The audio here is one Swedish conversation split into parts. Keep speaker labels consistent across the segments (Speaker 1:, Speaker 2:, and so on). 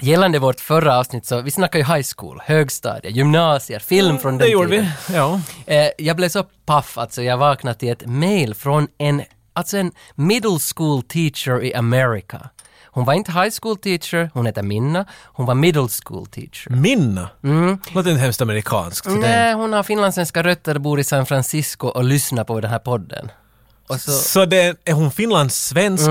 Speaker 1: Gällande vårt förra avsnitt så, vi snackade ju high school, högstadiet, gymnasier, film från den
Speaker 2: Mm, Det gjorde
Speaker 1: tiden.
Speaker 2: vi. Ja.
Speaker 1: Eh, jag blev så paff, alltså jag vaknade till ett mail från en, alltså en middle school teacher i Amerika. Hon var inte high school teacher, hon heter Minna, hon var middle school
Speaker 2: Mm.
Speaker 1: teacher.
Speaker 2: Minna. Låter inte hemskt amerikanskt. så det-
Speaker 1: Nej, hon har finlandssvenska rötter, bor i San Francisco och lyssnar på den här podden. Och, så,
Speaker 2: Så det är hon finlandssvensk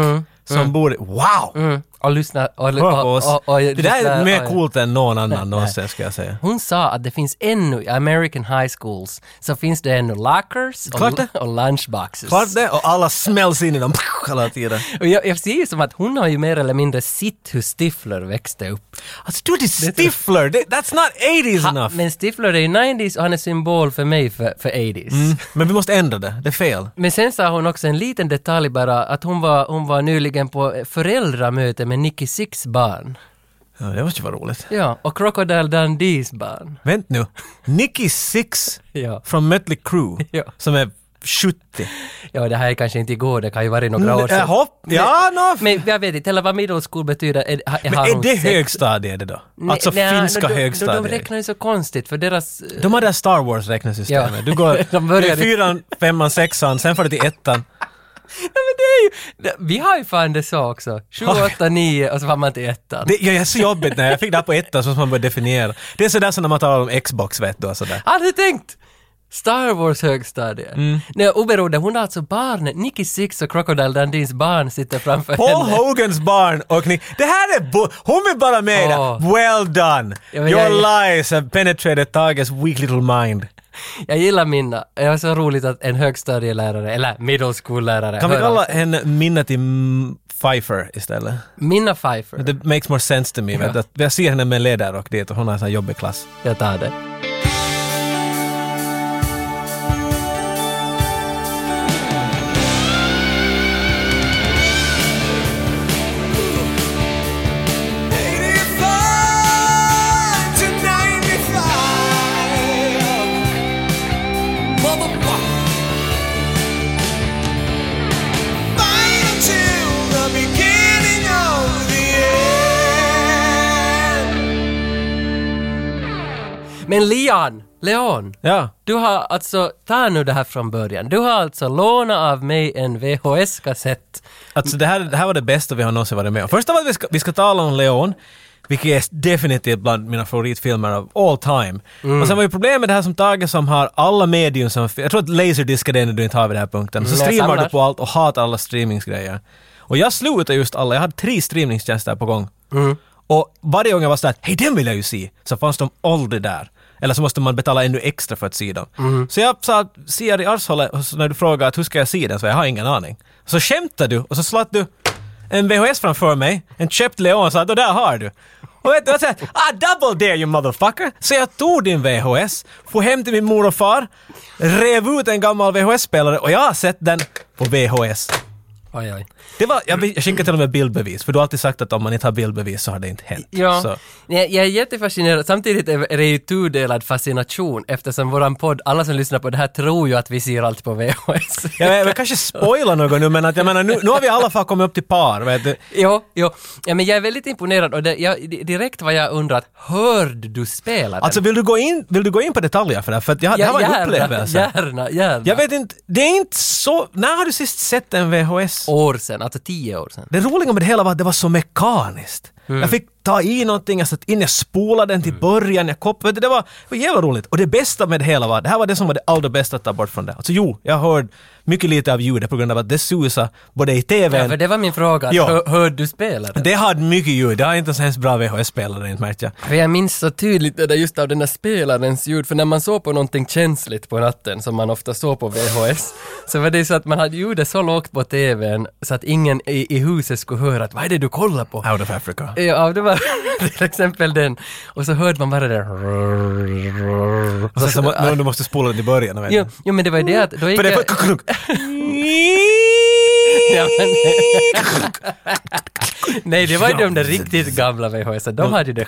Speaker 2: som bor i... Wow!
Speaker 1: mm, och lyssnar... Och,
Speaker 2: Hör på
Speaker 1: och,
Speaker 2: oss.
Speaker 1: och, och,
Speaker 2: det där
Speaker 1: lyssnar-
Speaker 2: är mer
Speaker 1: och-
Speaker 2: coolt än någon annan någonsin ska jag säga.
Speaker 1: Hon sa att det finns ännu i American high schools så finns det ännu lockers
Speaker 2: Klart det.
Speaker 1: och, och lunchboxes.
Speaker 2: Klart det? Och alla smälls in i dem hela tiden.
Speaker 1: Och jag, jag ser ju som att hon har ju mer eller mindre sett hur Stifler växte upp.
Speaker 2: Alltså du, det är Stifler! Det- That's not 80s
Speaker 1: Ha,
Speaker 2: enough! Men...
Speaker 1: men Stifler är ju 90s och han är symbol för mig för, för 80s.
Speaker 2: Mm. vi måste ändra det, det är fel.
Speaker 1: Men sen sa hon också en liten detalj bara, att hon var, hon var nyligen på föräldramöte med Nicky Six barn.
Speaker 2: Ja, det måste ju vara roligt.
Speaker 1: Ja, och Crocodile Dundees barn.
Speaker 2: Vänt nu. Nicky Six
Speaker 1: Ja.
Speaker 2: från Mötley Crüe,
Speaker 1: Ja.
Speaker 2: som är 70.
Speaker 1: Ja, det här är kanske inte igår, det kan ju vara några år
Speaker 2: Jag
Speaker 1: sedan.
Speaker 2: hopp- Ja, nå.
Speaker 1: Men jag vet inte heller vad middle school betyder. Är, har-
Speaker 2: Men
Speaker 1: har
Speaker 2: är
Speaker 1: hon
Speaker 2: det
Speaker 1: sex-
Speaker 2: högstadiet det då?
Speaker 1: Nej,
Speaker 2: Alltså
Speaker 1: nej,
Speaker 2: finska
Speaker 1: de, De, de
Speaker 2: högstadiet?
Speaker 1: räknar ju så konstigt för deras...
Speaker 2: De har det här Star Wars räknesystemet.
Speaker 1: Ja.
Speaker 2: Du går
Speaker 1: De börjar
Speaker 2: du är
Speaker 1: i-
Speaker 2: fyran, femman, sexan, sen får du till ettan.
Speaker 1: Nej men det är ju... det- Vi har ju fan det så också. 7, 8, 9 och så var man till ettan.
Speaker 2: Det ja, det är så jobbigt när jag fick det här på ettan så måste man börja definiera. Det är sådär som när man talar om Xbox vet du och sådär.
Speaker 1: Aldrig tänkt! Star Wars högstadiet. Nej, oberoende, hon har alltså barnen, Nicky Six och Crocodile Dundees barn sitter framför
Speaker 2: Paul
Speaker 1: henne.
Speaker 2: Hogans barn och ni, det här är bo- hon är bara med där.
Speaker 1: Åh.
Speaker 2: Well done!
Speaker 1: Ja, men
Speaker 2: Your
Speaker 1: jag-
Speaker 2: lies have penetrated Tages weak little mind.
Speaker 1: Jag gillar Minna. Det var så roligt att en högstadielärare, eller middle school-lärare,
Speaker 2: Kan vi
Speaker 1: hör
Speaker 2: kalla
Speaker 1: oss.
Speaker 2: henne Minna till M- Pfeiffer istället?
Speaker 1: Minna Pfeiffer.
Speaker 2: It makes more sense to me. vet du, att Jag ser henne med en ledarrock dit och hon har en sån här jobbig klass.
Speaker 1: Jag tar det. Men Leon! Leon!
Speaker 2: Ja.
Speaker 1: Du har alltså, ta nu det här från början. Du har alltså lånat av mig en VHS-kassett.
Speaker 2: Alltså det här, det här var det bästa vi har någonsin varit med om. Först av allt, vi ska, vi ska tala om Leon, vilket är definitivt bland mina favoritfilmer av all time. Och sen var ju problemet det här som Tage som har alla medium som fi- Jag tror att Laserdisc är det enda du inte har vid den här punkten. Så
Speaker 1: Mm, jag
Speaker 2: streamar
Speaker 1: samlar.
Speaker 2: du på allt och hatar alla streamingsgrejer. Och jag slog ut just alla, jag hade tre streamingtjänster på gång. Och varje gång jag var sådär hej den vill jag ju se, så fanns de aldrig där. Eller så måste man betala ännu extra för att se dem. Så jag sa, ser i arshålet, och så när du frågade att hur ska jag se den, så jag har ingen aning. Så skämtade du och så slatt du en VHS framför mig, en köpt Leon, och sa att "Och där har du. Och vet du, jag sa ah double dare you motherfucker! Så jag tog din VHS, for hem till min mor och far, rev ut en gammal VHS-spelare och jag har sett den på VHS.
Speaker 1: Oj, oj.
Speaker 2: Det var, jag jag skickade till och med bildbevis, för du har alltid sagt att om man inte har bildbevis så har det inte hänt. Så.
Speaker 1: Ja, jag, jag är jättefascinerad. Samtidigt är är det ju tudelad fascination eftersom våran podd, alla som lyssnar på det här tror ju att vi ser allt på VHS.
Speaker 2: Jag, jag, jag kanske spoilar något nu, men att, jag menar, nu, nu har vi i alla fall kommit upp till par. Vet du.
Speaker 1: Jo, jo. Ja, men jag är väldigt imponerad och det, jag, di- direkt vad jag undrat, hörde du spela den?
Speaker 2: Alltså, vill du, gå in, vill du gå in på detaljer för det här? För att jag, det här var en
Speaker 1: gärna,
Speaker 2: upplevelse.
Speaker 1: gärna, gärna.
Speaker 2: Jag vet inte, det är inte så... När har du sist sett en VHS?
Speaker 1: År sedan, alltså tio år sedan.
Speaker 2: Det roliga med det hela var att det var så mekaniskt.
Speaker 1: Mm.
Speaker 2: Jag fick ta i någonting, jag satt in, jag spolade den till början, jag kopplade. Det var, det var jävla roligt. Och det bästa med det hela var, det här var det som var det allra bästa att ta bort från det. Alltså jo, jag hörde mycket lite av ljudet på grund av att det susade både i
Speaker 1: Ja, för
Speaker 2: TVn
Speaker 1: det var min fråga,
Speaker 2: Ja.
Speaker 1: hör, hörde du spela den?
Speaker 2: det hade mycket ljud, det har inte så hemskt bra VHS-spelare inte märkt jag.
Speaker 1: För jag minns så tydligt det där just av den där spelarens ljud, för när man såg på någonting känsligt på natten, som man ofta såg på VHS, så var det så att man hade ljudet så lågt på TVn så att ingen i, i huset skulle höra att vad är det du kollar på?
Speaker 2: Out of Africa.
Speaker 1: Ja, det var till exempel den. Och så hörde man bara det där.
Speaker 2: Och sen så, må- nu- du måste spola den till början. Vet
Speaker 1: Jo,
Speaker 2: du.
Speaker 1: jo men det var ju det att då gick
Speaker 2: För det
Speaker 1: jag...
Speaker 2: var...
Speaker 1: Ja, men- Nej, det var ju de där riktigt gamla VHS, de hade ju det.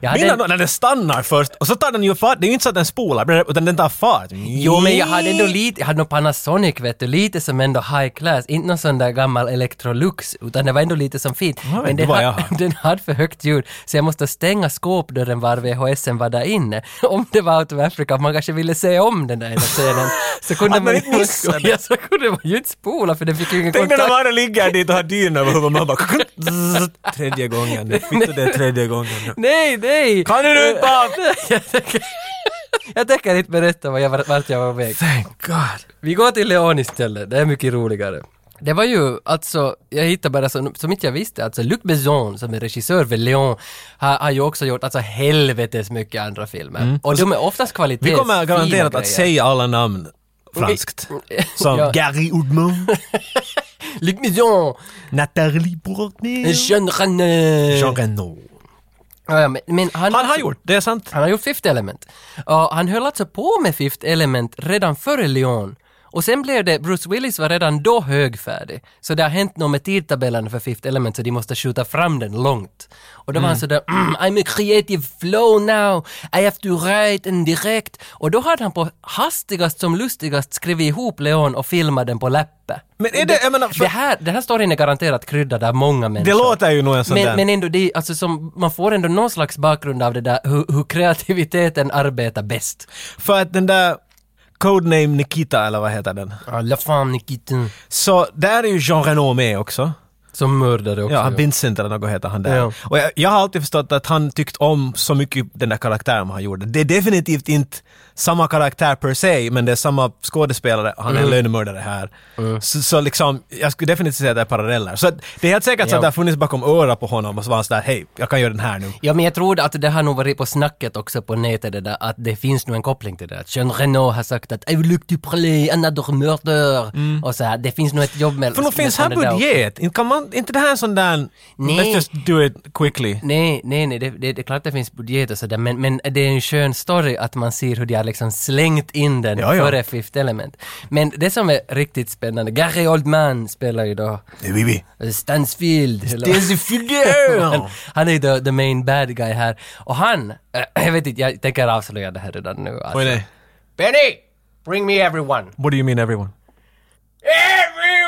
Speaker 1: Jag hade
Speaker 2: Mina,
Speaker 1: en,
Speaker 2: då, när den stannar först och så tar den ju fart, det är ju inte så att den spolar, utan den tar fart.
Speaker 1: jo, men jag hade ändå lite, jag hade någon Panasonic vet du, lite som ändå high class, inte någon sån där gammal Electrolux, utan det var ändå lite som fint.
Speaker 2: vet
Speaker 1: men
Speaker 2: inte
Speaker 1: den,
Speaker 2: vad jag
Speaker 1: hade,
Speaker 2: har.
Speaker 1: den hade för högt ljud, så jag måste stänga skåpdörren var VHSen var där inne. Om det var Out of Africa, om man kanske ville se om den där ena scenen, så kunde
Speaker 2: Att
Speaker 1: man
Speaker 2: man
Speaker 1: ju
Speaker 2: inte missade.
Speaker 1: Ja, så kunde man ju inte spola, för den fick ju ingen
Speaker 2: Tänk när
Speaker 1: kontakt.
Speaker 2: de bara ligger dit och har dyn över huvudet, man bara... zzz, tredje gången nu, fitto det är tredje gången nu.
Speaker 1: Nej, nej!
Speaker 2: Kan du inte bara...
Speaker 1: jag, tänker, jag tänker inte berätta vad jag, var- vart jag var på väg.
Speaker 2: Thank God.
Speaker 1: Vi går till Leon istället, det är mycket roligare. Det var ju alltså, jag hittade bara som, som inte jag visste, alltså Luc Besson som är regissör för Leon har, har ju också gjort alltså helvetes mycket andra filmer. Och de är oftast
Speaker 2: Mm. Vi
Speaker 1: kvalitets
Speaker 2: kommer garanterat
Speaker 1: fina
Speaker 2: att
Speaker 1: grejer.
Speaker 2: säga alla namn franskt. Som
Speaker 1: Ja.
Speaker 2: Gary Oldman,
Speaker 1: Luc Besson,
Speaker 2: Nathalie Portner,
Speaker 1: Jean René.
Speaker 2: Jean Reno.
Speaker 1: Ja, ja, men, men han,
Speaker 2: Han har gjort, det är sant.
Speaker 1: Han har gjort Fifth Element. Och han höll alltså på med Fifth Element redan före Leon. Och sen blev det, Bruce Willis var redan då högfärdig. Så det har hänt något med tidtabellen för Fifth Element så de måste skjuta fram den långt. Och då var han sådär mm, “I'm a creative flow now, I have to write and direct”. Och då hade han på hastigast som lustigast skrivit ihop Leon och filmat den på läppe.
Speaker 2: Men är det, jag menar, för,
Speaker 1: Det här, den här storyn är garanterat kryddad av många människor.
Speaker 2: det låter ju nog en sån
Speaker 1: Men,
Speaker 2: där...
Speaker 1: men ändå, det, är- alltså, som, man får ändå någon slags bakgrund av det där hur, hur kreativiteten arbetar bäst.
Speaker 2: För att den där Codename Nikita, eller vad heter den?
Speaker 1: Ja, La femme Nikitin.
Speaker 2: Så där är ju Jean Reno med också.
Speaker 1: Som mördare också.
Speaker 2: Ja, han Vincent eller något heter han där.
Speaker 1: Ja.
Speaker 2: Och jag, jag har alltid förstått att han tyckt om så mycket den där karaktären han gjorde. Det är definitivt inte samma karaktär per se, men det är samma skådespelare och han
Speaker 1: Mm.
Speaker 2: är en lönnmördare här. Så, så liksom, jag skulle definitivt säga att det är paralleller. Så att, det är helt säkert så
Speaker 1: Ja.
Speaker 2: att det har funnits bakom örat på honom och så var han sådär, hej, jag kan göra den här nu.
Speaker 1: Ja, men jag tror att det har nog varit på snacket också på nätet det där att det finns nog en koppling till det. Att Jean Reno har sagt att “I would like to play another murder” och så här, det finns nog ett jobb med...
Speaker 2: Mm. För nog finns
Speaker 1: med
Speaker 2: här
Speaker 1: det där också.
Speaker 2: budget! Inte kan man, inte det här är en sån där,
Speaker 1: Nej.
Speaker 2: let's just do it quickly.
Speaker 1: Nej, nej, nej, det, det, det är klart det finns budget och sådär, men, men det är en skön story att man ser hur de har liksom slängt in den
Speaker 2: Ja, ja.
Speaker 1: före Fifth Element. Men det som är riktigt spännande, Gary Oldman spelar ju då alltså
Speaker 2: Det är vi.
Speaker 1: Stansfield. eller- han,
Speaker 2: Det
Speaker 1: han är ju the, the main bad guy här. Och han, äh, jag vet inte, jag tänker avslöja det här redan nu. Alltså.
Speaker 2: är
Speaker 1: Benny! Bring me everyone!
Speaker 2: What do you mean everyone?
Speaker 1: Everyone!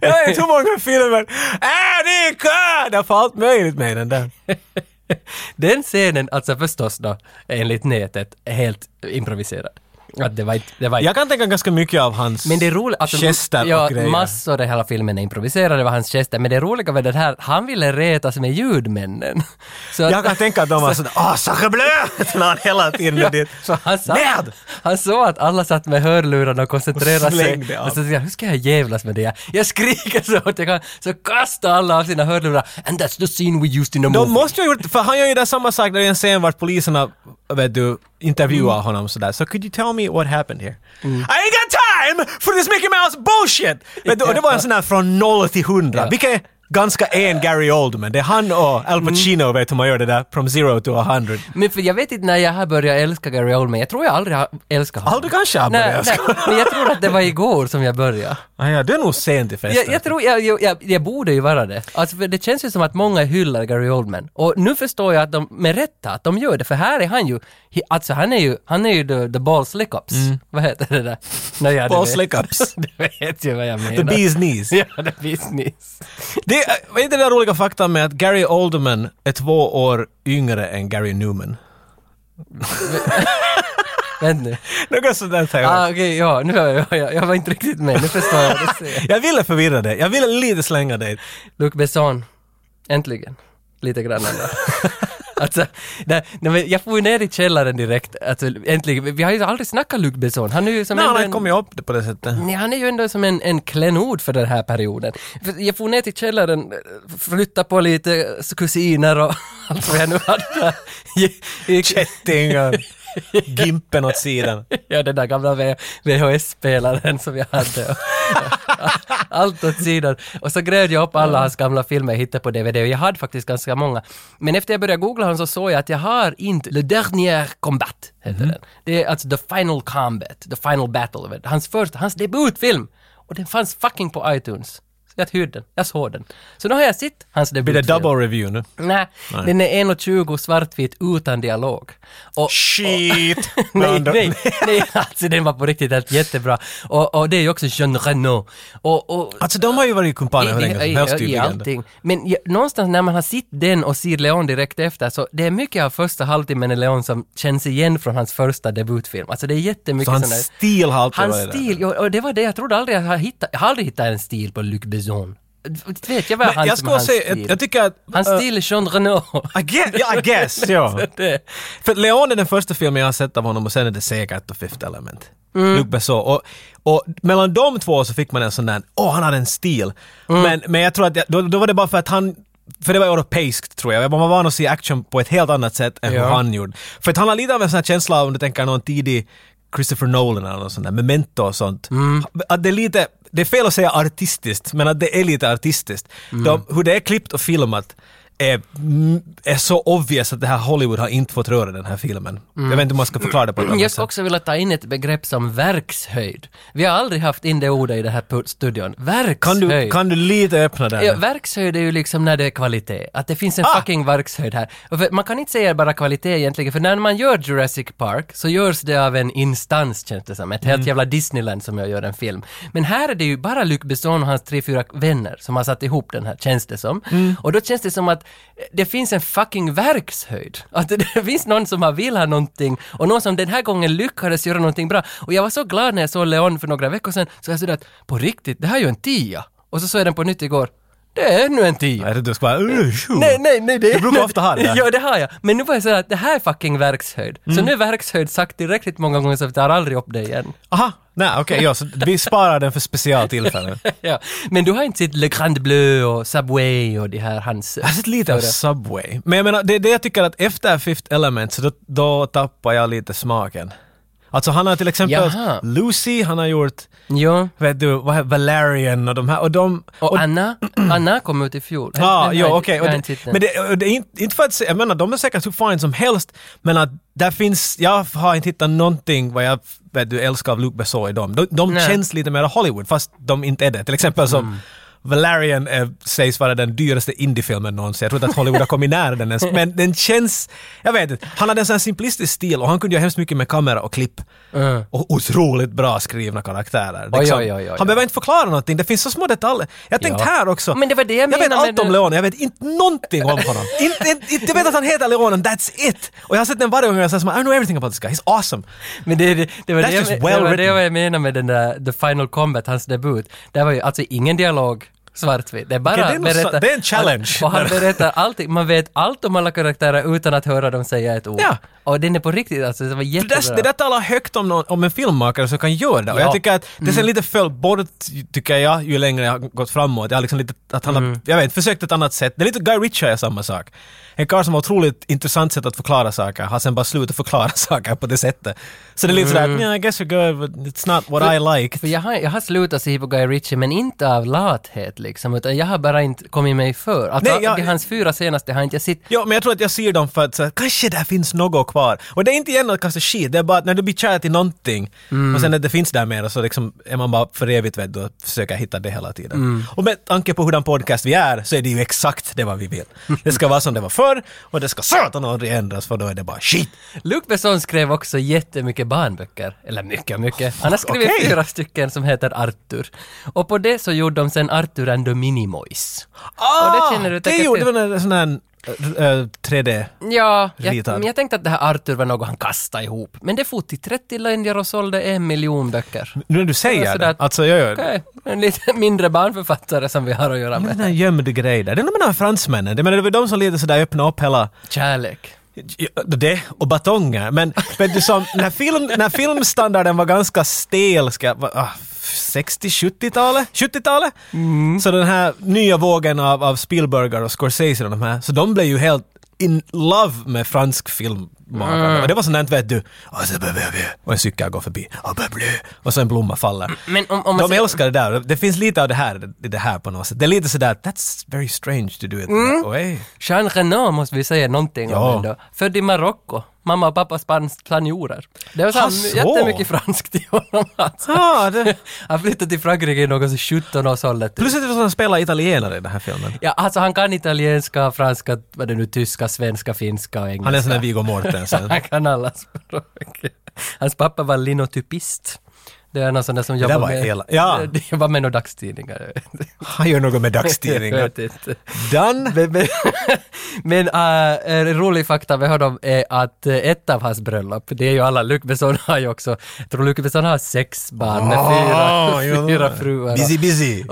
Speaker 2: Jag vet hur många filmer. Annika! Det har fått allt möjligt med den där.
Speaker 1: Den scenen, alltså förstås då, enligt nätet, är helt improviserad. Att det var inte, det var inte
Speaker 2: Jag kan tänka ganska mycket av hans
Speaker 1: Men det är roligt, alltså,
Speaker 2: gester och
Speaker 1: ja,
Speaker 2: grejer.
Speaker 1: massor av hela filmen är improviserade, det var hans gester, men det roliga med det här, han ville retas med ljudmännen. Så, att-
Speaker 2: Jag kan tänka att de var sådär ”Åh, Sacre Bleu!” Den har hela tiden med det.
Speaker 1: så han, sa,
Speaker 2: Nerd!
Speaker 1: han såg att alla satt med hörlurarna och koncentrerade
Speaker 2: Och
Speaker 1: sig.
Speaker 2: slängde av.
Speaker 1: Och så tänkte jag, hur ska jag jävlas med det? här?" Jag skriker så hårt jag kan, så kastar alla av sina hörlurar. And that's the scene we used in the movie.
Speaker 2: De måste ju ha gjort, för han gör ju där samma sak, där är en scen vart poliserna, vet du, intervjuar
Speaker 1: Mm.
Speaker 2: honom sådär. So could you tell me what happened here? I ain't got time for this Mickey Mouse bullshit! Vet du, och det var en sån här från 0 till 100,
Speaker 1: Ja. Mm.
Speaker 2: vilket är ganska en Gary Oldman. Det är han och Al Pacino, vet hur man gör det där, from zero to 100.
Speaker 1: Men för jag vet inte när jag har börjat älska Gary Oldman, jag tror jag aldrig har älskat honom.
Speaker 2: Aldrig kanske han
Speaker 1: Nej,
Speaker 2: började älska
Speaker 1: nej, men jag tror att det var igår som jag började.
Speaker 2: Ah, ja, det är nog sent i festen.
Speaker 1: Jag, jag tror, jag, jag, jag, jag borde ju vara det. Alltså, för det känns ju som att många hyllar Gary Oldman. Och nu förstår jag att de, med rätta, att de gör det. För här är han ju, he, alltså han är ju, han är ju the, the ball slickups. Vad heter det där? Nej, ja, du
Speaker 2: Ball
Speaker 1: vet.
Speaker 2: slickups.
Speaker 1: Du vet ju vad jag menar.
Speaker 2: The bee's knees.
Speaker 1: Ja, the bees knees.
Speaker 2: Det är, vad är det där roliga faktan med att Gary Oldman är två år yngre än Gary Newman?
Speaker 1: Vänta nu.
Speaker 2: Något sånt där säger jag.
Speaker 1: Ah, okej, ja, nu har jag, jag, jag var inte riktigt med. Nu förstår jag vad du säger.
Speaker 2: Jag ville förvirra dig. Jag ville lite slänga dig.
Speaker 1: Luc Besson. Äntligen. Lite grann ändå. Alltså, nej, nej, men jag får ju ner i källaren direkt. Alltså, äntligen. Vi har ju aldrig snackat Luc Besson. Han är ju som
Speaker 2: Men
Speaker 1: ändå
Speaker 2: han har
Speaker 1: en-
Speaker 2: inte kommit upp det på det sättet.
Speaker 1: Nej, han är ju ändå som en, en klenod för den här perioden. För Jag får ner till källaren, flytta på lite kusiner och allt vad jag nu hade där. Gick-
Speaker 2: Kättingar. Gimpen åt sidan.
Speaker 1: Ja, den där gamla V- VHS-spelaren som jag hade. Allt åt sidan. Och så grävde jag upp alla hans gamla filmer jag hittade på DVD och jag hade faktiskt ganska många. Men efter jag började googla honom så såg jag att jag har inte Le Dernier Combat,
Speaker 2: Mhm.
Speaker 1: heter den. Det är alltså The Final Combat, The Final Battle. vet du. Hans första, hans debutfilm. och den fanns fucking på iTunes. Så jag hyrde den, jag såg den. Så nu har jag sett hans
Speaker 2: Blir det
Speaker 1: debutfilm.
Speaker 2: double review nu?
Speaker 1: Nej,
Speaker 2: Nej.
Speaker 1: den är 1,20 svartvit utan dialog. Och,
Speaker 2: Shit!
Speaker 1: nej, nej, nej, alltså den var på riktigt helt jättebra. Och, och det är ju också Jean Reno. Och, och,
Speaker 2: Alltså de har ju varit kumpaner hur
Speaker 1: i-
Speaker 2: länge som
Speaker 1: i-
Speaker 2: helst
Speaker 1: i
Speaker 2: tydligen.
Speaker 1: allting. Men ja, någonstans när man har sett den och ser Leon direkt efter så det är mycket av första halvtimmen i Leon som känns igen från hans första debutfilm. Alltså det är
Speaker 2: Så
Speaker 1: jättemycket
Speaker 2: hans
Speaker 1: sådana-
Speaker 2: stil har alltid
Speaker 1: Hans
Speaker 2: varit där.
Speaker 1: stil, ja, och det var det jag trodde aldrig jag har hittat, jag har aldrig hittat en stil på Luc Besson. Inte Vet jag vad
Speaker 2: Men
Speaker 1: han
Speaker 2: jag
Speaker 1: som är
Speaker 2: ska
Speaker 1: hans
Speaker 2: säga,
Speaker 1: stil?
Speaker 2: jag, jag tycker att...
Speaker 1: hans
Speaker 2: eh,
Speaker 1: stil är Jean Reno.
Speaker 2: I guess, ja, I guess ja.
Speaker 1: det.
Speaker 2: För Leon är den första filmen jag har sett av honom och sen är det säkert The Fifth Element. Luc Besson. Och, och mellan de två så fick man en sån där, åh han hade en stil. Men, men jag tror att, jag, då, då var det bara för att han för det var europeiskt tror jag. Man var van att se action på ett helt annat sätt än
Speaker 1: Ja.
Speaker 2: hur han gjorde. För att han har lite av en sån här känsla av, om du tänker någon tidig Christopher Nolan eller något sånt där, Memento och sånt.
Speaker 1: Mm.
Speaker 2: Att det är lite, det är fel att säga artistiskt, men att det är lite artistiskt.
Speaker 1: Mm.
Speaker 2: De, hur det är klippt och filmat är, mm, är så obvious att det här Hollywood har inte fått röra den här filmen. Jag vet inte om man ska förklara det på ett
Speaker 1: Mm. Jag
Speaker 2: annat
Speaker 1: skulle
Speaker 2: sätt.
Speaker 1: också vilja ta in ett begrepp som verkshöjd. Vi har aldrig haft in det ordet i den här pu- studion.
Speaker 2: Kan
Speaker 1: Verkshöjd.
Speaker 2: du, kan du lite öppna den?
Speaker 1: Ja, verkshöjd är ju liksom när det är kvalitet. Att det finns en
Speaker 2: Ah!
Speaker 1: fucking verkshöjd här. Och för, man kan inte säga bara kvalitet egentligen, för när man gör Jurassic Park så görs det av en instans känns det som. Ett helt jävla Disneyland som jag gör en film. Men här är det ju bara Luc Besson och hans tre, fyra vänner som har satt ihop den här, känns det som. Och då känns det som att det finns en fucking verkshöjd. Att det, det finns någon som har vill ha någonting och någon som den här gången lyckades göra någonting bra. Och jag var så glad när jag såg Leon för några veckor sedan, så jag sa att på riktigt, det här är ju en tia. Och så såg jag den på nytt igår. Det är ännu en
Speaker 2: Jag
Speaker 1: tia.
Speaker 2: trodde du skulle bara... "Uh, tjo."
Speaker 1: Nej, nej, nej. Det
Speaker 2: Du brukar ofta ha det Mm. där.
Speaker 1: Ja, det har jag. Men nu var jag säga att det här är fucking verkshöjd. Så nu är verkshöjd sagt tillräckligt många gånger så vi tar aldrig upp det igen.
Speaker 2: Aha, nej okej, ja, så vi sparar den för specialtillfällen.
Speaker 1: ja. Men du har inte sett Le Grand Bleu och Subway och de här hans...
Speaker 2: Jag har sett lite av Subway. Men jag menar, det är det jag tycker att efter Fifth Element så då, då tappar jag lite smaken. Alltså han har till exempel
Speaker 1: Jaha.
Speaker 2: Lucy, han har gjort,
Speaker 1: Ja.
Speaker 2: vet du, vad heter Valerian och de här och de...
Speaker 1: Och, Anna, Anna kom ut i fjol. Den- den
Speaker 2: Ja,
Speaker 1: har
Speaker 2: Ah, jo,
Speaker 1: jag-
Speaker 2: okej.
Speaker 1: jag har
Speaker 2: Och
Speaker 1: inte sett
Speaker 2: det-
Speaker 1: den.
Speaker 2: Men det, och det är inte, inte för att säga, jag menar de är säkert hur fine som helst, men att där finns, jag har inte hittat någonting vad jag vet du, älskar av Luke Besson i dem. De, de
Speaker 1: Nej. Mm.
Speaker 2: känns lite mer Hollywood, fast de inte är det. Till exempel som Valerian eh, sägs vara den dyraste indiefilmen någonsin. Jag tror inte att Hollywood har kommit nära den ens. Men den känns, jag vet inte, han hade en sån här simplistisk stil och han kunde göra hemskt mycket med kamera och klipp.
Speaker 1: Mm.
Speaker 2: Och otroligt bra skrivna karaktärer.
Speaker 1: Oj,
Speaker 2: Liksom,
Speaker 1: oj, oj, oj, oj.
Speaker 2: Han behöver inte förklara någonting, det finns så små detaljer. Jag tänkte
Speaker 1: Ja.
Speaker 2: här också.
Speaker 1: Men det var det jag
Speaker 2: jag vet
Speaker 1: menade
Speaker 2: allt
Speaker 1: när
Speaker 2: om
Speaker 1: du-
Speaker 2: Leone, jag vet inte någonting om honom. inte, inte, inte, jag vet att han heter Leone, and that's it! Och jag har sett den varje gång och jag säger så här, I know everything about this guy, he's awesome.
Speaker 1: Men det, det, det, var
Speaker 2: That's
Speaker 1: det, jag,
Speaker 2: just
Speaker 1: men-
Speaker 2: well
Speaker 1: det var det
Speaker 2: written.
Speaker 1: jag menade med den där The Final Combat, hans debut. Det var ju alltså ingen dialog svartvitt. Det är bara
Speaker 2: Okej, det är nog så-
Speaker 1: berätta.
Speaker 2: det är en challenge.
Speaker 1: Han, och han berättar allting. Man vet allt om alla karaktärer utan att höra dem säga ett ord.
Speaker 2: Ja.
Speaker 1: Och den är på riktigt alltså, det var
Speaker 2: Det där, det
Speaker 1: jättebra.
Speaker 2: där talar högt om, någon, om en filmmakare som kan göra det. Och
Speaker 1: Ja. Mm.
Speaker 2: jag tycker att det sen lite föll bort, tycker jag, ju längre jag har gått framåt. Jag har liksom lite, att han
Speaker 1: Mm.
Speaker 2: har, jag vet inte, försökt ett annat sätt. Det är lite Guy Ritchie är samma sak. En karl som har otroligt intressant sätt att förklara saker, har sen bara slutat förklara saker på det sättet. Så det är lite sådär, yeah, I guess you're good, but it's not what I like.
Speaker 1: Mm. För jag har, jag har slutat se på Guy Ritchie, men inte av lathet liksom, utan jag har bara inte kommit mig för. Alltså,
Speaker 2: Nej, jag-
Speaker 1: de hans fyra senaste har inte jag sett.
Speaker 2: Ja, men jag tror att jag ser dem för att så, här, kanske där finns något kvar. Och det är inte igen att kasta skit, det är bara att när du blir kär till någonting
Speaker 1: Mm.
Speaker 2: och sen när det finns där mer så liksom är man bara för evigt vet du och försöker hitta det hela tiden.
Speaker 1: Mm.
Speaker 2: Och med tanke på hurdan podcast vi är så är det ju exakt det vad vi vill. Det ska vara som det var förr och det ska satan aldrig ändras för då är det bara shit.
Speaker 1: Luc Besson skrev också jättemycket barnböcker. Eller mycket, mycket. Han har skrivit
Speaker 2: Okej.
Speaker 1: fyra stycken som heter Arthur. Och på det så gjorde de sen Arthur and the Minimoys.
Speaker 2: Ah,
Speaker 1: det känner du
Speaker 2: det
Speaker 1: säkert
Speaker 2: gjorde
Speaker 1: till.
Speaker 2: väl en sån här äh, äh, 3D...
Speaker 1: Ja, jag,
Speaker 2: Ritad.
Speaker 1: men jag tänkte att det här Arthur var något han kastade ihop. Men det for till 30 länder och sålde en miljon böcker.
Speaker 2: Nu när du säger
Speaker 1: Ja,
Speaker 2: det,
Speaker 1: sådär.
Speaker 2: alltså jag gör
Speaker 1: Okej, en lite mindre barnförfattare som vi har att göra
Speaker 2: Den
Speaker 1: med.
Speaker 2: där gömd grej där. Det är nog med de här fransmännen. Det menar, det var de som lite sådär öppna upp hela
Speaker 1: Kärlek.
Speaker 2: Ja, Det och batonger. Men, men du, som, när, film, när filmstandarden var ganska stel, ska, va- ah, 60-70-talet? 70-talet?
Speaker 1: Mm.
Speaker 2: Så den här nya vågen av, av Spielberger och Scorsese och de här, så de blev ju helt in love med fransk filmmakare.
Speaker 1: Mm.
Speaker 2: Och det var sånt där, vet du, och så blir vi- och en cykel går förbi, och blir blö, och så en blomma faller.
Speaker 1: Men om, om man
Speaker 2: De
Speaker 1: säger-
Speaker 2: älskar det där. Det finns lite av det här i det här på något sätt. Det är lite sådär, that's very
Speaker 1: Mm.
Speaker 2: strange to do it that way.
Speaker 1: Jean Renault måste vi säga någonting
Speaker 2: Ja.
Speaker 1: om ändå. Född i Marocko. Mamma och pappas plans- planjorer. Det var så
Speaker 2: Ha,
Speaker 1: här,
Speaker 2: så.
Speaker 1: jättemycket franskt i honom alltså.
Speaker 2: Ah, det...
Speaker 1: Han flyttade till Frankrike i någon så 17 års ålder. typ.
Speaker 2: Plus att det är så att han spelar italienare i den här filmen.
Speaker 1: Ja, alltså han kan italienska, franska, vad det nu, tyska, svenska, finska och engelska.
Speaker 2: Han är en sån där Viggo Mortensen.
Speaker 1: Han kan alla språk. Hans pappa var linotypist. Det är någon sån där som
Speaker 2: där
Speaker 1: jobbar
Speaker 2: var
Speaker 1: med,
Speaker 2: hela- ja.
Speaker 1: de jobbar med några dagstidningar. jag vet inte.
Speaker 2: Han gör något med
Speaker 1: Jag
Speaker 2: dagstidningar.
Speaker 1: vet inte.
Speaker 2: Dan?
Speaker 1: Men, men, men äh, en rolig fakta med honom är att eh, ett av hans bröllop, det är ju alla, Luc Besson har ju också, jag tror Luc Besson har sex barn med
Speaker 2: Ah,
Speaker 1: fyra,
Speaker 2: ja.
Speaker 1: fyra fruar.
Speaker 2: Busy, busy.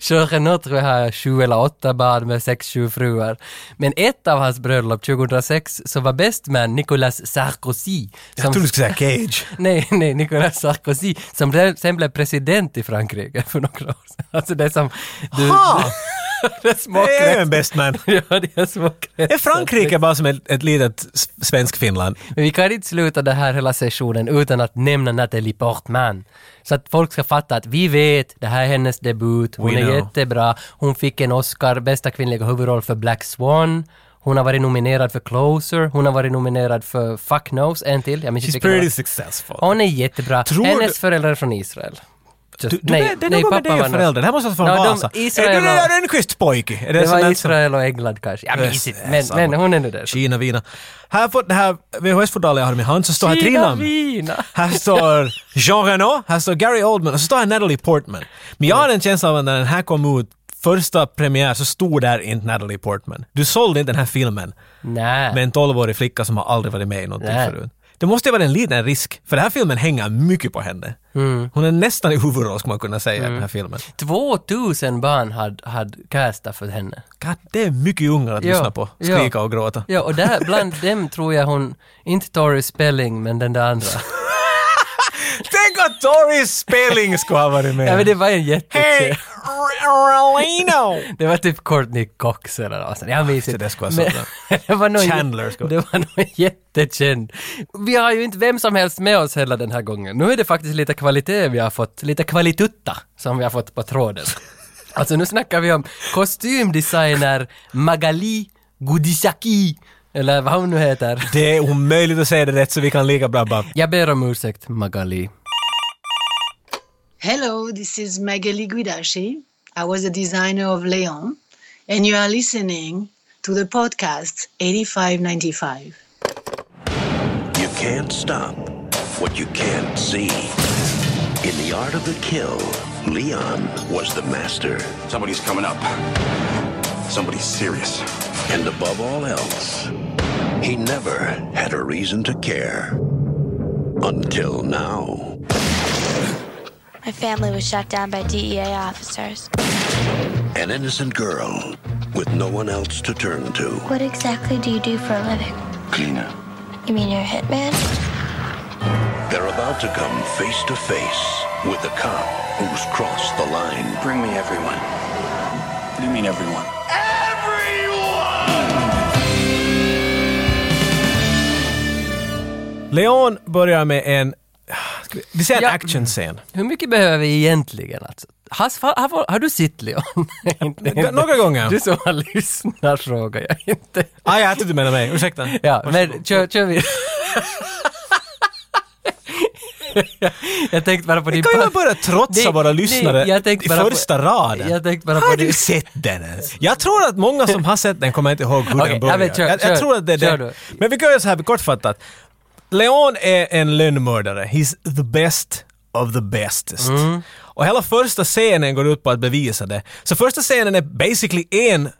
Speaker 1: Jean Renault tror jag har sju eller åtta barn med sex, sju fruar. Men ett av hans bröllop 2006 så var best man Nicolas Sarkozy.
Speaker 2: Jag trodde du skulle säga Cage.
Speaker 1: Nej, nej, Nicolas Sarkozy som blev- sen blev president i Frankrike för några år sedan. Alltså det är som... Du,
Speaker 2: Ha!
Speaker 1: det är små
Speaker 2: Det är ju
Speaker 1: kretsar.
Speaker 2: en best man.
Speaker 1: Ja, det är små kretsar.
Speaker 2: Är Frankrike bara som ett, ett litet s- svensk-Finland?
Speaker 1: Men vi kan inte sluta den här hela sessionen utan att nämna Nathalie Portman. Så att folk ska fatta att vi vet, det här är hennes debut, hon
Speaker 2: We
Speaker 1: är
Speaker 2: know.
Speaker 1: jättebra, hon fick en Oscar, bästa kvinnliga huvudroll för Black Swan, hon har varit nominerad för Closer, hon har varit nominerad för Fuck Knows, en till, jag minns inte
Speaker 2: She's
Speaker 1: vilken det
Speaker 2: pretty
Speaker 1: var.
Speaker 2: successful.
Speaker 1: Hon är jättebra.
Speaker 2: Tror du-
Speaker 1: hennes föräldrar är från Israel. Just-
Speaker 2: Du, du, nej, det är något med dig och
Speaker 1: någon-
Speaker 2: föräldrar. Det här måste vara från
Speaker 1: Ja, de-
Speaker 2: Vasa.
Speaker 1: Israel
Speaker 2: är du
Speaker 1: och-
Speaker 2: där en schysst pojke? Är
Speaker 1: Det
Speaker 2: sån där
Speaker 1: var
Speaker 2: som-
Speaker 1: Israel och England kanske. Jag minns inte, men,
Speaker 2: samma.
Speaker 1: men hon är nu där.
Speaker 2: Kina, Vina. Här på det här VHS-fodralet jag har i min hand så står här tre namn.
Speaker 1: Vina!
Speaker 2: Här står Jean Reno, här står Gary Oldman och så står här Natalie Portman. Men jag har en känsla av att när den här kom ut, första premiär, så stod där inte Natalie Portman. Du sålde inte den här filmen
Speaker 1: Nej.
Speaker 2: med en 12-årig flicka som har aldrig varit med i någonting
Speaker 1: Nej.
Speaker 2: förut. Det måste ju vara en liten risk, för den här filmen hänger mycket på henne.
Speaker 1: Mm.
Speaker 2: Hon är nästan i huvudroll, skulle man kunna säga, i den här filmen.
Speaker 1: 2000 barn hade, hade castat för henne.
Speaker 2: God, det är mycket ungar att
Speaker 1: Ja,
Speaker 2: lyssna på,
Speaker 1: ja.
Speaker 2: skrika och gråta.
Speaker 1: Ja, och där, bland dem tror jag hon, inte Tori Spelling, men den där andra.
Speaker 2: Tänk att Tori Spelling skulle ha varit med!
Speaker 1: Ja, men det var en jättekänd.
Speaker 2: Hej, Rolino!
Speaker 1: Det var typ Courtney Cox eller något sånt. Jag minns
Speaker 2: det
Speaker 1: inte.
Speaker 2: där skulle jag
Speaker 1: Men-
Speaker 2: sagt,
Speaker 1: det var någon,
Speaker 2: Chandler skulle-
Speaker 1: Det var någon jättekänd. Vi har ju inte vem som helst med oss hela den här gången. Nu är det faktiskt lite kvalitet vi har fått, lite kvalitutta som vi har fått på tråden. Alltså nu snackar vi om kostymdesigner Magali Gudisaki, eller vad hon nu heter.
Speaker 2: Det är omöjligt att säga det rätt så vi kan lika bra bara...
Speaker 1: Jag ber om ursäkt, Magali.
Speaker 3: Hello, this is Magali Guidashi. I was the designer of Leon, and you are listening to the podcast 8595.
Speaker 4: You can't stop what you can't see. In the art of the kill, Leon was the master.
Speaker 5: Somebody's coming up. Somebody's serious.
Speaker 4: And above all else, he never had a reason to care. Until now.
Speaker 6: My family was shot down by DEA officers.
Speaker 4: An innocent girl with no one else to turn to.
Speaker 6: What exactly do you do for a living?
Speaker 5: Cleaner.
Speaker 6: You mean you're a hitman?
Speaker 4: They're about to come face to face with a cop who's crossed the line.
Speaker 5: Bring me everyone. What do you mean everyone?
Speaker 2: Leon börjar med en... ska vi- Vi ser en
Speaker 1: Ja.
Speaker 2: actionscen.
Speaker 1: Hur mycket behöver vi egentligen? Alltså? Has, har, har, har du sett Leon? Inte- inte-
Speaker 2: Några gånger.
Speaker 1: Du som har lyssnat frågar jag inte.
Speaker 2: Ah, jag trodde du menade mig. Ursäkta.
Speaker 1: Ja, men kör, kör vi. jag tänkte bara på din...
Speaker 2: Kan vi bara
Speaker 1: pa-
Speaker 2: börja trotsa
Speaker 1: Nej,
Speaker 2: våra
Speaker 1: nej,
Speaker 2: lyssnare
Speaker 1: jag tänkte
Speaker 2: i
Speaker 1: bara på-
Speaker 2: första raden?
Speaker 1: jag tänkte bara på
Speaker 2: har
Speaker 1: det.
Speaker 2: du sett den ens? Jag tror att många som har sett den kommer inte ihåg hur
Speaker 1: Okej,
Speaker 2: den
Speaker 1: ja,
Speaker 2: börjar.
Speaker 1: men kör,
Speaker 2: jag,
Speaker 1: kör,
Speaker 2: jag tror att det är
Speaker 1: kör
Speaker 2: det.
Speaker 1: du.
Speaker 2: Men vi kan göra så här kortfattat. Leon är en lönnmördare. He's the best of the bestest.
Speaker 1: Mm.
Speaker 2: Och hela första scenen går ut på att bevisa det. Så första scenen är basically en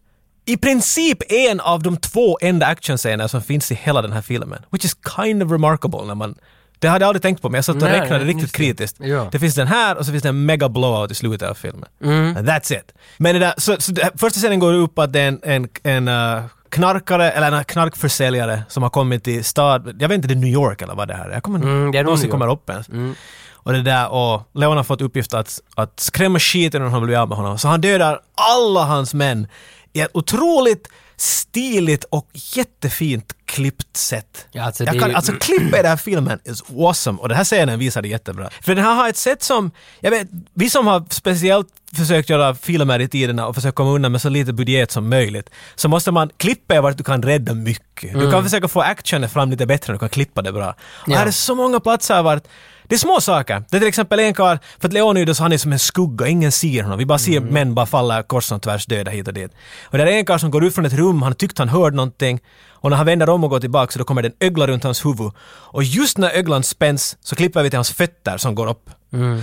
Speaker 2: i princip en av de två enda actionscener som finns i hela den här filmen. Which is kind of remarkable när man... Det hade jag aldrig tänkt på, men jag satt och
Speaker 1: Nej,
Speaker 2: räknade
Speaker 1: just
Speaker 2: riktigt
Speaker 1: det.
Speaker 2: kritiskt.
Speaker 1: Ja.
Speaker 2: Det finns den här och så finns det en mega blowout i slutet av filmen.
Speaker 1: Mm.
Speaker 2: And that's it. Men det där, så, så det, första scenen går upp att det är en, en, en uh, knarkare, eller en uh, knarkförsäljare som har kommit till stad, jag vet inte, det är New York eller vad det här är. Jag kommer inte
Speaker 1: Mm, det är nog
Speaker 2: någonsin
Speaker 1: New York. Mm.
Speaker 2: kommer upp ens. Och det där, och Leon har fått uppgift att, att skrämma skiten ur honom och bli av med honom. Så han dödar alla hans män i ett otroligt stiligt och jättefint klippt sätt.
Speaker 1: Ja, alltså, det
Speaker 2: jag
Speaker 1: är
Speaker 2: kan,
Speaker 1: ju-
Speaker 2: alltså klippet i den här filmen is awesome och den här scenen visar det jättebra. För den här har ett sätt som, jag vet, vi som har speciellt försökt göra filmer i tiderna och försökt komma undan med så lite budget som möjligt, så måste man klippa är vart du kan rädda mycket. Du
Speaker 1: Mm.
Speaker 2: kan försöka få actionen fram lite bättre när du kan klippa det bra. Och här är så många platser vart det är små saker. Det är till exempel en karl, för att Leonidas han är som en skugga, ingen ser honom. Vi bara ser män bara falla kors och tvärs döda hit och dit. Och där är en karl som går ut från ett rum, han tyckte han hörde någonting och när han vänder om och går tillbaka så då kommer det en ögla runt hans huvud. Och just när öglan spänns så klipper vi till hans fötter som går upp.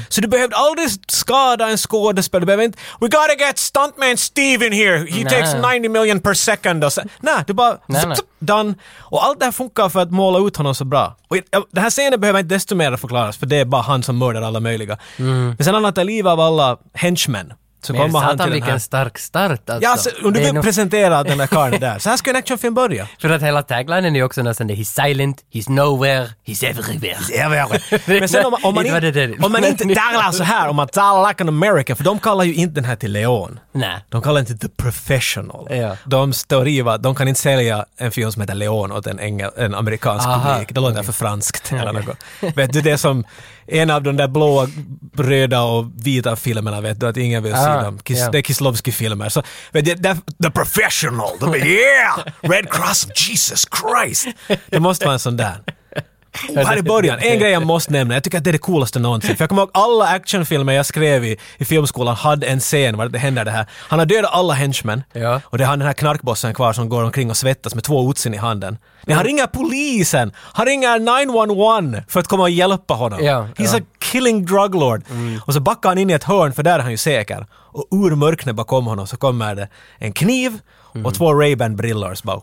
Speaker 2: Så du behövde aldrig skada en skådespelare, du behöver inte... We gotta get stuntman Steve in here! He
Speaker 1: Nej.
Speaker 2: takes 90 million per second! Och så, nej, du bara...
Speaker 1: Nej, nej.
Speaker 2: zup, Done. Och allt det här funkar för att måla ut honom så bra. Och i- den här scenen behöver inte desto mer förklaras för det är bara han som mördar alla möjliga. Men sen han tar livet av alla henchmen. Så
Speaker 1: Mm. Men
Speaker 2: kommer han till
Speaker 1: satan
Speaker 2: den här...
Speaker 1: vilken stark start alltså.
Speaker 2: Ja, så, om du
Speaker 1: Det är
Speaker 2: vill
Speaker 1: nog-
Speaker 2: presentera den här karln där. Så här ska en actionfilm börja.
Speaker 1: För att hela taglinen är ju också nästan det, he's silent, he's nowhere, he's everywhere.
Speaker 2: Men sen om, man- om, man,
Speaker 1: Det var det
Speaker 2: inte,
Speaker 1: där.
Speaker 2: om man inte talar så här, om man talar like an American, för de kallar ju inte den här till Leon.
Speaker 1: Nej.
Speaker 2: De kallar inte The Professional.
Speaker 1: Ja.
Speaker 2: De står i va, de kan inte sälja en film som heter Leon åt en, engel, en amerikansk
Speaker 1: Aha,
Speaker 2: publik. Det låter för franskt eller något. vet du, det är som en av de där blåa, röda och vita filmerna, vet du, att ingen vill
Speaker 1: Ah,
Speaker 2: se dem. Kis,
Speaker 1: ja.
Speaker 2: Det är Kislovski-filmer. Så, vet du, där, The Professional! De bara, yeah! Red Cross, Jesus Christ! Det måste vara en sån där. Oh, här i början, en grej jag måste nämna, jag tycker att det är det coolaste någonsin. För jag kommer ihåg alla actionfilmer jag skrev i, i filmskolan hade en scen var det händer det här. Han har dödat alla henchmen
Speaker 1: Ja.
Speaker 2: och det är han den här knarkbossen kvar som går omkring och svettas med två utsin i handen. Men han ringer polisen, han ringer 911 för att komma och hjälpa honom.
Speaker 1: Ja,
Speaker 2: He's
Speaker 1: ja.
Speaker 2: a killing drug lord. Och så backar han in i ett hörn för där är han ju säker. Och ur mörknet bakom honom så kommer det en kniv och två Ray-Ban brillor som bara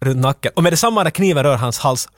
Speaker 2: runt nacken. Och med detsamma när kniven rör hans hals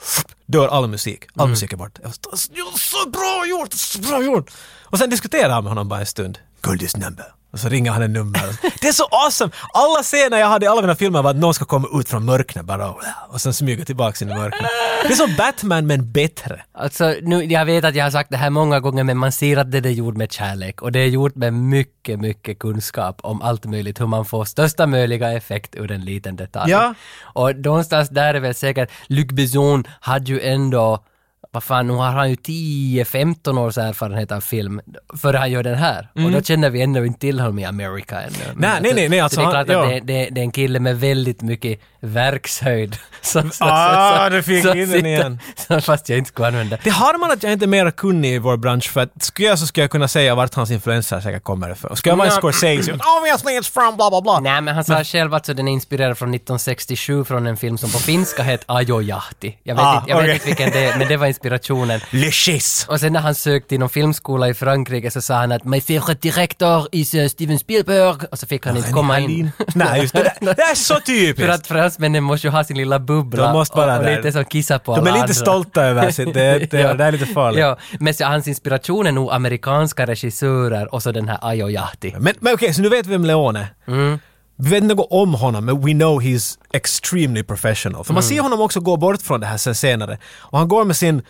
Speaker 2: dör all musik. All musik är borta. Jag bara, Så bra gjort! Så bra gjort! Och sen diskuterar han med honom bara en stund. Guldis number. Och så ringer han en nummer. Det är så awesome! Alla scener jag hade i alla mina filmer var att någon ska komma ut från mörknet bara och sen smyga tillbaka in i mörkret. Det är som Batman men bättre.
Speaker 1: Alltså, nu, jag vet att jag har sagt det här många gånger, men man ser att det är gjort med kärlek och det är gjort med mycket, mycket kunskap om allt möjligt, hur man får största möjliga effekt ur en liten detalj.
Speaker 2: Ja.
Speaker 1: Och någonstans där är väl säkert, Luc Besson hade ju ändå vad fan, nu har han ju 10-15 års erfarenhet av film före han gör den här. Och då känner vi ändå inte till honom i America ännu. Men
Speaker 2: Mm. Nej, nej, nej, nej,
Speaker 1: så
Speaker 2: alltså
Speaker 1: det är
Speaker 2: han-
Speaker 1: klart att det,
Speaker 2: ja.
Speaker 1: det, det är en kille med väldigt mycket verkshöjd. Som, som,
Speaker 2: Ah, du fick
Speaker 1: som
Speaker 2: in den
Speaker 1: sitter-
Speaker 2: igen.
Speaker 1: Fast jag inte skulle använda.
Speaker 2: Det har man att jag inte är mer kunnig i vår bransch för att skulle jag så skulle jag kunna säga vart hans influenser säkert kommer ifrån. Skulle jag vara en
Speaker 1: Ja.
Speaker 2: Scorsese, obviously it's from bla bla bla.
Speaker 1: Nej, men han sa själv att så den är inspirerad från 1967 från en film som på finska heter Ajojahti. Jag vet,
Speaker 2: Ah,
Speaker 1: inte, jag
Speaker 2: okej.
Speaker 1: vet inte vilken det är, men det var inspirationen.
Speaker 2: Le Chis.
Speaker 1: Och sen när han sökte inom filmskola i Frankrike så sa han att “My favorite director is eh, Steven Spielberg” och så fick han inte komma in.
Speaker 2: Nej, just det. där. Det är så
Speaker 1: För
Speaker 2: typiskt.
Speaker 1: att fransmännen måste ju ha sin lilla bubbla
Speaker 2: De måste vara
Speaker 1: och, och
Speaker 2: där.
Speaker 1: lite som kissa på
Speaker 2: De
Speaker 1: alla
Speaker 2: är
Speaker 1: andra.
Speaker 2: lite stolta över sitt, det, det, det är lite farligt.
Speaker 1: Ja, men så hans inspiration är nog amerikanska regissörer och så den här Ajojahti.
Speaker 2: Men, men okej, så nu vet vi vem Leone är. Vi vet något om honom, men we know he's extremely professional. För man ser honom också gå bort från det här sen senare. Och han går med sin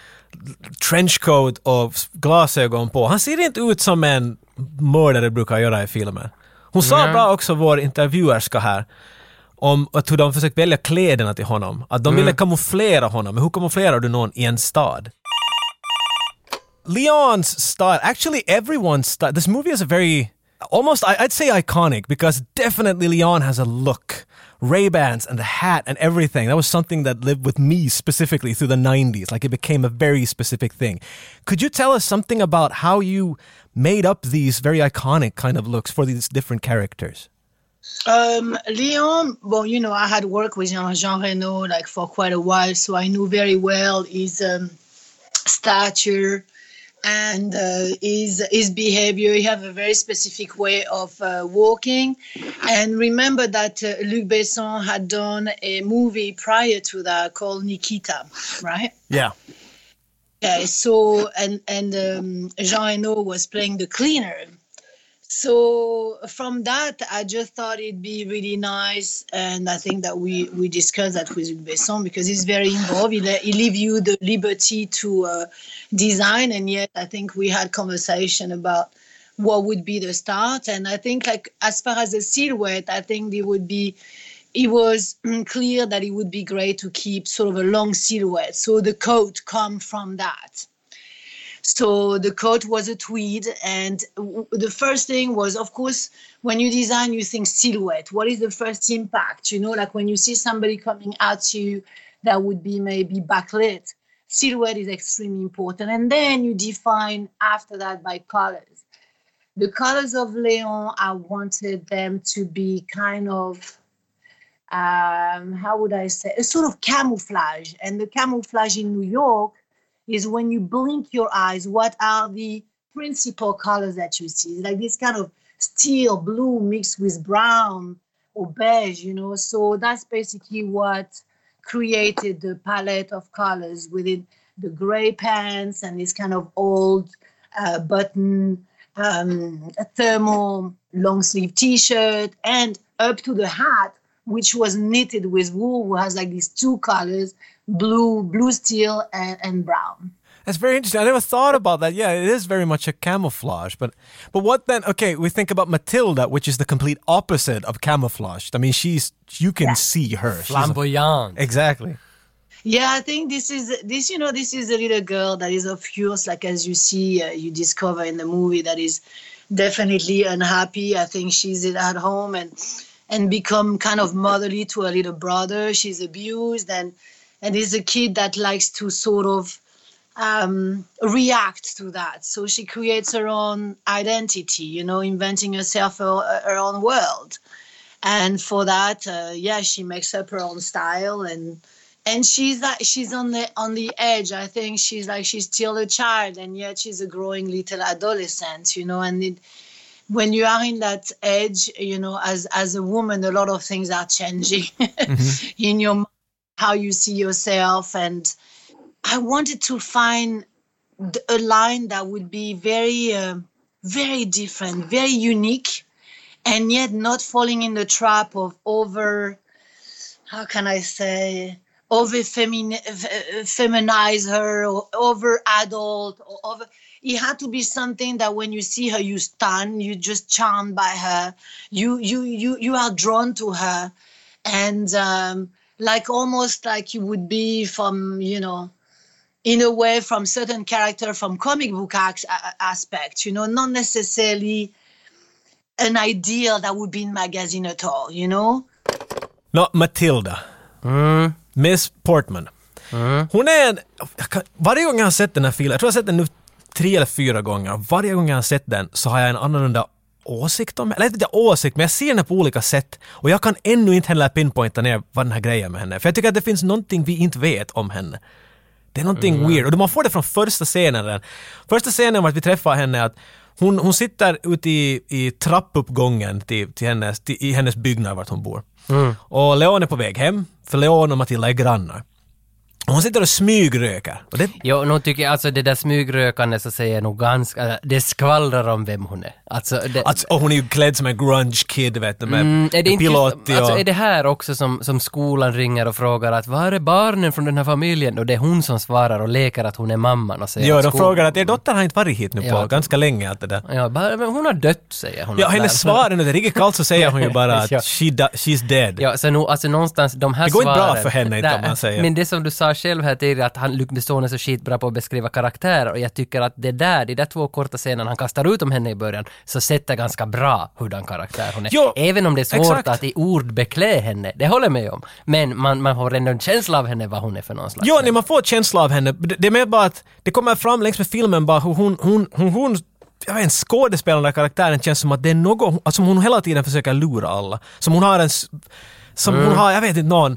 Speaker 2: trenchcoat och s- glasögon på. Han ser inte ut som en mördare brukar göra i filmer. Hon sa bra också, vår intervjuerska här, om att hur de försökt välja kläderna till honom. Att de ville kamouflera honom. Men hur kamouflerar du någon i en stad? Leon's style, actually everyone's style. This movie is a very almost I, I'd say iconic because definitely Leon has a look. Ray Bans and the hat and everything. That was something that lived with me specifically through the 90s. Like it became a very specific thing. Could you tell us something about how you made up these very iconic kind of looks for these different characters?
Speaker 3: Um, Leon, well, you know, I had worked with Jean, Jean Reno like for quite a while, so I knew very well his um, stature and uh, his his behavior. He have a very specific way of uh, walking, and remember that uh, Luc Besson had done a movie prior to that called Nikita, right?
Speaker 2: Yeah.
Speaker 3: Yeah, so and and um, Jean Reno was playing the cleaner. So from that, I just thought it'd be really nice, and I think that we we discussed that with Luc Besson because he's very involved. He, le- he leave you the liberty to uh, design, and yet I think we had conversation about what would be the start. And I think like as far as the silhouette, I think it would be it was mm, clear that it would be great to keep sort of a long silhouette. So the coat come from that. So the coat was a tweed, and w- the first thing was, of course, when you design, you think silhouette. What is the first impact? You know, like when you see somebody coming at you, that would be maybe backlit. Silhouette is extremely important, and then you define after that by colors. The colors of Leon, I wanted them to be kind of um, how would I say, a sort of camouflage. And the camouflage in New York is when you blink your eyes, what are the principal colors that you see? Like this kind of steel blue mixed with brown or beige, you know. So that's basically what created the palette of colors within the gray pants and this kind of old uh, button um, thermal long sleeve t-shirt and up to the hat which was knitted with wool who has like these two colors blue blue steel and, and brown
Speaker 2: That's very interesting. I never thought about that. Yeah, it is very much a camouflage. But but what then? Okay, we think about Matilda, which is the complete opposite of camouflage. I mean, she's you can see her. She's a-
Speaker 1: Flamboyant.
Speaker 2: exactly.
Speaker 3: yeah i think this is this you know this is a little girl that is of course like as you see uh, you discover in the movie that is definitely unhappy i think she's at home and and become kind of motherly to her little brother she's abused and and is a kid that likes to sort of um, react to that. So she creates her own identity, you know, inventing herself her, her own world. And for that, uh, yeah, she makes up her own style and and she's like she's on the on the edge. I think she's like she's still a child and yet she's a growing little adolescent, you know, and it when you are in that edge, you know, as as a woman, a lot of things are changing in your mind, how you see yourself and I wanted to find th- a line that would be very, uh, very different, very unique, and yet not falling in the trap of over, how can I say, over femini- f- uh, feminize her or over adult or over. It had to be something that when you see her, you stun, you just charmed by her, you you you you are drawn to her, and um, like almost like you would be from you know in a way from certain character from comic book ac- a- aspect you know not necessarily an ideal that would be in magazine at all you know
Speaker 2: Not Matilda. Miss Portman. Hon är en... jag kan- Varje gång jag har sett den här filmen, jag tror jag har sett den nu tre eller fyra gånger, varje gång jag har sett den så har jag en annorlunda åsikt om henne. Eller inte åsikt, men jag ser henne på olika sätt och jag kan ännu inte heller pinpointa ner vad den här grejen med henne är. För jag tycker att det finns någonting vi inte vet om henne. Det är någonting
Speaker 1: Mm.
Speaker 2: weird. Och man får det från första scenen. Där. Första scenen var att vi träffar henne att hon, hon sitter ute i, i trappuppgången till, till hennes, till, i hennes byggnad vart hon bor.
Speaker 1: Mm.
Speaker 2: Och Leon är på väg hem, för Leon och Matilda är grannar. Och hon sitter och smygröker. Och det,
Speaker 1: Jo, nu tycker jag alltså det där smygrökandet så säger nog ganska, äh, det skvallrar om vem hon är. Alltså, det,
Speaker 2: alltså, och hon är ju klädd som en grunge kid, vet du, med,
Speaker 1: Mm, är det
Speaker 2: med
Speaker 1: inte
Speaker 2: pilotti och...
Speaker 1: just, alltså är det här också som, som skolan ringer och frågar att var är barnen från den här familjen? Och det är hon som svarar och leker att hon är mamman och säger
Speaker 2: ja,
Speaker 1: att
Speaker 2: de
Speaker 1: skolan-
Speaker 2: frågar att er dotter har inte varit hit nu på
Speaker 1: Ja.
Speaker 2: ganska länge. Allt det där.
Speaker 1: Ja, bara, men hon har dött säger hon. Alltså,
Speaker 2: Ja,
Speaker 1: Och
Speaker 2: hennes
Speaker 1: där-
Speaker 2: svar är nog det. Riktigt kallt så säger hon ju bara
Speaker 1: Ja.
Speaker 2: att she da, she's dead.
Speaker 1: Ja, så nu, alltså någonstans de här
Speaker 2: Det går inte bra
Speaker 1: svaren-
Speaker 2: för henne, inte om
Speaker 1: Nej,
Speaker 2: man säger.
Speaker 1: Men det som du sa själv här tidigare, att han, Luc Besson är så skitbra på att beskriva karaktärer och jag tycker att det där, de där två korta scenerna han kastar ut om henne i början, så sätter ganska bra hurdan karaktär hon är.
Speaker 2: Jo,
Speaker 1: Även om det är svårt
Speaker 2: exakt.
Speaker 1: att i ord beklä henne, det håller jag med om. Men man, man har ändå en känsla av henne vad hon är för någon slags.
Speaker 2: Ja, nej, man får känsla av henne. Det det är mer bara att det kommer fram längs med filmen bara hur hon, hon, hon, hon jag vet inte, skådespelande karaktären känns som att det är något, alltså hon hela tiden försöker lura alla. Som hon har en, s- som
Speaker 1: Mm.
Speaker 2: hon har, jag vet inte, någon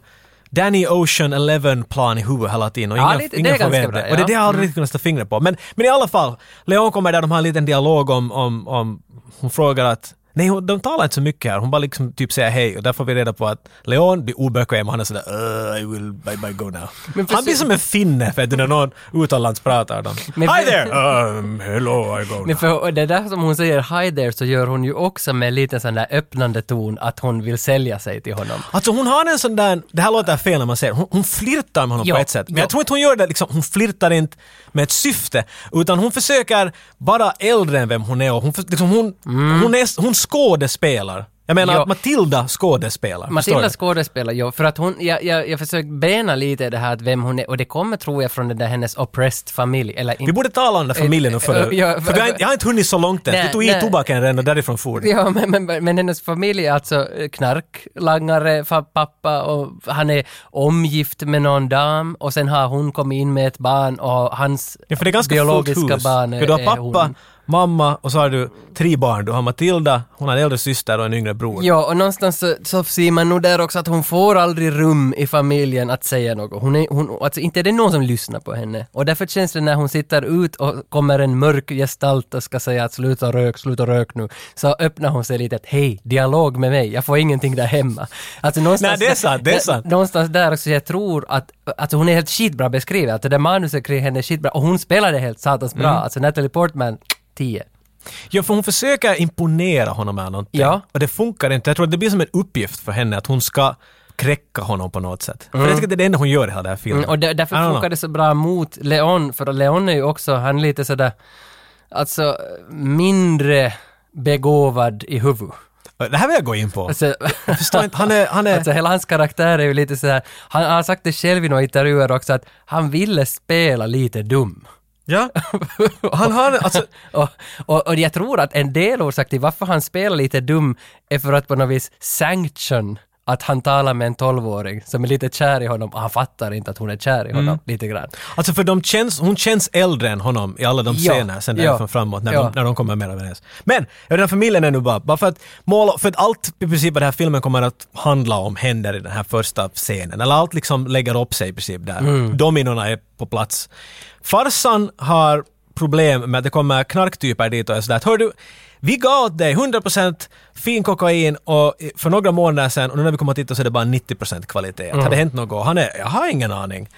Speaker 2: Danny Ocean 11-plan i huvudet hela tiden och
Speaker 1: Ja,
Speaker 2: ingen,
Speaker 1: lite- det är
Speaker 2: ingen får
Speaker 1: ganska
Speaker 2: veta.
Speaker 1: bra,
Speaker 2: Och det är det jag
Speaker 1: ja.
Speaker 2: aldrig riktigt kunnat sätta fingret på. Men, men i alla fall, Leon kommer där, de har en liten dialog om, om, om hon frågar att Nej, hon, de talar inte så mycket här. Hon bara liksom typ säger hej och där får vi reda på att Leon blir obekväm och han är sådär uh, I will, bye bye go now. han
Speaker 1: precis-
Speaker 2: blir som en finne för att när någon utomlands pratar dem.
Speaker 1: Men-
Speaker 2: Hi there! Um, hello I go now.
Speaker 1: Men för och det där som hon säger hi there så gör hon ju också med lite sån där öppnande ton att hon vill sälja sig till honom.
Speaker 2: Alltså hon har en sån där, det här låter fel när man säger hon, hon flirtar med honom
Speaker 1: Ja,
Speaker 2: på ett sätt. Men
Speaker 1: ja.
Speaker 2: jag tror inte hon gör det liksom, hon flirtar inte med ett syfte. Utan hon försöker vara äldre än vem hon är och hon, för- liksom, hon, hon, är, hon skådespelar Jag menar
Speaker 1: Mm. Ja.
Speaker 2: att Matilda skådespelar. förstår
Speaker 1: Matilda
Speaker 2: du?
Speaker 1: skådespelar, ja, för att hon, jag, jag, jag försöker bena lite i det här att vem hon är, och det kommer tror jag från den där hennes oppressed familj, eller
Speaker 2: Vi borde tala om den där familjen nu för,
Speaker 1: Eh, ja,
Speaker 2: för vi har, inte- jag har inte hunnit så långt än.
Speaker 1: Nej,
Speaker 2: Du tog i
Speaker 1: nej.
Speaker 2: tobaken redan och därifrån for du.
Speaker 1: Ja, men, men, men hennes familj är alltså eh, knarklangare, fa- pappa och han är omgift med någon dam och sen har hon kommit in med ett barn och hans
Speaker 2: Ja, för det är ganska fullt
Speaker 1: biologiska
Speaker 2: hus.
Speaker 1: barn är,
Speaker 2: för du har
Speaker 1: är
Speaker 2: pappa,
Speaker 1: hon.
Speaker 2: mamma och så har du tre barn. Du har Matilda, hon har en äldre syster och en yngre bror.
Speaker 1: Ja, och någonstans så, så ser man nog där också att hon får aldrig rum i familjen att säga något. Hon är, hon, alltså inte är det någon som lyssnar på henne. Och därför känns det när hon sitter ut och kommer en mörk gestalt och ska säga att sluta rök, sluta rök nu, så öppnar hon sig lite att hej, dialog med mig, jag får ingenting där hemma. Alltså någonstans,
Speaker 2: Nej, det är sant, det är sant.
Speaker 1: Någonstans där också, jag tror att alltså hon är helt skitbra beskriven, att det där manuset kring henne är skitbra, och hon spelar det helt satans bra.
Speaker 2: Mm.
Speaker 1: Alltså Natalie Portman, 10.
Speaker 2: Ja, för hon försöker imponera honom med någonting.
Speaker 1: Ja.
Speaker 2: Och det funkar inte. Jag tror att det blir som en uppgift för henne att hon ska kräcka honom på något sätt. För jag tycker att det är det enda hon gör i hela den här filmen.
Speaker 1: Mm, och där,
Speaker 2: I don't
Speaker 1: därför
Speaker 2: know.
Speaker 1: funkar det så bra mot Leon, för Leon är ju också, han är lite sådär, alltså mindre begåvad i huvudet.
Speaker 2: Det här vill jag gå in på.
Speaker 1: Alltså,
Speaker 2: Jag förstår inte. Han är... Han är
Speaker 1: alltså hela hans karaktär är ju lite sådär, han har sagt det själv i några intervjuer också, att han ville spela lite dum.
Speaker 2: ja. Han har... Alltså,
Speaker 1: och, och, och jag tror att en del orsak till varför han spelar lite dum är för att på något vis sanction att han talar med en tolvåring som är lite kär i honom och han fattar inte att hon är kär
Speaker 2: Mm.
Speaker 1: i honom lite grann.
Speaker 2: Alltså för de känns, hon känns äldre än honom i alla de
Speaker 1: Ja,
Speaker 2: scener sen
Speaker 1: ja,
Speaker 2: därifrån framåt när,
Speaker 1: ja.
Speaker 2: de, när de kommer mer överens. Men, ja, den här familjen är nu bara, bara för att måla, för att allt i princip vad den här filmen kommer att handla om händer i den här första scenen. Eller allt liksom lägger upp sig i princip där.
Speaker 1: Mm.
Speaker 2: Dominorna är på plats. Farsan har problem med att det kommer knarktyper dit och är sådär att, hör du, vi gav åt dig 100% fin kokain och i- för några månader sedan och nu när vi kommer att titta så är det bara 90% kvalitet.
Speaker 1: Mm.
Speaker 2: Har det hänt något? Han är, jag har ingen aning.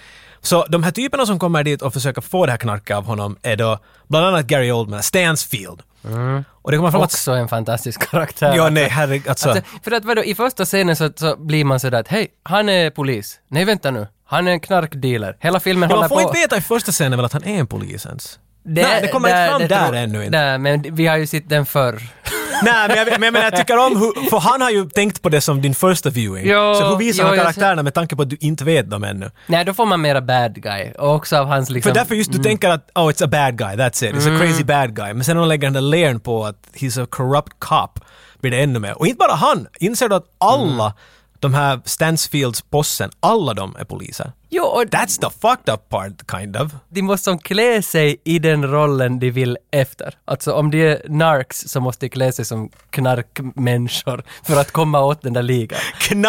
Speaker 2: Så de här typerna som kommer dit och försöker få det här knarket av honom är då bland annat Gary Oldman, Stansfield.
Speaker 1: Mm.
Speaker 2: Och det kommer fram att...
Speaker 1: Också en fantastisk karaktär.
Speaker 2: Ja, nej, herregud. Alltså,
Speaker 1: Alltså, för att vadå, i första scenen så, så blir man sådär att hej, han är polis. Nej vänta nu, han är en knarkdealer. Hela filmen
Speaker 2: ja,
Speaker 1: håller
Speaker 2: man får
Speaker 1: på.
Speaker 2: inte veta i första scenen väl att han är en polis ens? nej, det kommer inte fram där
Speaker 1: tror-
Speaker 2: ännu inte.
Speaker 1: Nej, men vi har ju sett den förr.
Speaker 2: Nej, men jag, men jag, menar, jag tycker om hur, för han har ju tänkt på det som din första viewing.
Speaker 1: Jo,
Speaker 2: så hur visar
Speaker 1: jo,
Speaker 2: han
Speaker 1: jag
Speaker 2: karaktärerna med tanke på att du inte vet dem ännu?
Speaker 1: Nej, då får man mera bad guy. Och också av hans
Speaker 2: För
Speaker 1: liksom...
Speaker 2: därför just du tänker att oh it's a bad guy, that's it, it's a crazy bad guy. Men sen när de lägger den där layern på att he's a corrupt cop blir det ännu mer. Och inte bara han, inser du att alla de här Stansfields possen, alla de är poliser.
Speaker 1: Jo, och
Speaker 2: That's the fucked up part, kind of.
Speaker 1: de måste som klä sig i den rollen de vill efter. Alltså om de är narks så måste de klä sig som knarkmänniskor för att komma åt den där ligan.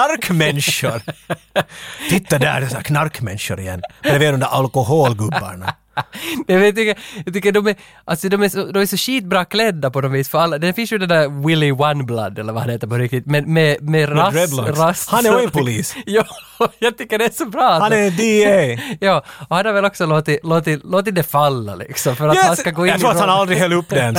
Speaker 2: Knarkmänniskor! Titta där, det är så här knarkmänniskor igen. Bredvid de där alkoholgubbarna.
Speaker 1: Nej, men jag tycker, jag tycker de, är, alltså de, är så, de är så skitbra klädda på något vis för alla. Det finns ju den där Willy Oneblood eller vad han heter på riktigt, men med, med rast,
Speaker 2: dreadlocks.
Speaker 1: rast.
Speaker 2: Han är ju en polis.
Speaker 1: ja, jag tycker det är så bra. att
Speaker 2: Han
Speaker 1: de-
Speaker 2: är DA!
Speaker 1: Ja, och han har väl också låtit, låtit, låtit det falla liksom för att han ska gå in
Speaker 2: jag tror
Speaker 1: i
Speaker 2: att han
Speaker 1: rollen.
Speaker 2: aldrig höll upp den.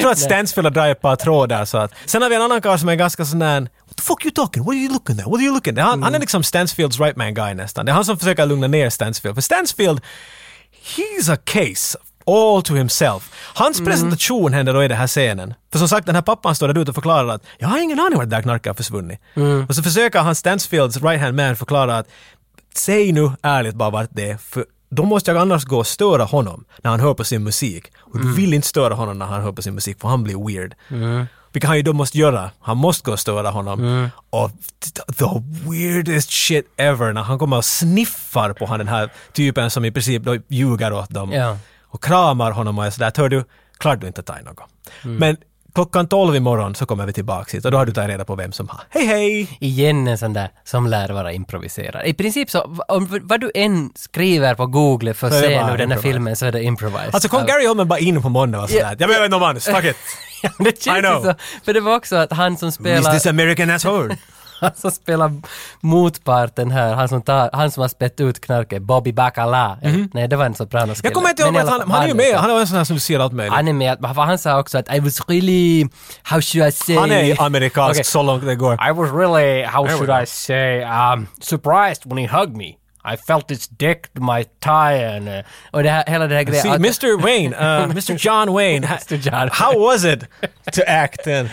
Speaker 2: tror att Stansfield har dragit ett par trådar. Så att. Sen har vi en annan karl som är ganska sån där What the fuck you talking? What are you looking at? What are you looking at? Han,
Speaker 1: Mm.
Speaker 2: han är liksom Stansfields right man guy nästan. Det är han som försöker lugna ner Stansfield. För Stansfield, he's a case all to himself. Hans presentation händer då i den här scenen. För som sagt, den här pappan står där ute och förklarar att jag har ingen aning vart det där knarket har försvunnit. Och så försöker han Stansfields right hand man förklara att säg nu ärligt bara vart det är, för då måste jag annars gå och störa honom när han hör på sin musik. Och du vill inte störa honom när han hör på sin musik, för han blir weird. Vilket han ju då måste göra. Han måste gå och störa honom.
Speaker 1: Mm.
Speaker 2: Och t- the weirdest shit ever när han kommer och sniffar på han den här typen som i princip då ljuger åt dem.
Speaker 1: Ja.
Speaker 2: Och kramar honom och är sådär, hör du, klart du inte tar i något.
Speaker 1: Mm.
Speaker 2: Men klockan tolv imorgon så kommer vi tillbaks hit och då har du tagit reda på vem som har, hej hej!
Speaker 1: Igen en sån där som lär vara improviserad. I princip så, v- om, vad du än skriver på Google för
Speaker 2: Så är det
Speaker 1: scen
Speaker 2: bara
Speaker 1: ur den här
Speaker 2: improvised.
Speaker 1: filmen så är det improvised.
Speaker 2: Alltså kom
Speaker 1: Ja.
Speaker 2: Gary Oldman bara in på måndag och sådär,
Speaker 1: Ja.
Speaker 2: jag behöver inte någon manus, fuck it!
Speaker 1: det
Speaker 2: I
Speaker 1: känns ju
Speaker 2: know.
Speaker 1: så. För det var också att han som
Speaker 2: Is
Speaker 1: spelar...
Speaker 2: this American asshole?
Speaker 1: Han som spelar motparten här, han som, tar, han som har spett ut knarket, Bobby Bacala. Eh, Nej, det var en sopranoskille.
Speaker 2: Mhm. Jag kommer inte ihåg
Speaker 1: Men i
Speaker 2: att
Speaker 1: alla
Speaker 2: han,
Speaker 1: fall, Ah,
Speaker 2: han är ju med,
Speaker 1: Han,
Speaker 2: han är en sån här som du ser allt möjligt.
Speaker 1: han är med, för han sa också att I was really, how should I say...
Speaker 2: Han är amerikansk
Speaker 1: Okej.
Speaker 2: så långt det går.
Speaker 1: I was really, how should I say, um, surprised when he hugged me. I felt its dick my tie and... eh, Och det här, hela det här grejen...
Speaker 2: See,
Speaker 1: att-
Speaker 2: Mr. Wayne, uh, Mr. John Wayne, ha-
Speaker 1: Mr. John
Speaker 2: how was it to act in?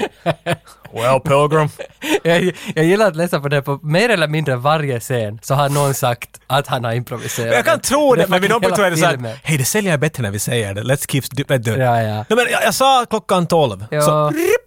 Speaker 2: well, Pilgrim.
Speaker 1: jag, jag gillar att läsa på det, på mer eller mindre varje scen så har någon sagt att han har improviserat.
Speaker 2: Jag kan tro det, men
Speaker 1: fucking
Speaker 2: vid något
Speaker 1: hela
Speaker 2: tror jag det så
Speaker 1: filmen.
Speaker 2: här, hej det säljer bättre när vi säger det, let's keep stu- that doing."
Speaker 1: Ja, ja.
Speaker 2: Nej, men jag, jag sa klockan 12,
Speaker 1: Ja.
Speaker 2: så rippling,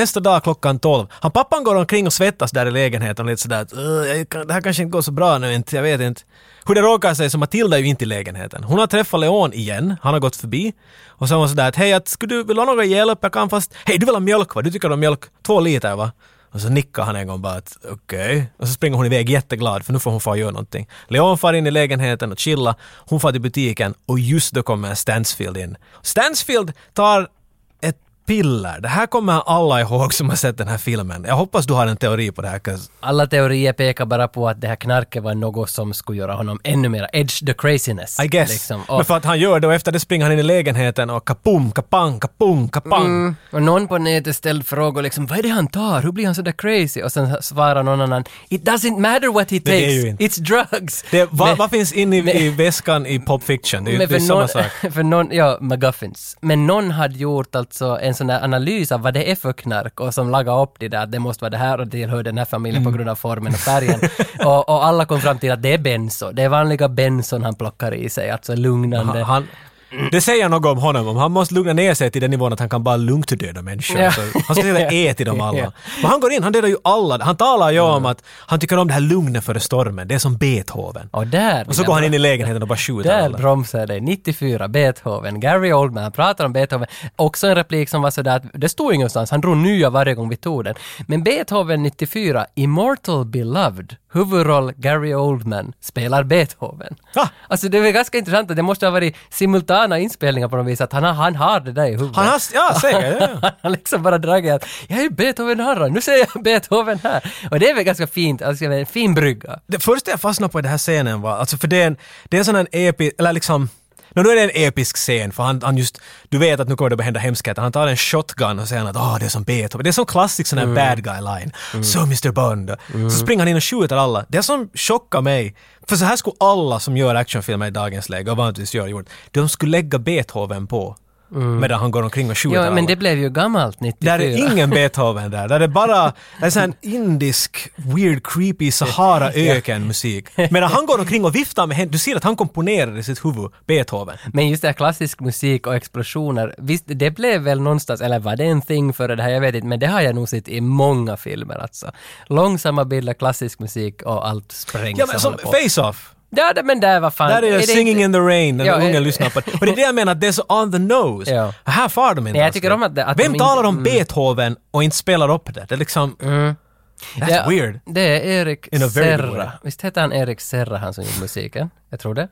Speaker 2: nästa dag klockan 12. Han pappan går omkring och svettas där i lägenheten lite sådär, att, "Ugh, jag kan- det här kanske inte går så bra nu, inte, jag vet inte. Hur det råkar sig så Matilda är ju inte i lägenheten. Hon har träffat Leon igen, han har gått förbi. Och så är hon sådär att, hej, att, skulle du, vill du ha någon hjälp? Jag kan fast, hej du vill ha mjölk va? Du tycker om mjölk? Två liter va? Och så nickar han en gång bara att okej. Och så springer hon iväg jätteglad för nu får hon fara och göra någonting. Leon far in i lägenheten och chilla. Hon far till butiken och just då kommer Stansfield in. Stansfield tar ett piller. Det här kommer alla ihåg som har sett den här filmen. Jag hoppas du har en teori på det här. 'cause-
Speaker 1: Alla teorier pekar bara på att det här knarket var något som skulle göra honom ännu mer edge the craziness.
Speaker 2: I guess.
Speaker 1: Liksom. Och,
Speaker 2: Men för att han gör det och efter det springer han in i lägenheten och kapum, kapang, kapum, kapang.
Speaker 1: och någon på nätet ställde frågor liksom, vad är det han tar? Hur blir han sådär crazy? Och sen svarar någon annan, it doesn't matter what he
Speaker 2: det är
Speaker 1: takes,
Speaker 2: ju inte-
Speaker 1: it's drugs.
Speaker 2: Det, vad,
Speaker 1: Men-
Speaker 2: vad finns inne i,
Speaker 1: men-
Speaker 2: i väskan i Pop Fiction? Det är ju
Speaker 1: Men
Speaker 2: det är
Speaker 1: för
Speaker 2: samma
Speaker 1: någon,
Speaker 2: sak.
Speaker 1: för någon, ja, McGuffins. Men någon hade gjort alltså en sån där analys av vad det är för knark och som lagade upp det där, att det måste vara det här och det tillhör den här familjen
Speaker 2: Mm.
Speaker 1: på grund av formen och färgen. och, och alla kom fram till att det är benzo, det är vanliga benson han plockar i sig, alltså lugnande.
Speaker 2: Han, han, det säger något om honom, om han måste lugna ner sig till den nivån att han kan bara lugnt döda människor.
Speaker 1: Ja.
Speaker 2: Så han ska hela äta dem alla.
Speaker 1: Ja. Mm.
Speaker 2: Men han går in, han dödar ju alla. Han talar ju om att han tycker om det här lugnet före stormen, det är som Beethoven.
Speaker 1: och där,
Speaker 2: Och så går han in i lägenheten och bara skjuter
Speaker 1: där
Speaker 2: alla.
Speaker 1: bromsar det. 94, Beethoven. Gary Oldman, han pratar om Beethoven. Också en replik som var sådär att det stod ingenstans, han drog nya varje gång vi tog den. Men Beethoven 94, Immortal Beloved, huvudroll Gary Oldman, spelar Beethoven.
Speaker 2: Va?
Speaker 1: Alltså det är ganska intressant att det måste ha varit simultana inspelningar på något vis, att han har, han har det där i huvudet.
Speaker 2: Han har, ja, säkert. ja, ja.
Speaker 1: Han har liksom bara dragit att jag är Beethoven harra, nu säger jag Beethoven här. Och det är väl ganska fint, alltså en fin brygga.
Speaker 2: Det första jag fastnade på i den här scenen var, alltså för det är en, det är en sån här episk, eller liksom No, nu är det en episk scen, för han, han just, du vet att nu kommer det att hända hemskheter. Han tar en shotgun och säger att åh, det är som Beethoven. Det är som klassisk sån här bad guy line. So Mr Bond. Så springer han in och skjuter alla. Det som chockar mig, för så här skulle alla som gör actionfilmer i dagens läge, och vanligtvis gör gjort, de skulle lägga Beethoven på medan han går omkring och skjuter
Speaker 1: Ja, men
Speaker 2: alla.
Speaker 1: det blev ju gammalt 94.
Speaker 2: Där är ingen Beethoven där. Där är bara det är sån här indisk, weird, creepy Sahara-öken-musik. Medan han går omkring och viftar med händerna. Du ser att han komponerar i sitt huvud Beethoven.
Speaker 1: Men just det här klassisk musik och explosioner, visst det blev väl någonstans, eller var det en thing före det här, jag vet inte, men det har jag nog sett i många filmer alltså. Långsamma bilder, klassisk musik och allt sprängs
Speaker 2: Ja, men
Speaker 1: och
Speaker 2: som
Speaker 1: håller på.
Speaker 2: Face-Off.
Speaker 1: Ja, det- men där var fan...
Speaker 2: Där är det Singing
Speaker 1: inte-
Speaker 2: in the Rain, den
Speaker 1: Ja,
Speaker 2: ungen
Speaker 1: eh,
Speaker 2: lyssnar på det. Och det är det jag menar, att det är så on the nose.
Speaker 1: Ja.
Speaker 2: Här far de inte
Speaker 1: Nej, jag
Speaker 2: alls
Speaker 1: tycker
Speaker 2: det.
Speaker 1: om att det- att de
Speaker 2: Vem
Speaker 1: inte-
Speaker 2: talar om
Speaker 1: mm.
Speaker 2: Beethoven och inte spelar upp det? Det är liksom... That's
Speaker 1: Ja,
Speaker 2: weird.
Speaker 1: Det är Erik
Speaker 2: In a very good way.
Speaker 1: Serra. Visst heter han Erik Serra, han som gjorde musiken? Jag tror det.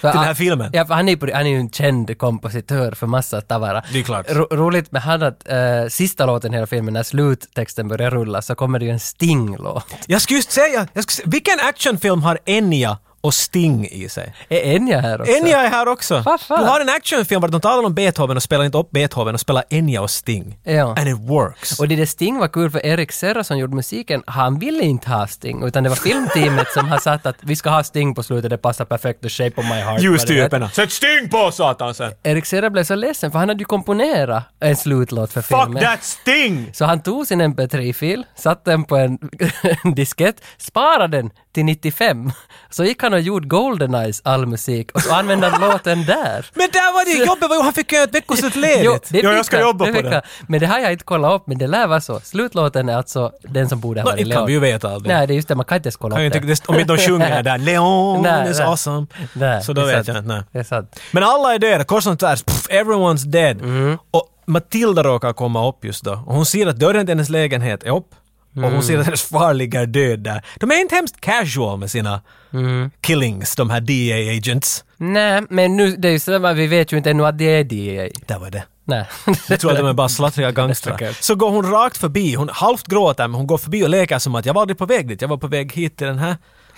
Speaker 1: För
Speaker 2: Till den här
Speaker 1: han-
Speaker 2: filmen?
Speaker 1: Ja, för han är, ju på- han är ju en känd kompositör för massa tavara.
Speaker 2: Det är klart.
Speaker 1: Ro, roligt med han att eh, sista låten i hela filmen, när sluttexten börjar rulla, så kommer det ju en Sting-låt.
Speaker 2: Jag skulle just säga, jag skulle, säga- vilken actionfilm har Enya och Sting i sig?
Speaker 1: Är Enya här också?
Speaker 2: Enya är här också.
Speaker 1: Alltså. Vad fan?
Speaker 2: Du har en actionfilm där de talar om Beethoven och spelar inte upp Beethoven och spelar Enya och Sting.
Speaker 1: Ja.
Speaker 2: And it works.
Speaker 1: Och det där Sting var kul för Erik Serra som gjorde musiken, han ville inte ha Sting, utan det var filmteamet som har sagt att vi ska ha Sting på slutet, det passar perfekt, the shape of my heart.
Speaker 2: Just
Speaker 1: vad det
Speaker 2: typerna. Sätt Sting på satan sen!
Speaker 1: är. Erik Serra blev så ledsen för han hade ju komponerat en slutlåt för filmen.
Speaker 2: Fuck that Sting!
Speaker 1: Så han tog sin MP3-fil, satte den på en, en diskett, sparade den till 95. Så gick han och gjorde Goldeneyes all musik och så använde han låten där.
Speaker 2: Men där var det jobbet, var ju- han fick ju ett veckoslut ledigt.
Speaker 1: det fick han, det fick han. Men det har jag inte kollat upp, men det lär vara så. Slutlåten är alltså den som borde ha
Speaker 2: Nå,
Speaker 1: varit
Speaker 2: det kan
Speaker 1: Leon.
Speaker 2: vi ju veta aldrig.
Speaker 1: Nej, det är just det, man kan inte ens kolla
Speaker 2: Kan ju
Speaker 1: upp
Speaker 2: inte,
Speaker 1: det.
Speaker 2: det- om inte de sjunger där, Leon
Speaker 1: Nej,
Speaker 2: is
Speaker 1: nej.
Speaker 2: awesome.
Speaker 1: Nej,
Speaker 2: så då
Speaker 1: det är
Speaker 2: vet
Speaker 1: sant.
Speaker 2: jag inte. nej.
Speaker 1: Det är sant.
Speaker 2: Men alla är döda, kors och tvärs, pff, everyone's dead.
Speaker 1: Mm.
Speaker 2: Och Matilda råkar komma upp just då. Och hon ser att dörren till hennes lägenhet är upp. Och
Speaker 1: Mm.
Speaker 2: hon ser att hennes far ligger död där. De är inte hemskt casual med sina
Speaker 1: Mm.
Speaker 2: killings, de här DA agents.
Speaker 1: Nej, men nu, det är ju sådär, vi vet ju inte ännu att det är DEA.
Speaker 2: Där var det.
Speaker 1: Nej.
Speaker 2: Jag tror att de är bara slattriga gangstrar.
Speaker 1: Säkert.
Speaker 2: Så går hon rakt förbi, hon halvt gråter men hon går förbi och leker som att jag var aldrig på väg dit, jag var på väg hit till den här.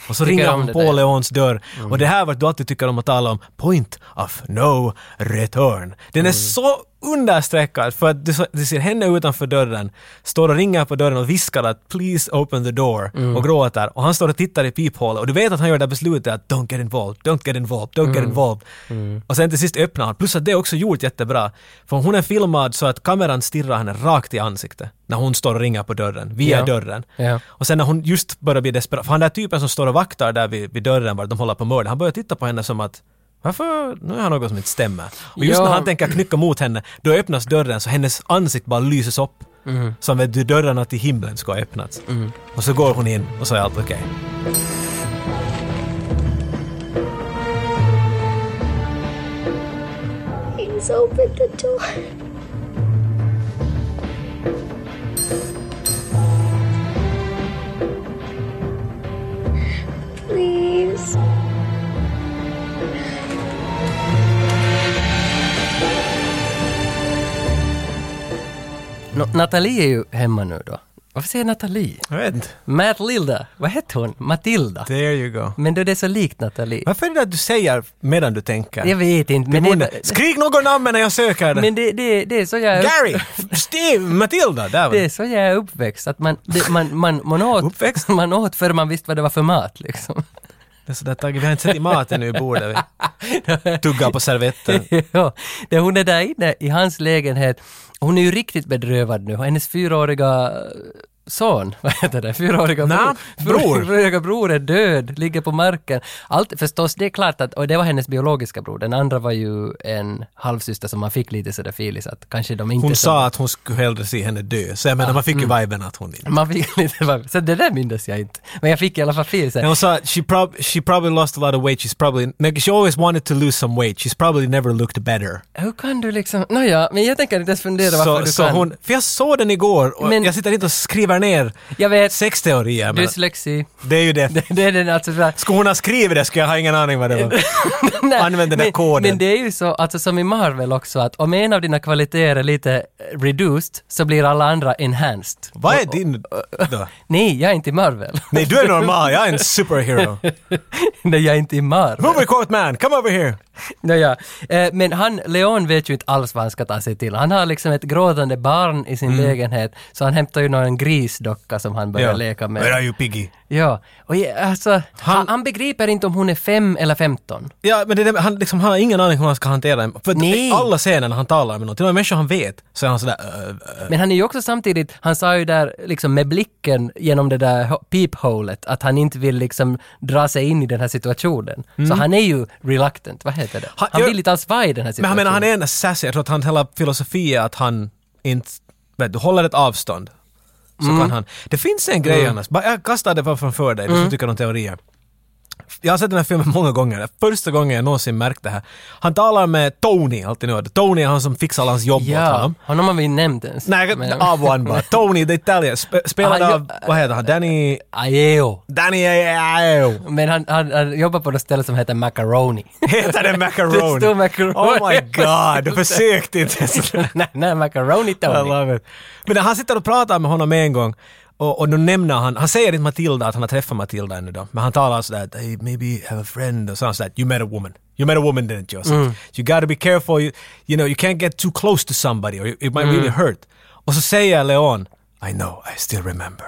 Speaker 2: Och så
Speaker 1: Tycker
Speaker 2: ringer
Speaker 1: om
Speaker 2: hon
Speaker 1: det
Speaker 2: på
Speaker 1: där.
Speaker 2: Leons dörr. Och det här är vad du alltid tycker om att tala om. Point of no return. Den är så understreckad för att du, så- du ser henne utanför dörren, står och ringer på dörren och viskar att “please open the door” och gråter. Och han står och tittar i peephålet och du vet att han gör det här beslutet att “don't get involved, don't get involved, don't get involved”. Och sen till sist öppnar han. Plus att det är också gjort jättebra. För hon är filmad så att kameran stirrar henne rakt i ansiktet när hon står och ringer på dörren, via
Speaker 1: Ja.
Speaker 2: dörren.
Speaker 1: Ja.
Speaker 2: Och sen när hon just börjar bli desperat, för han där typen som står och vaktar där vid, vid dörren var de håller på att mörda, han börjar titta på henne som att varför, nu har något som inte stämmer. Och just
Speaker 1: Ja.
Speaker 2: när han tänker knycka mot henne, då öppnas dörren så hennes ansikte bara lyses upp.
Speaker 1: Mm.
Speaker 2: Som att dörrarna till himlen ska ha öppnats. Och så går hon in och så är allt okej.
Speaker 7: Please open the door. Please.
Speaker 1: Nå, Nathalie är ju hemma nu då. Varför säger jag Nathalie?
Speaker 2: Jag vet inte.
Speaker 1: Matt Lilda, vad hette hon? Matilda.
Speaker 2: There you go.
Speaker 1: Men då är det så likt Nathalie.
Speaker 2: Varför är det att du säger medan du tänker?
Speaker 1: Jag vet inte, men,
Speaker 2: Munnen.
Speaker 1: det,
Speaker 2: Skrik något namn när jag söker det!
Speaker 1: men det, det, det är så jag är
Speaker 2: Gary! Steve! Matilda! Där var
Speaker 1: Det är så jag är uppväxt, att man, det, man, man, man, åt,
Speaker 2: Uppväxt?
Speaker 1: man åt för man visste vad det var för mat liksom.
Speaker 2: Det är sådär Tage, vi har inte sett i maten nu i bordet. Vi tuggar på servetten.
Speaker 1: ja, det hon är där inne i hans lägenhet, hon är ju riktigt bedrövad nu, hennes fyraåriga eh, son, vad heter det, fyraåriga
Speaker 2: Nä, bror.
Speaker 1: fyraåriga bror är död, ligger på marken. Allt, förstås, det är klart att, och det var hennes biologiska bror, den andra var ju en halvsyster som man fick lite sådär filis att kanske de inte Ah, mm.
Speaker 2: Hon
Speaker 1: så-
Speaker 2: sa att hon skulle hellre se henne dö, så jag menar man fick ju viben att hon inte...
Speaker 1: man fick lite, så det där mindes jag inte. Men jag fick i alla fall fel
Speaker 2: Men
Speaker 1: sen.
Speaker 2: hon sa att she, prob- she probably lost a lot of weight, she's probably... like, She always wanted to lose some weight, she's probably never looked better.
Speaker 1: Hur kan du liksom, nåja, men jag tänker inte ens fundera varför
Speaker 2: Så,
Speaker 1: du
Speaker 2: så
Speaker 1: kan.
Speaker 2: hon, för jag såg den igår och
Speaker 1: Men-
Speaker 2: jag sitter inte och skriver ner
Speaker 1: Jag vet.
Speaker 2: sexteorier. Men
Speaker 1: Dyslexi.
Speaker 2: det är ju det.
Speaker 1: Det, det är den alltså. sådär-
Speaker 2: Skulle hon ha skrivit det skulle jag ha ingen aning vad det var.
Speaker 1: Nej,
Speaker 2: Använd den där
Speaker 1: men,
Speaker 2: koden.
Speaker 1: Men det är ju så, alltså som i Marvel också, att om en av dina kvaliteter är lite eh, reduced så blir alla andra enhanced.
Speaker 2: Vad är din då?
Speaker 1: Nej, jag är inte i Marvel.
Speaker 2: Nej, du är normal, jag är en superhero.
Speaker 1: Nej, jag är inte i Marvel.
Speaker 2: Movie quote man, come over here!
Speaker 1: Nåja, eh, men han, Leon vet ju inte alls vad han ska ta sig till. Han har liksom ett gråtande barn i
Speaker 2: Mm.
Speaker 1: sin lägenhet, så han hämtar ju någon grisdocka som han börjar leka med.
Speaker 2: Where are you piggy?
Speaker 1: Ja, och ja, alltså, han, han, begriper inte om hon är fem eller femton.
Speaker 2: Ja, men det, är det- han, liksom, han har ingen aning hur han ska hantera det. För att
Speaker 1: Nej.
Speaker 2: i alla scener när han talar med någon, till och med människor han vet, så är han sådär... Uh, uh.
Speaker 1: Men han är ju också samtidigt, han sa ju där liksom med blicken genom det där ho- peepholet att han inte vill liksom dra sig in i den här situationen. Så han är ju reluctant, vad heter det?
Speaker 2: Mm. Ha-
Speaker 1: Han,
Speaker 2: jag-
Speaker 1: vill inte alls vara i den här
Speaker 2: Men han
Speaker 1: situationen.
Speaker 2: menar, han är en sassy. Jag tror att han hela filosofi är att han inte... Vet du, håller ett avstånd. Så kan han. Det finns en grej annars. Bara- Jag kastar det bara framför dig, du som tycker om teorier. Jag har sett den här filmen många gånger. Det är Första gången jag någonsin märkt det här. Han talar med Tony alltid nu. Tony är han som fixar alla hans jobb åt
Speaker 1: Ja,
Speaker 2: honom.
Speaker 1: honom har vi inte nämnt ens.
Speaker 2: Nej,
Speaker 1: Men-
Speaker 2: av och an bara. Tony, the Italian. Sp- spelad
Speaker 1: Ah,
Speaker 2: av,
Speaker 1: ja.
Speaker 2: vad heter han? Danny...
Speaker 1: Ajeo.
Speaker 2: Danny... Aiello.
Speaker 1: Men han, han, han jobbar på något ställe som heter Macaroni.
Speaker 2: Heter det macaroni?
Speaker 1: Det står macaroni.
Speaker 2: Oh my god, du försökte inte ens.
Speaker 1: nej, nej, Macaroni
Speaker 2: I
Speaker 1: Tony.
Speaker 2: love it. Men när han sitter och pratar med honom en gång och, och då nämner han, han säger inte Matilda att han har träffat Matilda ännu då, men han talar sådär att hey, maybe have a friend och sådär sådär, you met a woman. You met a woman didn't you? Mm. You gotta be careful, you, you know you can't get too close to somebody or it might
Speaker 1: Mm.
Speaker 2: really hurt. Och så säger Leon, I know, I still remember.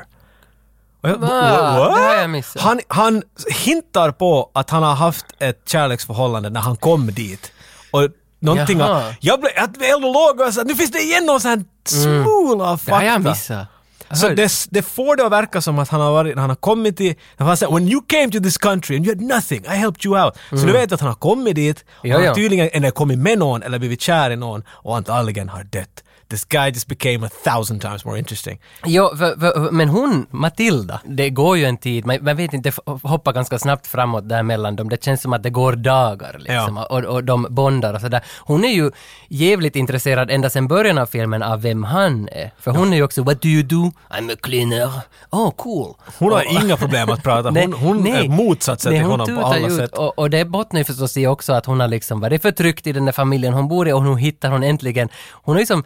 Speaker 2: Och jag,
Speaker 1: Va?
Speaker 2: what?
Speaker 1: Det har jag missat.
Speaker 2: Han, han hintar på att han har haft ett kärleksförhållande när han kom dit. Och någonting
Speaker 1: Jaha.
Speaker 2: av, jag blev jag eld och låg och så, nu finns det igen någon sån här smula fakta.
Speaker 1: Det har jag missat. Jag
Speaker 2: Så
Speaker 1: hörde-
Speaker 2: det, det får det att verka som att han har, varit, han har kommit till, han säger “When you came to this country and you had nothing, I helped you out”. Så du vet att han har kommit dit, och
Speaker 1: Ja,
Speaker 2: han har
Speaker 1: ja.
Speaker 2: tydligen eller kommit med någon eller blivit kär i någon och antagligen har dött. This guy just became a thousand times more interesting.
Speaker 1: Ja, för, för, men hon, Matilda, det går ju en tid, man, man vet inte, det f- hoppar ganska snabbt framåt där mellan dem, det känns som att det går dagar liksom,
Speaker 2: Ja.
Speaker 1: och, och de bondar och sådär. Hon är ju jävligt intresserad ända sedan början av filmen av vem han är, för hon är ju också “What do you do?” “I'm a cleaner”. “Oh, cool”.
Speaker 2: Hon har
Speaker 1: Och-
Speaker 2: inga problem att prata. Hon, hon är motsatsen
Speaker 1: Nej,
Speaker 2: till
Speaker 1: hon
Speaker 2: honom på
Speaker 1: tutar
Speaker 2: alla
Speaker 1: ju ut.
Speaker 2: sätt.
Speaker 1: Och, och det bottnar ju förstås i också att hon har liksom varit förtryckt i den där familjen hon bor i och nu hittar hon äntligen, hon har liksom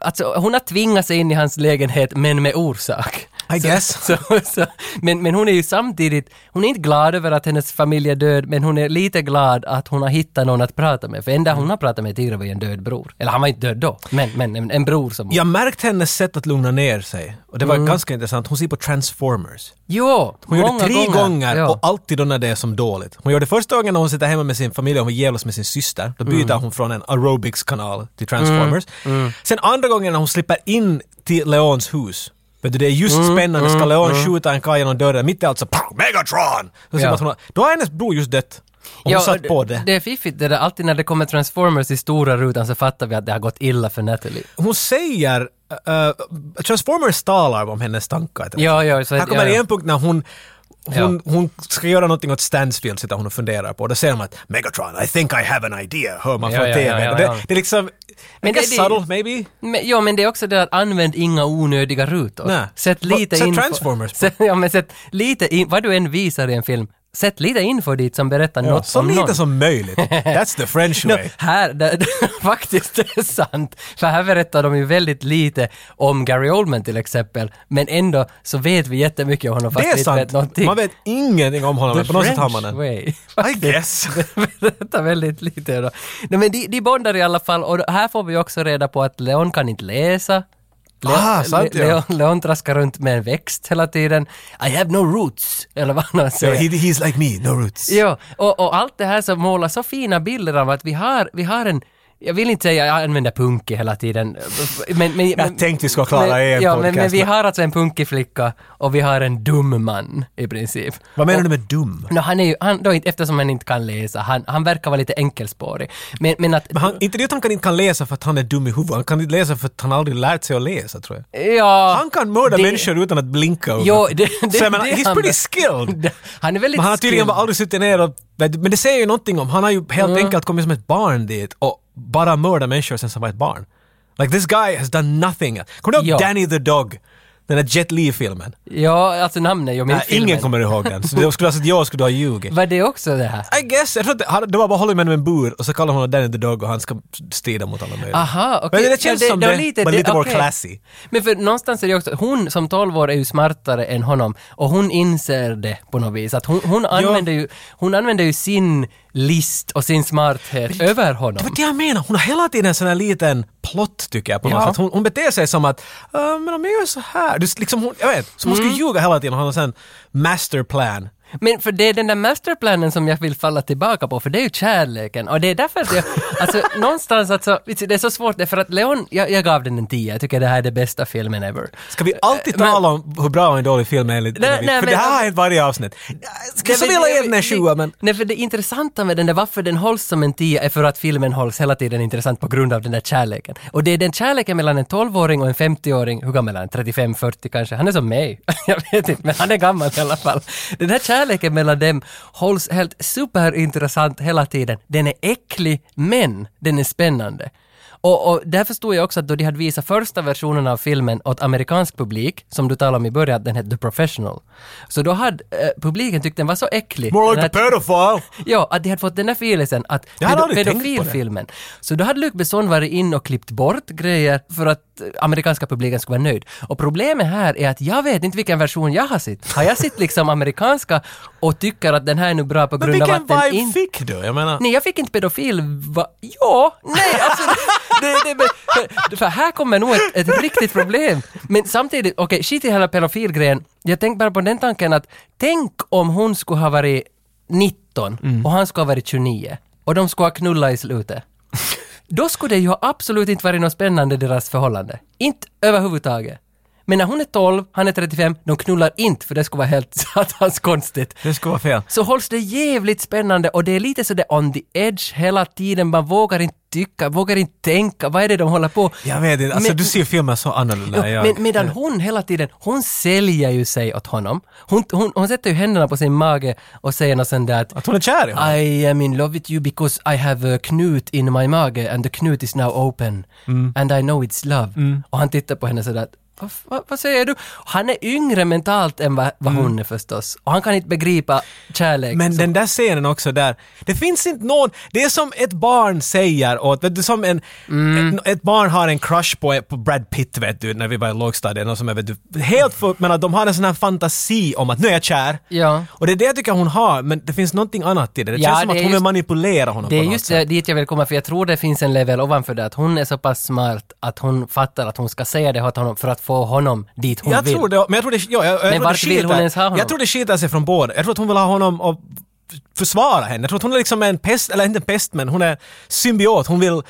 Speaker 1: Alltså, hon har tvingat sig in i hans lägenhet, men med orsak.
Speaker 2: I
Speaker 1: så,
Speaker 2: guess.
Speaker 1: Så, så, men, men hon är ju samtidigt, hon är inte glad över att hennes familj är död, men hon är lite glad att hon har hittat någon att prata med. För enda hon har pratat med tidigare var ju en död bror. Eller han var inte död då, men, men en, en bror som...
Speaker 2: Jag märkte hennes sätt att lugna ner sig. Och det var ganska intressant. Hon ser på Transformers.
Speaker 1: Jo,
Speaker 2: Hon gör det tre gånger,
Speaker 1: ja.
Speaker 2: och alltid då när det är som dåligt. Hon gör det första gången när hon sitter hemma med sin familj och hon jävlas med sin syster. Då byter hon från en aerobics-kanal till Transformers. Sen andra gången när hon slipper in till Leons hus. Vet du, det är just spännande. Ska Leon skjuta en kaj genom dörren? Mitt i allt så "Pow, Megatron! Då, ser
Speaker 1: Ja.
Speaker 2: man att hon har, då har hennes bror just dött. Och hon
Speaker 1: Ja,
Speaker 2: satt på det.
Speaker 1: Det är fiffigt det där, alltid när det kommer Transformers i stora rutan så fattar vi att det har gått illa för Natalie.
Speaker 2: Hon säger... eh, Transformers talar om hennes tankar.
Speaker 1: Ja, ja, så
Speaker 2: Här kommer
Speaker 1: ja, ja.
Speaker 2: en punkt när hon hon, hon ska göra någonting åt Stansfield, sitter hon och funderar på. Då säger man att Megatron, I think I have an idea, hör man
Speaker 1: Ja,
Speaker 2: från
Speaker 1: ja,
Speaker 2: TVn.
Speaker 1: ja, ja,
Speaker 2: Och det,
Speaker 1: ja.
Speaker 2: det är liksom... Men
Speaker 1: Men
Speaker 2: det,
Speaker 1: det- det-
Speaker 2: subtle, maybe?
Speaker 1: Men, ja, men det är också det att använd inga onödiga rutor.
Speaker 2: Nej.
Speaker 1: Sätt
Speaker 2: Vad-
Speaker 1: lite
Speaker 2: sätt
Speaker 1: info-
Speaker 2: Transformers på.
Speaker 1: Sätt, ja, men sätt lite in, vad du än visar i en film, sätt lite info dit som berättar något
Speaker 2: Så
Speaker 1: om
Speaker 2: lite
Speaker 1: någon.
Speaker 2: som möjligt. That's the French
Speaker 1: No,
Speaker 2: way.
Speaker 1: här, det, det, faktiskt, det är sant. För här berättar de ju väldigt lite om Gary Oldman till exempel, men ändå så vet vi jättemycket om honom fast
Speaker 2: det är
Speaker 1: vi inte vet
Speaker 2: sant.
Speaker 1: någonting.
Speaker 2: Man vet ingenting om honom,
Speaker 1: The
Speaker 2: men på något sätt har man
Speaker 1: French
Speaker 2: den.
Speaker 1: way.
Speaker 2: I guess.
Speaker 1: berättar väldigt lite. Då. Nej, men de, de bondar i alla fall och här får vi också reda på att Leon kan inte läsa. Leon,
Speaker 2: Ah, sant, ja.
Speaker 1: Leon, Leon traskar runt med en växt hela tiden. I have no roots, eller vad han
Speaker 2: So
Speaker 1: säger.
Speaker 2: he, he's like me, no roots.
Speaker 1: Ja, och, och allt det här som målar så fina bilder av att vi har, vi har en jag vill inte säga jag använder punke hela tiden. Men, men, men,
Speaker 2: tänkte vi skulle klara
Speaker 1: men,
Speaker 2: en
Speaker 1: ja,
Speaker 2: podcast,
Speaker 1: men, men vi
Speaker 2: men-
Speaker 1: har alltså en punkig flicka och vi har en dum man i princip.
Speaker 2: Vad menar
Speaker 1: Och-
Speaker 2: du med dum?
Speaker 1: No, han är ju, han, då, inte- eftersom han inte kan läsa, han, han verkar vara lite enkelspårig. Men, men att...
Speaker 2: Men han, inte det att han kan- inte kan läsa för att han är dum i huvudet, han kan inte läsa för att han aldrig lärt sig att läsa tror jag.
Speaker 1: ja,
Speaker 2: Han kan mörda
Speaker 1: det-
Speaker 2: människor utan att blinka.
Speaker 1: Jo, det, det,
Speaker 2: så jag menar,
Speaker 1: det
Speaker 2: he's
Speaker 1: han-
Speaker 2: pretty skilled.
Speaker 1: Han är väldigt
Speaker 2: Men han har tydligen
Speaker 1: skilled.
Speaker 2: bara aldrig suttit ner och... Men det säger ju någonting om, han har ju helt enkelt kommit som ett barn dit och bara mördat människor sen han var ett barn. Like this guy has done nothing. Kommer du ihåg
Speaker 1: Ja.
Speaker 2: Danny the Dog? Den där Jet Li-filmen?
Speaker 1: Ja, alltså namnet, jag minns
Speaker 2: Nej, ingen
Speaker 1: filmen.
Speaker 2: kommer ihåg den. Så jag skulle ha sagt jag skulle ha ljugit.
Speaker 1: Var det också det här?
Speaker 2: I guess, jag tror att det- han- det var bara hålla med honom i en bur och så kallar honom Danny the Dog och han ska strida mot alla möjliga.
Speaker 1: Aha, okej.
Speaker 2: Men det känns
Speaker 1: Ja,
Speaker 2: som
Speaker 1: var
Speaker 2: det, men lite more
Speaker 1: okej.
Speaker 2: classy.
Speaker 1: Men för någonstans är det också, hon som 12 år är ju smartare än honom och hon inser det på något vis. Att hon, hon, använder, ju, hon använder ju sin list och sin smarthet över honom.
Speaker 2: Det var det jag menar, hon har hela tiden en sån här liten plott tycker jag på något
Speaker 1: Ja.
Speaker 2: sätt. Hon, hon beter sig som att, "Ah, men om jag gör så här. Det är liksom hon, jag vet, som hon ska ljuga hela tiden och ha en sån masterplan.
Speaker 1: Men för det är den där masterplanen som jag vill falla tillbaka på, för det är ju kärleken. Och det är därför att jag, alltså någonstans alltså, vet du, det är så svårt, det är för att Leon, jag, jag gav den en 10, jag tycker det här är det bästa filmen ever.
Speaker 2: Ska vi alltid
Speaker 1: Men-
Speaker 2: tala om hur bra och en dålig film är enligt
Speaker 1: Nej,
Speaker 2: enligt-
Speaker 1: nej,
Speaker 2: För
Speaker 1: men-
Speaker 2: det här har hänt varje avsnitt. Jag skulle så vilja ge den en sjua men...
Speaker 1: Nej, för det intressanta med den där, varför den hålls som en tia är för att filmen hålls hela tiden intressant på grund av den där kärleken. Och det är den kärleken mellan en 12-åring och en 50-åring, hur gammal är han? 35-40 kanske? Han är som mig. Jag vet inte, men han är gammal i alla fall. Den här kärleken mellan dem hålls helt superintressant hela tiden. Den är äcklig, men den är spännande. Och, och där förstod jag också att då de hade visat första versionen av filmen åt amerikansk publik, som du talade om i början, att den hette The Professional. Så då hade eh, publiken tyckt den var så äcklig.
Speaker 2: More
Speaker 1: den
Speaker 2: like a
Speaker 1: här-
Speaker 2: pedophile!
Speaker 1: Ja, att de hade fått den där filisen att
Speaker 2: Jag hade
Speaker 1: pedo-
Speaker 2: aldrig tänkt på det.
Speaker 1: pedofilfilmen. Så då hade Luc Besson varit in och klippt bort grejer för att eh, amerikanska publiken skulle vara nöjd. Och problemet här är att jag vet inte vilken version jag har sett. Har jag sett liksom amerikanska och tycker att den här är nu bra på
Speaker 2: Men
Speaker 1: grund av
Speaker 2: vilken
Speaker 1: att den
Speaker 2: vibe
Speaker 1: inte...
Speaker 2: fick du? Jag menar...
Speaker 1: Nej, jag fick inte pedofil... Va? Ja, nej, alltså... Det, det, det, för, för här kommer nog ett, ett riktigt problem. Men samtidigt, okej, shit i hela pedofilgrejen. Jag tänkte bara på den tanken att tänk om hon skulle ha varit 19 och han skulle ha varit 29 och de skulle ha knullat i slutet. Då skulle det ju ha absolut inte varit något spännande deras förhållande. Inte överhuvudtaget. Men när hon är 12, han är 35, de knullar inte för det skulle vara helt satans konstigt
Speaker 2: Det skulle vara fel.
Speaker 1: så hålls det jävligt spännande och det är lite så det on the edge hela tiden. Man vågar inte tycka, vågar inte tänka. Vad är det de håller på?
Speaker 2: Jag vet inte, alltså
Speaker 1: Men-
Speaker 2: du ser filmen så annorlunda än
Speaker 1: Ja,
Speaker 2: jag.
Speaker 1: men, medan hon hela tiden, hon säljer ju sig åt honom. Hon, hon, hon sätter ju händerna på sin mage och säger något sånt där att
Speaker 2: Att hon är kär i honom.
Speaker 1: I am in love with you because I have a knut in my mage and the knut is now open and I know it's love. Och han tittar på henne sådär att Vad, f- vad, vad säger du? Han är yngre mentalt än vad, vad hon är förstås. Och han kan inte begripa kärlek.
Speaker 2: Men
Speaker 1: Så-
Speaker 2: den där scenen också där, det finns inte någon, det är som ett barn säger åt, vet du, som en,
Speaker 1: Mm.
Speaker 2: ett, ett barn har en crush på, på Brad Pitt vet du, när vi var i lågstadiet, och som är, vet du, helt för, men att de har en sån här fantasi om att nu är jag kär.
Speaker 1: Ja.
Speaker 2: Och det är det jag tycker hon har, men det finns någonting annat i det. Det
Speaker 1: Ja,
Speaker 2: känns som
Speaker 1: det
Speaker 2: att
Speaker 1: är
Speaker 2: hon vill
Speaker 1: just-
Speaker 2: manipulera honom
Speaker 1: Det
Speaker 2: på
Speaker 1: är
Speaker 2: något
Speaker 1: just
Speaker 2: sätt.
Speaker 1: det, dit jag vill komma, för jag tror det finns en level ovanför det, att hon är så pass smart att hon fattar att hon ska säga det åt honom för att få honom dit hon
Speaker 2: Jag
Speaker 1: vill.
Speaker 2: tror det, men jag tror det, ja, jag, jag
Speaker 1: Men
Speaker 2: tror det
Speaker 1: vart vill
Speaker 2: skitar-
Speaker 1: hon ens ha honom?
Speaker 2: Jag tror det skitar sig från båda. Jag tror att hon vill ha honom och f- försvara henne. Jag tror att hon är liksom en pest, eller inte en pest men hon är symbiot. Hon vill,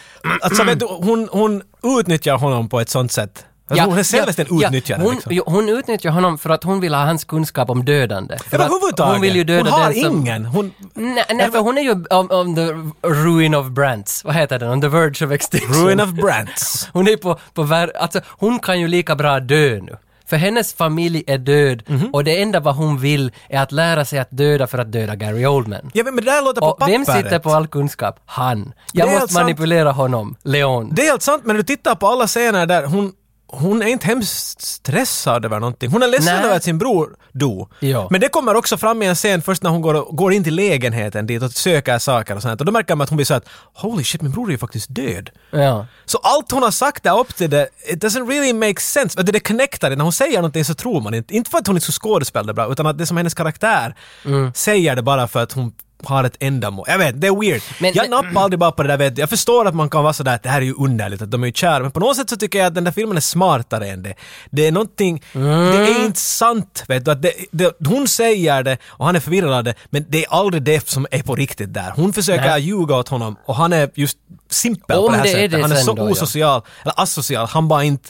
Speaker 2: alltså vet du, hon, hon utnyttjar honom på ett sånt sätt. Alltså, hon är självständigt
Speaker 1: ja,
Speaker 2: utnyttjare
Speaker 1: hon,
Speaker 2: liksom.
Speaker 1: jo, hon utnyttjar honom för att hon vill ha hans kunskap om dödande. För att
Speaker 2: Överhuvudtaget.
Speaker 1: Hon vill ju döda
Speaker 2: hon har
Speaker 1: den som...
Speaker 2: ingen. Hon,
Speaker 1: Nej, nej, för hon är ju on, on the ruin of Brants. Vad heter den? On the verge of extinction.
Speaker 2: ruin of Brants.
Speaker 1: Hon är på, på vär- alltså hon kan ju lika bra dö nu. För hennes familj är död
Speaker 2: Mhm.
Speaker 1: och det enda vad hon vill är att lära sig att döda för att döda Gary Oldman.
Speaker 2: Ja men det där låter på
Speaker 1: Och
Speaker 2: pappret.
Speaker 1: vem sitter på all kunskap? Han. Jag
Speaker 2: Det är alltså-
Speaker 1: måste
Speaker 2: helt sant.
Speaker 1: manipulera honom, Leon.
Speaker 2: Det är helt sant, men du tittar på alla scener där hon hon är inte hemskt stressad över någonting. Hon är ledsen
Speaker 1: Nej.
Speaker 2: över att sin bror dog.
Speaker 1: Ja.
Speaker 2: Men det kommer också fram i en scen först när hon går, går in till lägenheten dit och söker saker och sånt. Och då märker man att hon blir så att holy shit, min bror är ju faktiskt död.
Speaker 1: Ja.
Speaker 2: Så allt hon har sagt där upp till det, it doesn't really make sense. Vet du, Det connectar, när hon säger någonting så tror man inte. Inte för att hon inte skulle skådespela det bra, utan att det är som hennes karaktär
Speaker 1: Mm.
Speaker 2: säger det bara för att hon har ett ändamål. Jag vet, det är weird.
Speaker 1: Men-
Speaker 2: jag
Speaker 1: men-
Speaker 2: nappar aldrig bara på det där vet du. Jag förstår att man kan vara sådär att det här är ju underligt, att de är ju kära. Men på något sätt så tycker jag att den där filmen är smartare än det. Det är någonting, det
Speaker 1: Mm.
Speaker 2: är inte sant vet du. Att det, det, hon säger det och han är förvirrad av det, men det är aldrig det som är på riktigt där. Hon försöker
Speaker 1: Nej.
Speaker 2: ljuga åt honom och han är just simpel på
Speaker 1: Om
Speaker 2: det här
Speaker 1: det är
Speaker 2: sättet.
Speaker 1: det
Speaker 2: han är
Speaker 1: sen
Speaker 2: så
Speaker 1: då, ja. Mm.
Speaker 2: osocial, eller asocial, han bara inte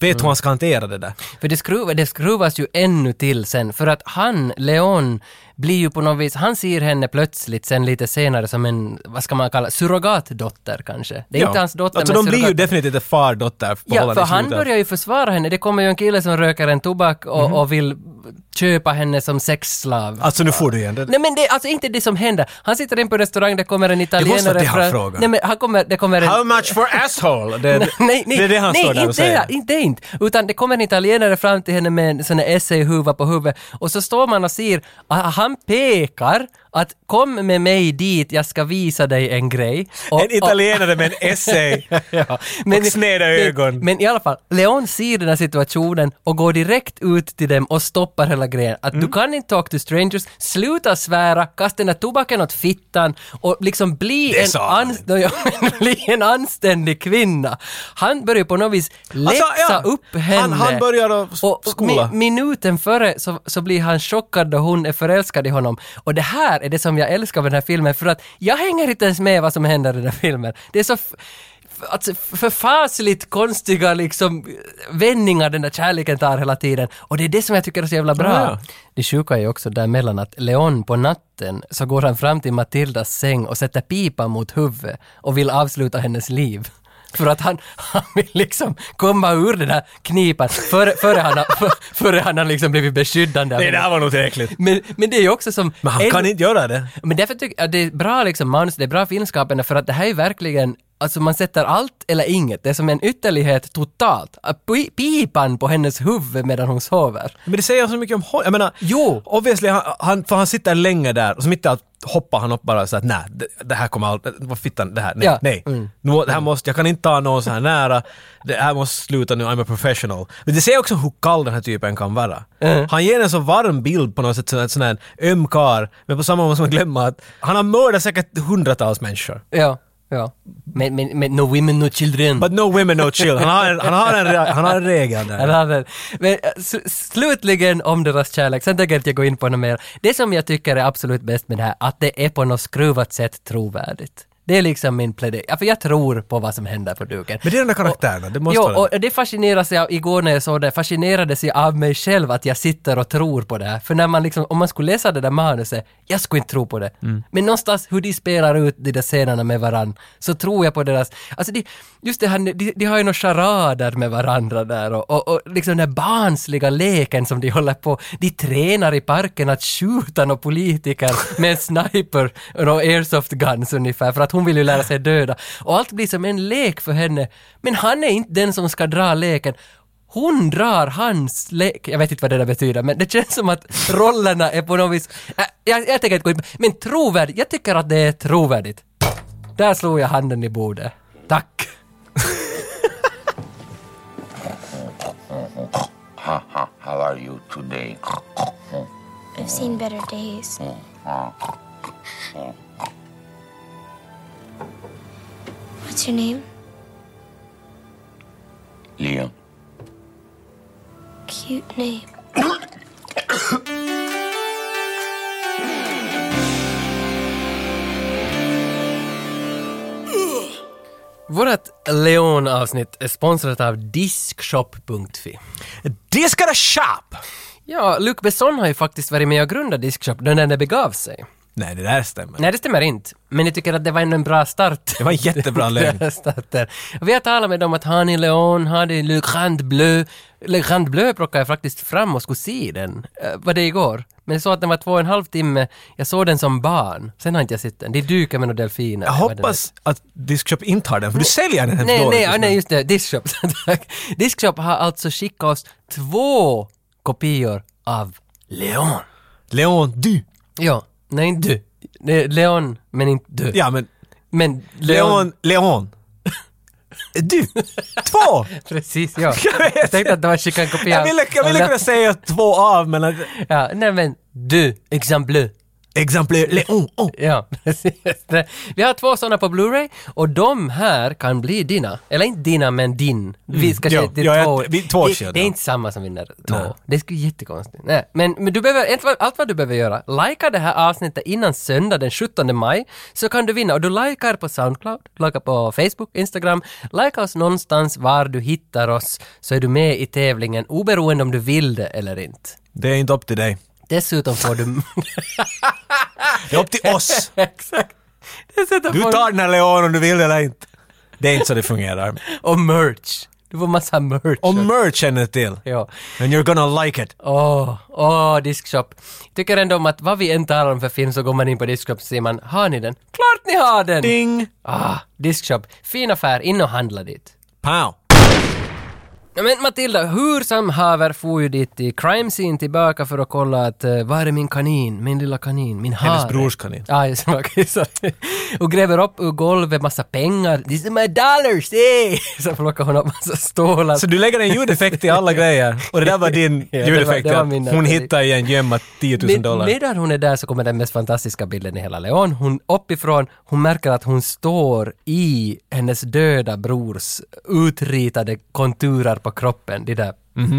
Speaker 2: vet hur han ska hantera det där.
Speaker 1: För det, skruv, det skruvas ju ännu till sen, för att han, Leon, blir ju på något vis, han ser henne plötsligt sen lite senare som en, vad ska man kalla, surrogatdotter kanske. Det är inte hans dotter,
Speaker 2: alltså,
Speaker 1: men
Speaker 2: de blir ju
Speaker 1: surrogat-
Speaker 2: definitivt ett fardotter liksom
Speaker 1: Ja, för han börjar ju försvara henne. Det kommer ju en kille som röker en tobak och, och vill köpa henne som sexslav.
Speaker 2: Mhm. Alltså nu får du igen det.
Speaker 1: Nej men det är alltså inte det som händer. Han sitter in på en restaurang, det kommer en
Speaker 2: vara
Speaker 1: italienare
Speaker 2: det han
Speaker 1: fram-
Speaker 2: frågar.
Speaker 1: Nej men han kommer, det kommer en...
Speaker 2: How much for asshole? Det,
Speaker 1: nej, nej,
Speaker 2: det är det han
Speaker 1: nej,
Speaker 2: står där och
Speaker 1: inte det,
Speaker 2: säger.
Speaker 1: inte det inte. Utan det kommer en italienare fram till henne med en sån här essayhuva på huvudet och så står man och ser, ah, han pekar att kom med mig dit, jag ska visa dig en grej. Och-
Speaker 2: En italienare med en essay och sneda ögon.
Speaker 1: Men, men i alla fall, Leon ser den här situationen och går direkt ut till dem och stoppar hela grejen. Att
Speaker 2: Mm.
Speaker 1: du kan inte talk to strangers, sluta svära, kasta den här tobaken åt fittan och liksom bli
Speaker 2: Det
Speaker 1: en,
Speaker 2: sa han.
Speaker 1: ans- ja, men bli en anständig kvinna. Han börjar på något vis läxa
Speaker 2: Alltså, ja.
Speaker 1: upp henne.
Speaker 2: Han- han börjar att s-
Speaker 1: och, och
Speaker 2: skola.
Speaker 1: mi- minuten före så, så blir han chockad då hon är förälskad i honom. Och det här är det som jag älskar med den här filmen för att jag hänger inte ens med vad som händer i den här filmen. Det är så f- f- alltså, förfasligt konstiga liksom vändningar den där kärleken tar hela tiden. Och det är det som jag tycker är så jävla bra.
Speaker 2: Ja, ja.
Speaker 1: Det sjuka är ju också däremellan att Leon på natten så går han fram till Matildas säng och sätter pipan mot huvudet och vill avsluta hennes liv. För att han, han vill liksom komma ur den här knipan före, före, han, har, för, före han har liksom blivit beskyddande. av
Speaker 2: Nej, det
Speaker 1: henne.
Speaker 2: här var nog tillräckligt.
Speaker 1: Men, men det är ju också som...
Speaker 2: Men han
Speaker 1: en-
Speaker 2: kan inte göra det.
Speaker 1: men därför tycker jag att det är bra liksom manus, det är bra filmskapande för att det här är verkligen Alltså man sätter allt eller inget, det är som en ytterlighet totalt. Att pi- Pipan på hennes huvud medan hon sover.
Speaker 2: Men det säger så mycket om honom. Jag menar,
Speaker 1: Jo.
Speaker 2: obviously, han, han, för han sitter länge där och så mitt i allt hoppar han upp bara så att nej, det, det här kommer allt, vad fittan, det här, nej,
Speaker 1: Ja.
Speaker 2: nej.
Speaker 1: Mm.
Speaker 2: Nu, det här måste, jag kan inte ta någon så här nära, det här måste sluta nu, I'm a professional. Men det säger också hur kall den här typen kan vara.
Speaker 1: Mm.
Speaker 2: Han ger en så varm bild på något sätt, sån här, sån här öm karl, men på samma gång måste man glömma att han har mördat säkert hundratals människor.
Speaker 1: Ja, ja. Men, men, men no women, no children.
Speaker 2: But no women, no chill. Han har en, han har en, re- han har en regel där.
Speaker 1: Eller hade- Men eh, sl- slutligen om deras kärlek, sen tänker jag inte gå in på något mer. Det som jag tycker är absolut bäst med det här, att det är på något skruvat sätt trovärdigt. Det är liksom min plädering. Ja, för jag tror på vad som händer på duken.
Speaker 2: Men det är de där karaktärerna, det måste
Speaker 1: jo,
Speaker 2: vara det.
Speaker 1: och det fascinerades jag igår när jag såg det, fascinerades jag av mig själv att jag sitter och tror på det här. För när man liksom, om man skulle läsa det där manuset, jag skulle inte tro på det.
Speaker 2: Mm.
Speaker 1: Men någonstans hur de spelar ut de där scenerna med varann, så tror jag på deras, alltså de, just det här, de, de har ju några charader med varandra där och, och, och liksom den här barnsliga leken som de håller på, de tränar i parken att skjuta några politiker med en sniper och airsoft guns ungefär, för att hon vill ju lära sig döda. Och allt blir som en lek för henne, men han är inte den som ska dra leken. hon drar hans lek. Jag vet inte vad det där betyder, men det känns som att rollerna är på något vis... Äh, jag, jag tänker inte gå in på- Men trovärdigt, jag tycker att det är trovärdigt. Där slog jag handen i bordet. Tack!
Speaker 8: How are you today?
Speaker 6: I've seen better days. What's your name?
Speaker 8: Leon.
Speaker 6: Cute name.
Speaker 1: Vårt Leon-avsnitt är sponsrat av Diskshop.fi.
Speaker 2: Diskade shop!
Speaker 1: Ja, Luc Besson har ju faktiskt varit med och grundat Diskshop när det begav sig.
Speaker 2: Nej, det där stämmer.
Speaker 1: Nej, det stämmer inte. Men jag tycker att det var ändå en bra start.
Speaker 2: Det var en jättebra lögn.
Speaker 1: Deras starter. Vi har talat med dem att har ni Leon, har ni Le Grand Bleu? Le Grand Bleu plockade jag faktiskt fram och skulle se den. Eh, var det igår? Men jag såg att den var två och en halv timme. Jag såg den som barn. Sen har inte jag sett den. Det dyker med några delfiner.
Speaker 2: Jag
Speaker 1: Vad den
Speaker 2: hoppas att Diskshop inte har den, för du säljer den liksom.
Speaker 1: heter.
Speaker 2: hemskt
Speaker 1: Nej,
Speaker 2: dåligt
Speaker 1: nej,
Speaker 2: just
Speaker 1: ah,
Speaker 2: nu.
Speaker 1: nej, just det. Diskshop. Tack. Diskshop har alltså skickat oss två kopior av Leon.
Speaker 2: Leon, du!
Speaker 1: Ja, nej inte du. Det är Leon, men inte du.
Speaker 2: Ja, men
Speaker 1: Men Leon...
Speaker 2: Leon, Leon. Du! Två!
Speaker 1: Precis, ja.
Speaker 2: Jag vet.
Speaker 1: Jag tänkte att det var skickat en kopia.
Speaker 2: Jag ville, jag ville kunna säga två av, men... att-
Speaker 1: Ja, nej men du, exempel.
Speaker 2: Exempel Leon. Oh.
Speaker 1: Ja, precis. Det- Vi har två sådana på Blu-ray och de här kan bli dina. Eller inte dina, men din. Vi ska
Speaker 2: Jo,
Speaker 1: se till
Speaker 2: Mm. ja, jag-
Speaker 1: två.
Speaker 2: vi- två
Speaker 1: det,
Speaker 2: kör
Speaker 1: det är
Speaker 2: då.
Speaker 1: inte samma som vinner två.
Speaker 2: Nej.
Speaker 1: Det skulle jättekonstigt. Nej, men, men du behöver, ett- allt vad du behöver göra, likea det här avsnittet innan söndag den 17 maj så kan du vinna. Och du likar på Soundcloud, likar på Facebook, Instagram, likea oss någonstans var du hittar oss så är du med i tävlingen oberoende om du vill det eller inte.
Speaker 2: Det är inte upp till dig.
Speaker 1: Dessutom får du...
Speaker 2: Det är upp till oss.
Speaker 1: Exakt. Dessutom
Speaker 2: Du
Speaker 1: får
Speaker 2: tar den här Leon om du vill eller inte. Det är inte så det fungerar.
Speaker 1: Och merch. Du får massa merch.
Speaker 2: Och merch känner jag till.
Speaker 1: Ja.
Speaker 2: And you're gonna like it.
Speaker 1: Åh, åh, Diskshop. Tycker ändå om att vad vi än talar om för film så går man in på Diskshop och säger man har ni den? Klart ni har den!
Speaker 2: Ding!
Speaker 1: Ah, Diskshop. Fin affär, in och handla dit.
Speaker 2: Pow!
Speaker 1: Ja, Men Matilda, hur som haver for ju dit till crime scene tillbaka för att kolla att uh, var är min kanin, min lilla kanin, min hare?
Speaker 2: Hennes brors kanin.
Speaker 1: Ja, just det. okej, sorry. och gräver upp ur golvet massa pengar. This is my dollars, eh! Så plockar hon upp massa stålar.
Speaker 2: Så Alltså, du lägger en ljudeffekt i alla grejer. Och det där var din
Speaker 1: Ja, det var-
Speaker 2: ljudeffekt.
Speaker 1: det var
Speaker 2: att
Speaker 1: min
Speaker 2: hon
Speaker 1: effekt.
Speaker 2: hittar i en gömma 10 000 dollar.
Speaker 1: Med, medan hon är där så kommer den mest fantastiska bilden i hela Leon. Hon uppifrån, hon märker att hon står i hennes döda brors utritade konturer på kroppen, de där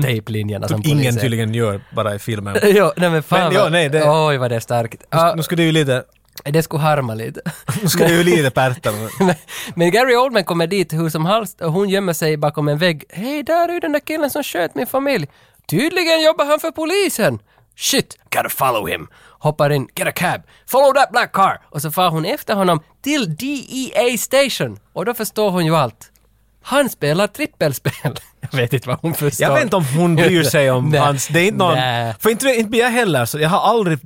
Speaker 1: tejplinjerna som
Speaker 2: Som Mhm. Typ ingen
Speaker 1: polisen-
Speaker 2: tydligen gör bara i filmen.
Speaker 1: Jo, nej men fan
Speaker 2: Men, ja,
Speaker 1: vad-
Speaker 2: nej, det-
Speaker 1: Oj vad det är starkt. Ja,
Speaker 2: Nu ska du ju lite...
Speaker 1: det skulle harma lite.
Speaker 2: Nu ska du ju lite pärta.
Speaker 1: Men- Men Gary Oldman kommer dit hur som helst och hon gömmer sig bakom en vägg. Hej, där är ju den där killen som sköt min familj. Tydligen jobbar han för polisen. Shit, gotta follow him. Hoppar in, get a cab, follow that black car. Och så far hon efter honom till DEA station. Och då förstår hon ju allt. Han spelar trippelspel. Jag vet inte vad hon förstår.
Speaker 2: Jag vet inte om hon bryr sig om
Speaker 1: Nej.
Speaker 2: hans... Det är inte någon...
Speaker 1: Nej.
Speaker 2: För inte, inte blir jag heller så. Jag har aldrig...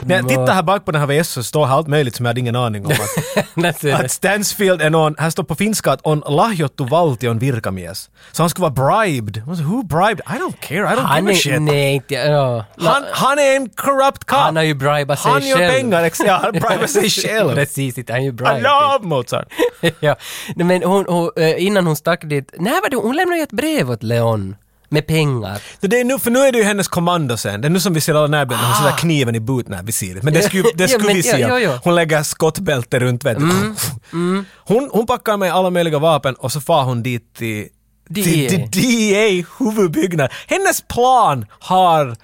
Speaker 2: När jag tittar här bak på den här VS så står här allt möjligt som jag hade ingen aning om. Att,
Speaker 1: Nej, så är det.
Speaker 2: att Stansfield är någon... Här står på finska att on lahjottu valtion virkamies. Så han skulle vara bribed. Jag sa, Who bribed? I don't care. I don't
Speaker 1: Han
Speaker 2: give a
Speaker 1: är...
Speaker 2: shit.
Speaker 1: Nej, inte... ja.
Speaker 2: Han, han är en corrupt cop.
Speaker 1: Han har ju bribat sig
Speaker 2: Han
Speaker 1: själv.
Speaker 2: gör pengar. Ex, ja, han bribar sig själv.
Speaker 1: Precis, inte han är ju
Speaker 2: I
Speaker 1: bribe.
Speaker 2: love Mozart.
Speaker 1: ja. Nej, Men hon, hon, eh, innan hon stack dit, nej vad det, hon lämnade ju ett brev åt Leon med pengar.
Speaker 2: Det det är nu, för nu är det ju hennes kommando sen. Det är nu som vi ser alla närbilder. Hon sätter kniven i boot när vi ser det. Men det skulle,
Speaker 1: Ah. Ja,
Speaker 2: det skulle
Speaker 1: men-
Speaker 2: vi
Speaker 1: ja,
Speaker 2: se.
Speaker 1: ja, Mm, ja.
Speaker 2: Hon lägger skottbälte runt vet du. Hon, hon packar med alla möjliga vapen och så far hon dit till
Speaker 1: DEA.
Speaker 2: till- till DEA huvudbyggnad. Hennes plan har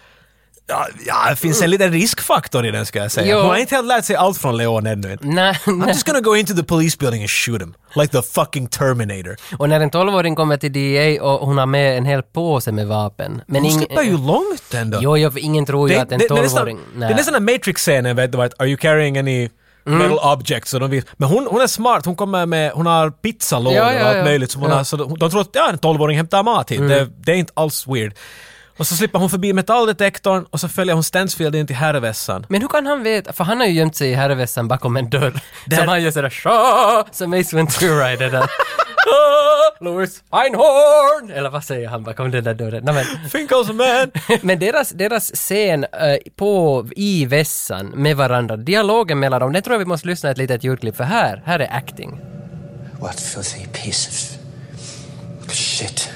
Speaker 2: Ja, ja, det finns en liten riskfaktor i den ska jag säga.
Speaker 1: Mm. Jo.
Speaker 2: Hon har inte helt lärt sig allt från Leon ännu.
Speaker 1: Nej,
Speaker 2: I'm
Speaker 1: nej.
Speaker 2: just gonna go into the police building and shoot him. Like the fucking Terminator.
Speaker 1: Och när en tolvåring kommer till DEA och hon har med en hel påse med vapen. Men
Speaker 2: Hon
Speaker 1: ing-
Speaker 2: slipper ju långt ändå.
Speaker 1: Jo, jo, för ingen tror ju att en
Speaker 2: det är
Speaker 1: tolvåring...
Speaker 2: nästan-
Speaker 1: nej. Mm.
Speaker 2: Det är nästan den Matrix-scenen, vet du, vad, att are you carrying any metal objects? Så de vet. Men hon, hon är smart, hon kommer med, hon har pizzalådor
Speaker 1: Ja, ja,
Speaker 2: och
Speaker 1: ja.
Speaker 2: allt möjligt. Som hon
Speaker 1: Ja. Mm.
Speaker 2: har, så de, de tror att ja, en tolvåring hämtar mat hit, det, det är inte alls weird. Och så slipper hon förbi metalldetektorn och så följer hon Stansfield in till herrvässan.
Speaker 1: Men hur kan han veta? För han har ju gömt sig i herrvässan bakom en dörr.
Speaker 2: Där-
Speaker 1: Som han gör sådär "Sha!" som Ace Ventura i det där. "Ah!" Louis Einhorn! Eller vad säger han bakom den där dörren? Nej, men,
Speaker 2: Think also man!
Speaker 1: men deras, deras scen eh, på, i vässan med varandra, dialogen mellan dem, den tror jag vi måste lyssna ett litet ljudklipp för här, här är acting.
Speaker 9: What filthy piece of shit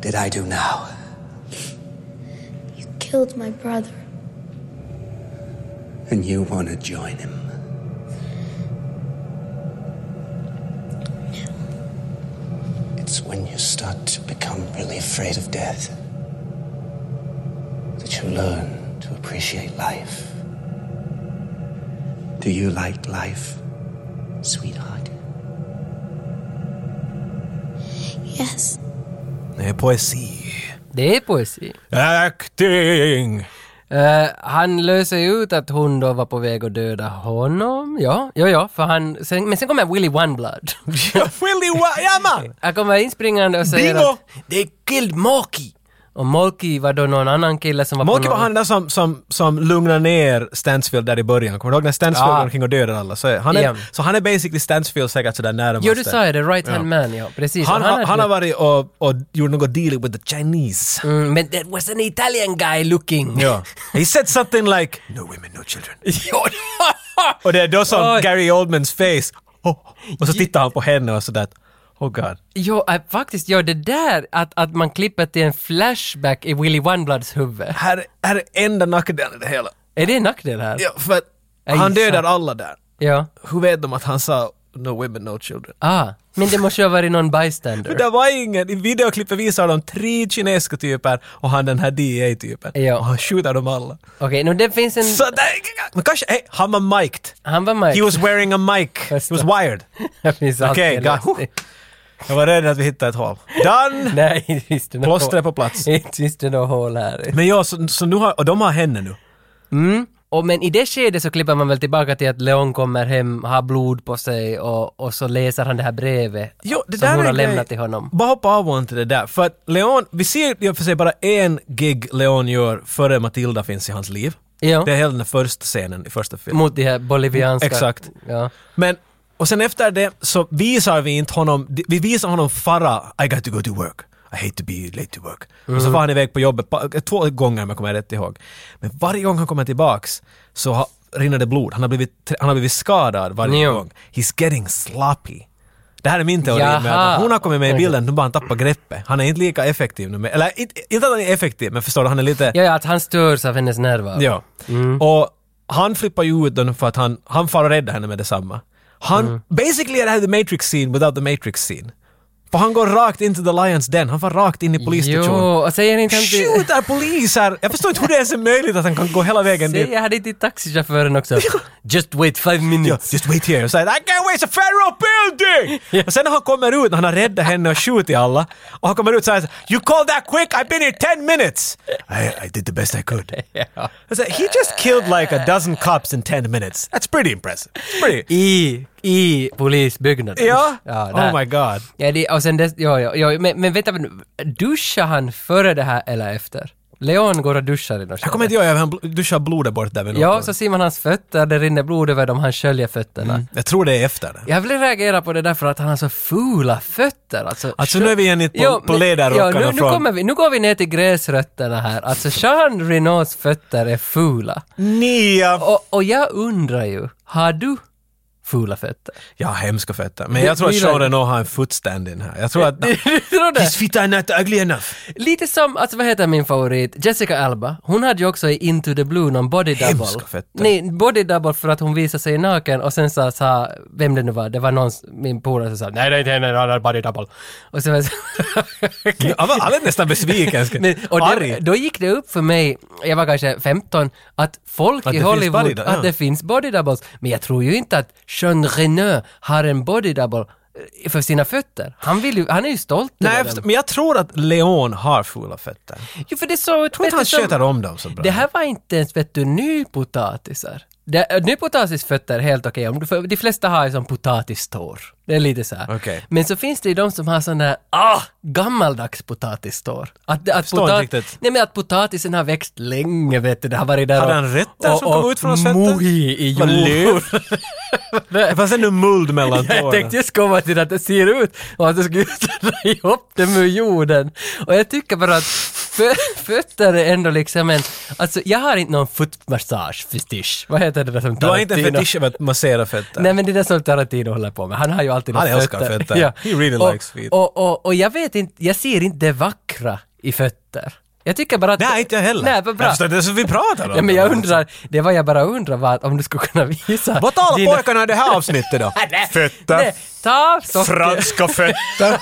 Speaker 9: did I do now?
Speaker 7: You killed my brother.
Speaker 9: And you want to join him? It's when you start to become really afraid of death that you learn to appreciate life. Do you like life, sweetheart?
Speaker 7: Yes.
Speaker 2: Det är poesi.
Speaker 1: Det är poesi.
Speaker 2: Acting!
Speaker 1: Eh, han löser ju ut att hon då var på väg att döda honom. Ja, ja, ja, för han... Sen, men sen kommer Willy Oneblood.
Speaker 2: Willy Wa- Ja man!
Speaker 1: Han kommer inspringande och säger
Speaker 2: Bingo!
Speaker 1: att They killed Moki! Och Moki var då någon annan kille som var
Speaker 2: Monkey
Speaker 1: på
Speaker 2: var
Speaker 1: någon...
Speaker 2: han där som, som, som lugnade ner Stansfield där i början. Kommer du ihåg när Stansfield
Speaker 1: Ja.
Speaker 2: går omkring och dödar alla? Så, är- han är,
Speaker 1: Ja.
Speaker 2: så han är basically Stansfield säkert sådär närmast.
Speaker 1: Jo, du sa ju det, right hand man, ja. Precis.
Speaker 2: Han,
Speaker 1: Och
Speaker 2: han,
Speaker 1: hade-
Speaker 2: han har varit och, och gjort något deal with the Chinese.
Speaker 1: Mm, men that was an Italian guy looking.
Speaker 2: Ja. He said something like “No women, no children”.
Speaker 1: Jo,
Speaker 2: Och det är då som
Speaker 1: Oj.
Speaker 2: Gary Oldmans face. Oh. Och så tittar han på henne och sådär. Oh god.
Speaker 1: jo äh, faktiskt, ja det där att, att man klipper till en flashback i Willy Onebloods huvud.
Speaker 2: Här, här är enda nackdelen i det hela.
Speaker 1: Är det en nackdel här?
Speaker 2: Ja, för att
Speaker 1: Ej,
Speaker 2: han dödar
Speaker 1: fan.
Speaker 2: alla där.
Speaker 1: Ja.
Speaker 2: Hur vet de att han sa “No women, no children”?
Speaker 1: Ah, men det måste ju ha varit någon bystander.
Speaker 2: Det var ingen. I videoklippet visar de tre kinesiska typer och han den här DEA-typen.
Speaker 1: Ja.
Speaker 2: Och han skjuter dem alla.
Speaker 1: Okej, nu det finns en...
Speaker 2: Så det, men kanske, hey, han var mic'd.
Speaker 1: Han var med.
Speaker 2: He was wearing a mic. He was wired.
Speaker 1: Det finns
Speaker 2: Okej,
Speaker 1: alltid en
Speaker 2: ga-
Speaker 1: lösning.
Speaker 2: Jag var rädd att vi hittade ett hål. Done!
Speaker 1: Nej, finns det något
Speaker 2: Plåstret
Speaker 1: hål.
Speaker 2: på plats.
Speaker 1: Inte finns det något hål här.
Speaker 2: Men ja, så, så nu har, och de har henne nu.
Speaker 1: Och men i det skedet så klipper man väl tillbaka till att Leon kommer hem, har blod på sig och, och så läser han det här brevet
Speaker 2: Jo, det
Speaker 1: som
Speaker 2: där
Speaker 1: hon
Speaker 2: är
Speaker 1: har
Speaker 2: en grej.
Speaker 1: lämnat till honom.
Speaker 2: Bara hoppa av och inte det där. För att Leon, vi ser i och för sig bara en gig Leon gör före Matilda finns i hans liv.
Speaker 1: Ja.
Speaker 2: Det är hela den första scenen i första filmen.
Speaker 1: Mot de här bolivianska...
Speaker 2: Exakt.
Speaker 1: Ja.
Speaker 2: Men, och sen efter det så visar vi inte honom, vi visar honom fara, I got to go to work. I hate to be late to work. Och
Speaker 1: Mm.
Speaker 2: så var han iväg på jobbet pa- två gånger om jag kommer rätt ihåg. Men varje gång han kommer tillbaks så ha, rinner det blod. Han har blivit, tr- han har blivit skadad varje
Speaker 1: Jo.
Speaker 2: gång. He's getting sloppy. Det här är min teori med
Speaker 1: Jaha.
Speaker 2: att hon har kommit med i bilden, nu bara han tappar greppet. Han är inte lika effektiv nu. Med, eller inte, inte att han är effektiv, men förstår du, han är lite...
Speaker 1: ja, ja, att han störs av hennes närvaro.
Speaker 2: Ja. Och han flippar ju ut den för att han, han far och räddar henne med detsamma. Han, basically är det här the matrix scene without the matrix scene. För han går rakt in till the lions den, han far rakt in i
Speaker 1: Jo,
Speaker 2: polisstationen.
Speaker 1: och säger inte han till...
Speaker 2: Skjuter poliser! Jag förstår inte hur det ens är möjligt att han kan gå hela vägen dit.
Speaker 1: Säger han inte till taxichauffören också? Just wait five
Speaker 2: Ja,
Speaker 1: minutes.
Speaker 2: just wait here. Så här, I can't waste a federal building! Och sen när han kommer ut, när han har räddat henne och skjutit alla, och han kommer ut så här, You call that quick? I've been here ten minutes! I, I did the best I could. I said, he just killed like a dozen cops in ten minutes. That's pretty impressive. It's pretty...
Speaker 1: I, I polisbyggnaden.
Speaker 2: Ja?
Speaker 1: där.
Speaker 2: oh my god.
Speaker 1: Ja, det, och sen dess, ja, ja, ja, men, men vänta, men duschar han före det här eller efter? Leon går och duschar i något
Speaker 2: Jag kommer inte ihåg, han bl- duschar blodet bort där vid något
Speaker 1: Ja,
Speaker 2: tag.
Speaker 1: så ser man hans fötter, det rinner blod över dem, han sköljer fötterna.
Speaker 2: Jag tror det är efter det.
Speaker 1: Jag vill reagera på det där för att han har så fula fötter. Alltså,
Speaker 2: Alltså, nu är vi igen i- på- på
Speaker 1: men-
Speaker 2: ledarrockarna
Speaker 1: ja, nu, nu,
Speaker 2: från-
Speaker 1: kommer vi, nu går vi ner till gräsrötterna här. Alltså Jean Renauds fötter är fula.
Speaker 2: Nia!
Speaker 1: Och, och jag undrar ju, har du fula fötter?
Speaker 2: Jag har hemska fötter. Men
Speaker 1: Det-
Speaker 2: jag tror att
Speaker 1: det är-
Speaker 2: Sean Renault har en footstand-in här. Jag tror att...
Speaker 1: Du tror det?
Speaker 2: His feet are not ugly enough.
Speaker 1: Lite som, alltså vad heter min favorit, Jessica Alba. Hon hade ju också i Into the Blue någon body double.
Speaker 2: Hemska fötter.
Speaker 1: Nej, body double för att hon visade sig naken och sen sa, sa vem det nu var, det var någon, min polare som sa nej det är inte henne, det är body double. Och sen var jag så,
Speaker 2: Ja, Han var, han var nästan besviken.
Speaker 1: Men, och
Speaker 2: Arg.
Speaker 1: det, då gick det upp för mig, jag var kanske 15, att folk
Speaker 2: Att
Speaker 1: i
Speaker 2: det finns
Speaker 1: Hollywood,
Speaker 2: body-
Speaker 1: att
Speaker 2: ja.
Speaker 1: det finns body doubles. Men jag tror ju inte att Jean Reno har en body double eh, för sina fötter. Han, vill ju, han är ju stolt
Speaker 2: Nej, jag
Speaker 1: över
Speaker 2: förstår-
Speaker 1: dem.
Speaker 2: men jag tror att Leon har fula fötter.
Speaker 1: Jo, för det är så...
Speaker 2: Jag tror inte han sköter om dem så bra.
Speaker 1: Det här var inte ens, vet du, nypotatisar. Det, nu potatis fötter är helt okej, om du- för de flesta har ju som potatistår. Det är lite så här.
Speaker 2: Okej.
Speaker 1: Men så finns det ju de som har sån där, ah, gammaldags potatistår. Att, att,
Speaker 2: förstår
Speaker 1: pota-
Speaker 2: inte riktigt.
Speaker 1: Nej men att potatisen har växt länge vet du, det har varit där
Speaker 2: Hade
Speaker 1: och-
Speaker 2: han rötter som
Speaker 1: och-
Speaker 2: kom ut från hans
Speaker 1: och
Speaker 2: fötter?
Speaker 1: mohi i
Speaker 2: Vad
Speaker 1: jord.
Speaker 2: Det fanns ännu muld mellan
Speaker 1: Jag
Speaker 2: tårna.
Speaker 1: tänkte just komma till att det ser ut och att du skulle dra ihop det med jorden. Och jag tycker bara att fö- fötter är ändå liksom en... Alltså jag har inte någon fotmassage-fetisch. Vad heter det där som
Speaker 2: Du har inte en
Speaker 1: Tarantino-
Speaker 2: fetisch av att massera fötter?
Speaker 1: Nej men det är det som Tarantino håller på med. Han har ju alltid
Speaker 2: Han
Speaker 1: några
Speaker 2: älskar fötter. He really
Speaker 1: och,
Speaker 2: likes feet.
Speaker 1: Och, och, och jag vet inte, jag ser inte det vackra i fötter. Jag tycker bara att...
Speaker 2: Nej, inte jag heller.
Speaker 1: Nej, vad
Speaker 2: Jag
Speaker 1: bra.
Speaker 2: förstår inte ens vad vi pratar om.
Speaker 1: Ja, men jag undrar, det var jag bara undrar var om du skulle kunna visa...
Speaker 2: Vad talar
Speaker 1: dina-
Speaker 2: pojkarna i det här avsnittet då?
Speaker 1: Nej,
Speaker 2: Fötter.
Speaker 1: Nej, ta av socker.
Speaker 2: Franska fötter.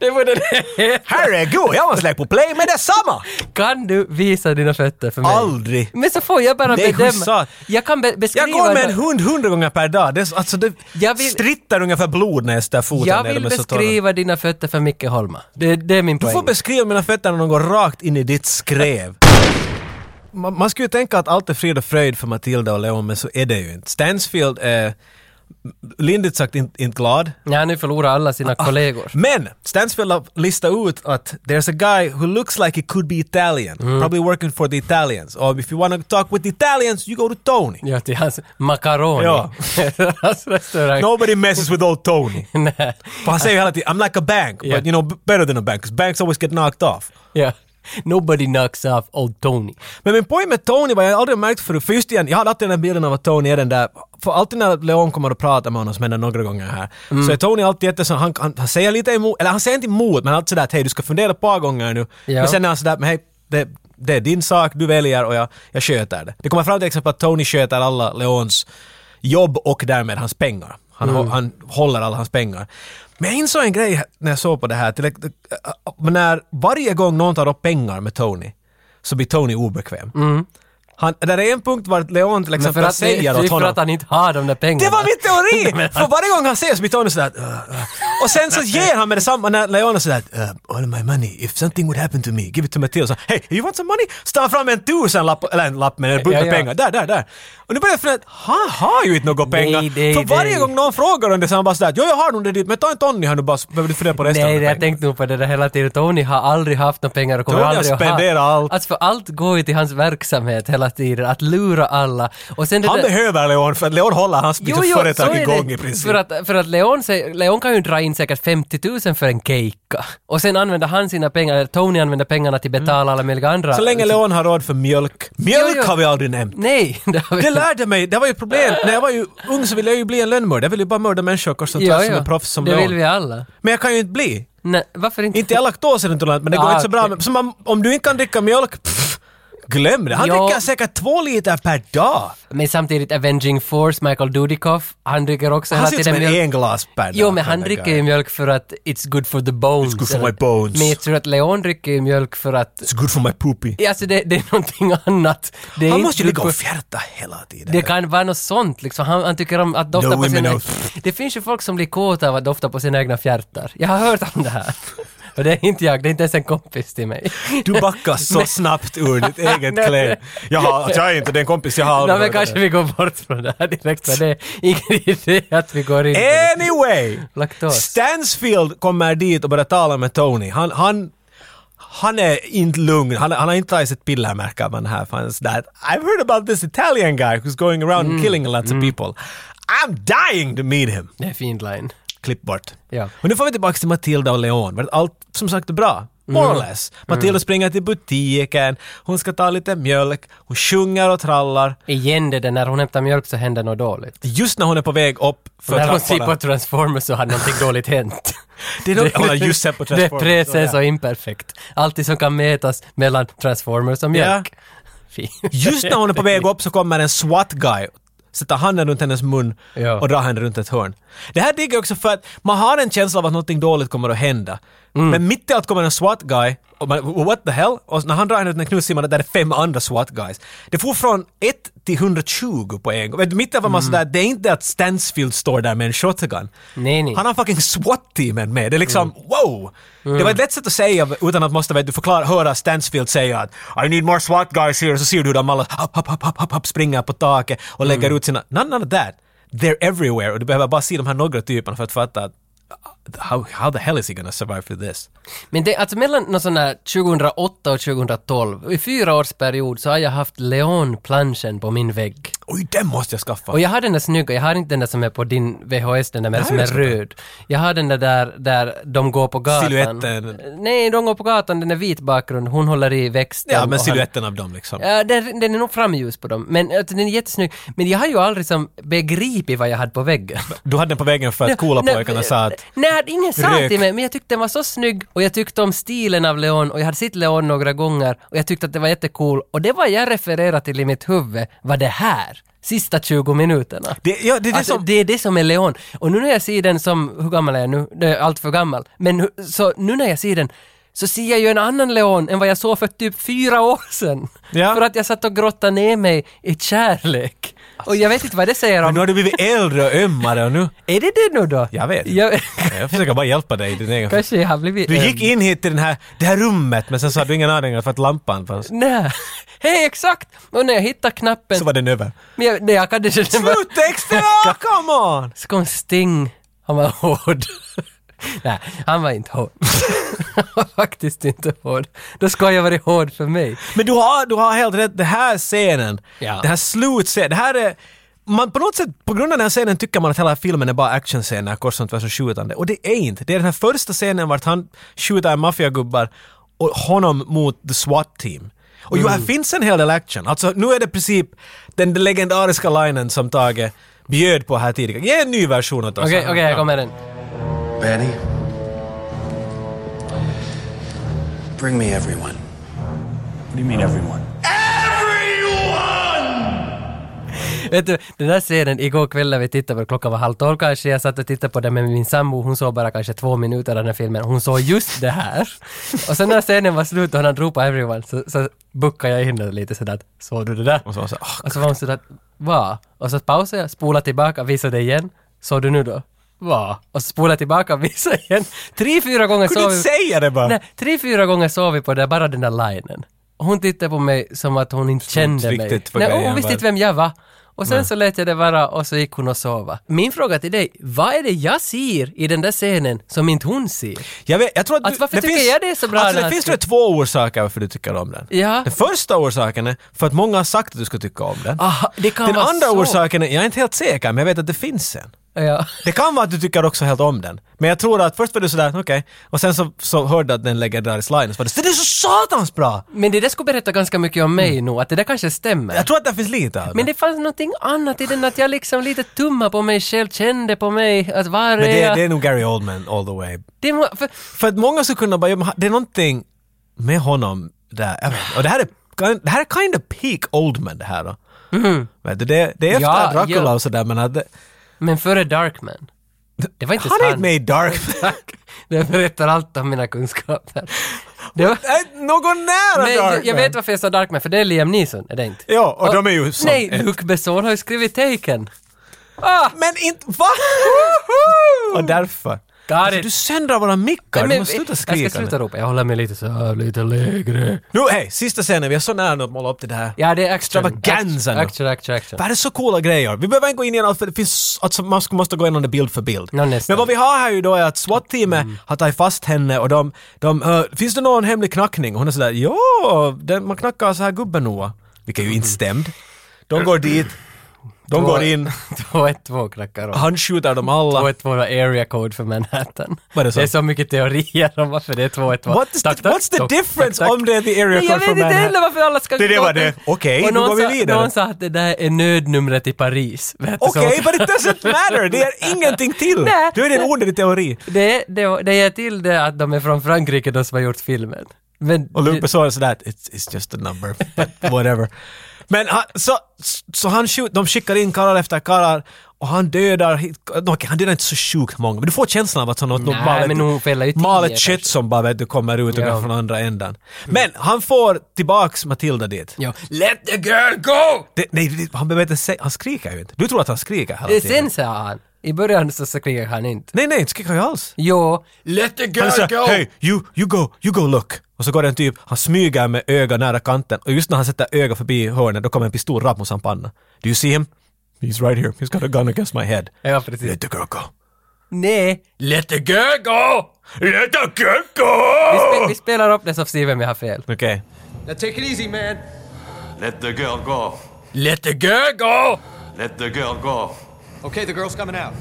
Speaker 1: Det borde det heta.
Speaker 2: Herregud, jag måste lägga på play med detsamma!
Speaker 1: Kan du visa dina fötter för mig?
Speaker 2: Aldrig.
Speaker 1: Men så får jag bara
Speaker 2: Nej, hur
Speaker 1: bedöma.
Speaker 2: sa-
Speaker 1: Jag kan be- beskriva...
Speaker 2: Jag går med en hund hundra gånger per dag. Det, är, så- alltså, det
Speaker 1: Jag vill-
Speaker 2: strittar ungefär blod när jag sätter foten
Speaker 1: jag
Speaker 2: ner.
Speaker 1: vill
Speaker 2: De är så torra.
Speaker 1: beskriva dina fötter för Micke Holma. Det, det är min
Speaker 2: Du
Speaker 1: poäng.
Speaker 2: får beskriva mina fötter när de går rakt in i ditt skrev. Man, man skulle ju tänka att allt är frid och fröjd för Matilda och Leon, men så är det ju inte. Stansfield är lindrigt sagt inte inte glad.
Speaker 1: Ja, nu förlorar alla sina
Speaker 2: Ah,
Speaker 1: kollegor.
Speaker 2: Men Stansfield har listat ut att there's a guy who looks like he could be Italian, probably working for the Italians. Or if you want to talk with the Italians, you go to Tony.
Speaker 1: Ja, till hans macaroni.
Speaker 2: Ja.
Speaker 1: hans restaurang.
Speaker 2: Nobody messes with old Tony.
Speaker 1: Nej.
Speaker 2: För han säger ju hela tiden, I'm like a bank,
Speaker 1: Yeah.
Speaker 2: but you know, b- better than a bank, because banks always get knocked off.
Speaker 1: Ja. Nobody knocks off old Tony.
Speaker 2: Men min poäng med Tony var jag aldrig märkt förut, för just igen, jag hade alltid den här bilden av att Tony är den där, för alltid när Leon kommer och pratar med honom, som händer några gånger här,
Speaker 1: Mm.
Speaker 2: så är Tony alltid jättesån, han, han, han säger lite emot, eller han säger inte emot, men han är alltid sådär att hej du ska fundera ett par gånger nu,
Speaker 1: Ja.
Speaker 2: men sen är han sådär, men hej, det, det är din sak, du väljer och jag, jag sköter det. Det kommer fram till exempel att Tony sköter alla Leons jobb och därmed hans pengar. Han,
Speaker 1: Mm.
Speaker 2: hå- han håller alla hans pengar. Men jag insåg en grej här- när jag såg på det här, till, men när varje gång någon tar upp pengar med Tony, så blir Tony obekväm. Han, där är en punkt var Leon till
Speaker 1: Mm. Men för
Speaker 2: exempel
Speaker 1: att, det
Speaker 2: säger
Speaker 1: är
Speaker 2: åt
Speaker 1: för
Speaker 2: honom...
Speaker 1: att han inte har de där pengarna.
Speaker 2: Det var min teori!
Speaker 1: Men han-
Speaker 2: För varje gång han säger så blir Tony sådär... "Ugh, ugh." Och sen så ger han med detsamma när Leon är sådär... "Uh, all my money, if something would happen to me, give it to Matilda. Så, Hey, you want some money? Så tar han fram en tusenlapp, eller en lapp med en bunt
Speaker 1: Ja,
Speaker 2: med
Speaker 1: ja.
Speaker 2: pengar. Där, där, där. Och nu börjar jag fundera, han har ju inte några pengar.
Speaker 1: nej,
Speaker 2: för varje
Speaker 1: nej.
Speaker 2: gång någon frågar om det så är han bara sådär... Jo, jag har nog det dit, men ta en Tony här nu bara så behöver du fundera på resten
Speaker 1: Nej,
Speaker 2: av
Speaker 1: det- jag
Speaker 2: pengarna."
Speaker 1: tänkte nog på det där hela tiden. Tony har aldrig haft några pengar och kommer
Speaker 2: Tony har
Speaker 1: aldrig att
Speaker 2: spenderat
Speaker 1: ha.
Speaker 2: allt.
Speaker 1: Alltså för allt går ju till hans verksamhet hela tiden, att lura alla. Och sen det
Speaker 2: Han
Speaker 1: där-
Speaker 2: behöver Leon, för att Leon håller hans liksom,
Speaker 1: så
Speaker 2: företag
Speaker 1: är
Speaker 2: igång
Speaker 1: det.
Speaker 2: i princip.
Speaker 1: För att, för att Leon, säger- Leon kan ju dra in säkert 50 000 för en keikka. Och sen använder han sina pengar, eller Tony använder pengarna till att betala alla möjliga andra.
Speaker 2: Mm. Så länge Leon har råd för mjölk. Mjölk
Speaker 1: Jo, jo.
Speaker 2: har vi aldrig nämnt.
Speaker 1: Nej, det har vi
Speaker 2: Det
Speaker 1: inte.
Speaker 2: lärde mig, det var ju ett problem. När jag var ju ung så ville jag ju bli en lönnmördare. Jag ville ju bara mörda människor och sånt
Speaker 1: Ja,
Speaker 2: som
Speaker 1: ja.
Speaker 2: en proffs som
Speaker 1: Det
Speaker 2: Leon.
Speaker 1: vill vi alla.
Speaker 2: Men jag kan ju inte bli.
Speaker 1: Nej, varför inte?
Speaker 2: Inte jag har laktosintolerant men det går
Speaker 1: Ah,
Speaker 2: inte så bra.
Speaker 1: okej.
Speaker 2: med- Så man, om du inte kan dricka mjölk, pff, glöm det. Han
Speaker 1: Ja.
Speaker 2: dricker säkert två liter per dag.
Speaker 1: Men samtidigt, Avenging Force, Michael Dudikoff, han dricker också
Speaker 2: Han
Speaker 1: hela
Speaker 2: ser ut som
Speaker 1: tiden
Speaker 2: en
Speaker 1: mjölk.
Speaker 2: englas per dag.
Speaker 1: Jo, men han
Speaker 2: den där
Speaker 1: dricker ju
Speaker 2: guyen.
Speaker 1: mjölk för att it's good for the bones.
Speaker 2: It's good for
Speaker 1: eller-
Speaker 2: my bones.
Speaker 1: Men jag tror att Leon dricker ju mjölk för att...
Speaker 2: It's good for my poopy.
Speaker 1: Alltså det, det är någonting annat. Det är
Speaker 2: Han
Speaker 1: inte
Speaker 2: måste ju
Speaker 1: good
Speaker 2: ligga och
Speaker 1: for-
Speaker 2: fjärta hela tiden.
Speaker 1: Det kan vara något sånt liksom. Han, han tycker om att dofta
Speaker 2: No
Speaker 1: på sina...
Speaker 2: women
Speaker 1: Det finns ju folk som blir kåta av att dofta på sina egna fjärtar. Jag har hört om det här. Och det är inte jag, det är inte ens en kompis till mig.
Speaker 2: Du backar så snabbt ur ditt eget
Speaker 1: Nej.
Speaker 2: klä. Jag, har, alltså, jag är inte den kompis jag har aldrig
Speaker 1: Nej, men
Speaker 2: hört
Speaker 1: kanske
Speaker 2: om det.
Speaker 1: vi går bort från det här direkt, för det är ingen idé att vi går in på
Speaker 2: Eh!
Speaker 1: det.
Speaker 2: Anyway!
Speaker 1: Laktos.
Speaker 2: Stansfield kommer dit och börjar tala med Tony. Han, han, han är inte lugn. Han, han har inte tagit sitt piller märker man här. För han är sådär, I've heard about this Italian guy who's going around
Speaker 1: Mm.
Speaker 2: and killing lots of people. I'm dying to meet him.
Speaker 1: Det är fin line.
Speaker 2: Klipp bort.
Speaker 1: Ja.
Speaker 2: Men nu får vi tillbaka till Matilda och Leon. För Allt som sagt är
Speaker 1: Mm.
Speaker 2: bra. More or less. Matilda springer till butiken, hon ska ta lite mjölk, hon sjunger och trallar.
Speaker 1: Igen det där, när hon hämtar mjölk så händer något dåligt.
Speaker 2: Just när hon är på väg upp för
Speaker 1: När hon ser
Speaker 2: trapporna-
Speaker 1: på Transformers så har någonting dåligt hänt.
Speaker 2: Det är då- Hon har just sett på Transformers.
Speaker 1: Det är presens
Speaker 2: Ja.
Speaker 1: och imperfekt. Alltid som kan mätas mellan Transformers och mjölk. Fy.
Speaker 2: Just när hon är på väg upp så kommer en SWAT guy sätta handen runt hennes mun
Speaker 1: Ja.
Speaker 2: och dra henne runt ett hörn. Det här digger jag också för att man har en känsla av att någonting dåligt kommer att hända. Men mitt i allt kommer en SWAT guy och man, what the hell? Och när han drar henne ut den knut ser man att där är fem andra SWAT guys. Det for från 1 till 120 på en gång. Vet du, Mitt i allt var man sådär, det är inte att Stansfield står där med en shotgun.
Speaker 1: Nej, Mm. nej.
Speaker 2: Han har fucking SWAT-teamen med. Det är liksom, wow! Det
Speaker 1: Mm.
Speaker 2: var ett lätt sätt att säga utan att måste vet, du förklara, höra Stansfield säga att I need more SWAT guys here. Så ser du hur de alla hopp, hopp, hopp, hopp, hopp, hopp, springer på taket
Speaker 1: Mm.
Speaker 2: och lägger ut sina... None, none of that. They're everywhere. Och du behöver bara se de här några typerna för att fatta att how, how the hell is he gonna survive through this?
Speaker 1: Men det, alltså mellan någon sån här 2008 och 2012, i fyra års period så har jag haft Leon-planschen på min vägg.
Speaker 2: Oj, den måste jag skaffa!
Speaker 1: Och jag har den där snygga, jag har inte den där som är på din VHS, den där med, som är
Speaker 2: just det.
Speaker 1: röd. Jag har den där, där där de går på gatan.
Speaker 2: Silhuetten.
Speaker 1: Nej, de går på gatan, den är vit bakgrund, hon håller i växten.
Speaker 2: ja,
Speaker 1: och
Speaker 2: men
Speaker 1: han-
Speaker 2: siluetten av dem liksom.
Speaker 1: Ja, den, den är nog framljus på dem, men alltså, den är jättesnygg. Men jag har ju aldrig som begripit vad jag hade på väggen.
Speaker 2: Du hade den på vägen för att coola pojkarna sa att
Speaker 1: Nej, ingen sa
Speaker 2: Rök.
Speaker 1: till mig, men jag tyckte den var så snygg och jag tyckte om stilen av Leon och jag hade sett Leon några gånger och jag tyckte att det var jättecool och det var jag refererade till i mitt huvud var det här, sista 20 minuterna.
Speaker 2: det, ja, det är det
Speaker 1: Alltså,
Speaker 2: som...
Speaker 1: det är det som är Leon. Och nu när jag ser den som, hur gammal är jag nu? Det är allt för gammal. Men nu- så nu när jag ser den så ser jag ju en annan Leon än vad jag såg för typ fyra år sedan.
Speaker 2: Ja.
Speaker 1: För att jag satt och grottade ner mig i kärlek. Och jag vet inte vad det säger
Speaker 2: Men
Speaker 1: om...
Speaker 2: nu har du blivit äldre och ömmare och nu...
Speaker 1: Är det det nu då?
Speaker 2: Jag vet inte.
Speaker 1: Jag,
Speaker 2: Jag försöker bara hjälpa dig i din egen...
Speaker 1: kanske jag har blivit...
Speaker 2: Du gick
Speaker 1: äldre.
Speaker 2: in hit till den här, det här rummet men sen så hade du ingen aning för att lampan fanns.
Speaker 1: Nej. Hej, exakt! Och när jag hittade knappen...
Speaker 2: Så var den över.
Speaker 1: Men jag, nej, jag kan inte...
Speaker 2: Sluttexterna! Come on!
Speaker 1: Så kom Sting. Han var hård. Nej, han var inte hård. Han var faktiskt inte hård. Då ska jag vara hård för mig.
Speaker 2: Men du har, du har helt rätt, den här scenen,
Speaker 1: Ja.
Speaker 2: den här slutscenen, det här är... Man på något sätt, på grund av den här scenen tycker man att hela filmen är bara actionscener kors och tvärs och skjutande. Och det är inte. Det är den här första scenen vart han skjuter en maffiagubbar och honom mot the SWAT team. Och ju, här
Speaker 1: Mm.
Speaker 2: finns en hel del action. Alltså nu är det i princip den legendariska linen som Tage bjöd på här tidigare. Ge en ny version åt oss.
Speaker 1: Okej, okej, jag kommer den.
Speaker 9: Benny, bring me everyone.
Speaker 5: What do you mean, everyone?
Speaker 1: Vet du, den där scenen igår kväll när vi tittade på klockan var halv tolv kanske, jag satt och tittade på den med min sambo, hon såg bara kanske två minuter av den här filmen, hon såg just det här. Och sen när scenen var slut och han hade ropat everyone så, så buckade jag in den lite sådär att såg du det där?
Speaker 2: Och så var det så, "Ah,
Speaker 1: Och så var hon sådär att va? Och så pausade jag, spolade tillbaka, visade det igen, såg du nu då? Va? Och så spolade jag tillbaka, visade igen. Tre, fyra gånger
Speaker 2: Kunde
Speaker 1: såg vi...
Speaker 2: du inte säga det bara?
Speaker 1: Nej, tre, fyra gånger såg vi på det, där, bara den där linen. Hon tittade på mig som att hon inte kände
Speaker 2: inte
Speaker 1: mig.
Speaker 2: riktigt vad
Speaker 1: Nej,
Speaker 2: grejen
Speaker 1: hon visste
Speaker 2: var.
Speaker 1: inte vem jag var. Och sen så lät jag det vara och så gick hon och sova. Min fråga till dig, vad är det jag ser i den där scenen som inte hon ser?
Speaker 2: Jag, vet, jag tror att
Speaker 1: Alltså, varför tycker jag det är så bra
Speaker 2: Alltså,
Speaker 1: när
Speaker 2: det
Speaker 1: han
Speaker 2: finns
Speaker 1: ska-
Speaker 2: tror jag två orsaker varför du tycker om den.
Speaker 1: Ja.
Speaker 2: Den första orsaken är för att många har sagt att du ska tycka om den.
Speaker 1: Aha, Ah, det kan
Speaker 2: den
Speaker 1: vara
Speaker 2: andra
Speaker 1: så.
Speaker 2: orsaken är, jag är inte helt säker, men jag vet att det finns en.
Speaker 1: Ja.
Speaker 2: Det kan vara att du tycker också helt om den. Men jag tror att först var du sådär, okej. Och sen så, så hörde du att den legendarisk line och så var det, det är så satans bra!
Speaker 1: Men det där skulle berätta ganska mycket om mig nu, att det där kanske stämmer.
Speaker 2: Jag tror att det finns lite av det.
Speaker 1: Men det fanns någonting annat i den, att jag liksom lite tummade på mig själv, kände på mig, att var
Speaker 2: Men
Speaker 1: är
Speaker 2: det,
Speaker 1: jag?
Speaker 2: det är nog Gary Oldman all the way.
Speaker 1: Det må- för,
Speaker 2: För att många skulle kunna bara, ja, men det är någonting med honom där. Jag vet, och det här är det här är kind of peak Oldman det här då. Vet du, det, det är efter
Speaker 1: Mm-hmm. Ja,
Speaker 2: Dracula
Speaker 1: ja.
Speaker 2: och sådär men att det,
Speaker 1: men före Darkman. Det var inte
Speaker 2: han är inte
Speaker 1: sant.
Speaker 2: med i Dark.
Speaker 1: Tack. Det berättar allt om mina kunskaper. Det var,
Speaker 2: Nej, Äh, Någon nära
Speaker 1: men
Speaker 2: Darkman!
Speaker 1: jag vet varför jag sa Darkman, för det är Liam Neeson, är det inte?
Speaker 2: Ja, och de är ju som
Speaker 1: Nej,
Speaker 2: ett.
Speaker 1: Luc Besson har ju skrivit Taken. Ah!
Speaker 2: Men inte, va? och därför. Alltså,
Speaker 1: it.
Speaker 2: du söndrar våra mickar,
Speaker 1: Men
Speaker 2: du måste sluta
Speaker 1: Jag
Speaker 2: skrika.
Speaker 1: ska sluta ropa, jag håller mig lite så här, lite lägre.
Speaker 2: Nu, hej, sista scenen, vi är så nära nu att måla upp det här.
Speaker 1: Ja, det är action.
Speaker 2: Extravaganza nu.
Speaker 1: Action, action, action.
Speaker 2: Det här är så coola grejer. Vi behöver inte gå in i allt för det finns, alltså man ska- måste gå igenom det bild för bild.
Speaker 1: Ja, nästan. Mm.
Speaker 2: Men vad vi har här ju då är att SWAT-teamet har tagit fast henne och de, de eh, finns det någon hemlig knackning? Och hon är sådär, ja, den, man knackar så här gubben Noah. Vilket ju
Speaker 1: Mm.
Speaker 2: inte stämde. De går dit, de går in,
Speaker 1: 212 knackar om.
Speaker 2: han skjuter dem alla.
Speaker 1: 212 var area code för Manhattan.
Speaker 2: Var det så?
Speaker 1: det är så mycket teorier om varför det är 212.
Speaker 2: What is
Speaker 1: Tack,
Speaker 2: the,
Speaker 1: tack,
Speaker 2: what's the
Speaker 1: tack,
Speaker 2: difference
Speaker 1: tack, tack.
Speaker 2: om det är the area
Speaker 1: Nej, jag vet
Speaker 2: code from
Speaker 1: inte heller
Speaker 2: Manhattan?
Speaker 1: varför alla ska...
Speaker 2: Det- det var det. Okej,
Speaker 1: Och
Speaker 2: nu
Speaker 1: någon
Speaker 2: går vi
Speaker 1: sa-
Speaker 2: vidare.
Speaker 1: Någon sa att det där är nödnumret i Paris. Vet du, så-
Speaker 2: Okej, but it doesn't matter! Det är ingenting till!
Speaker 1: Nej.
Speaker 2: Du är det en onödig teori.
Speaker 1: Det, det, det är till det att de är från Frankrike, de som har gjort filmen. Men
Speaker 2: Och
Speaker 1: det-
Speaker 2: Lupe sa sådär, it's, it's just a number, but whatever. Men han, så, så han skjut, de skickar in karlar efter karlar och han dödar, okej han dödar inte så sjukt många, men du får känslan av att han har
Speaker 1: Nej, men nog fäller ju tio
Speaker 2: malet
Speaker 1: kanske.
Speaker 2: kött som bara vet du kommer ut
Speaker 1: Ja. Mm.
Speaker 2: ungefär från andra ändan. Men han får tillbaks Matilda dit.
Speaker 1: Ja. Let the girl go!
Speaker 2: Det, nej, det- han behöver inte säga, han skriker ju inte. Du tror att han skriker hela
Speaker 1: Det är
Speaker 2: tiden?
Speaker 1: sen sa han. I början så skriker han inte.
Speaker 2: Nej, nej, inte skriker jag alls.
Speaker 1: Jo. Let the
Speaker 2: Han säger hey, you, you go, you go look. Och så går den typ, han smyger med öga nära kanten och just när han sätter öga förbi hörnet då kommer en pistol rakt mot hans panna. Do you see him? He's right here, he's got a gun against my head.
Speaker 1: Ja, precis.
Speaker 2: Let the girl go.
Speaker 1: Nej. Let the girl go!
Speaker 2: Let the girl
Speaker 1: Vi, spe- vi
Speaker 2: go!
Speaker 1: spelar upp det så ser vi om jag har fel.
Speaker 2: Okej.
Speaker 1: Now take it easy man.
Speaker 5: Let the girl go.
Speaker 1: Let the girl go!
Speaker 5: Let the girl go.
Speaker 10: Okay, the girl's coming out.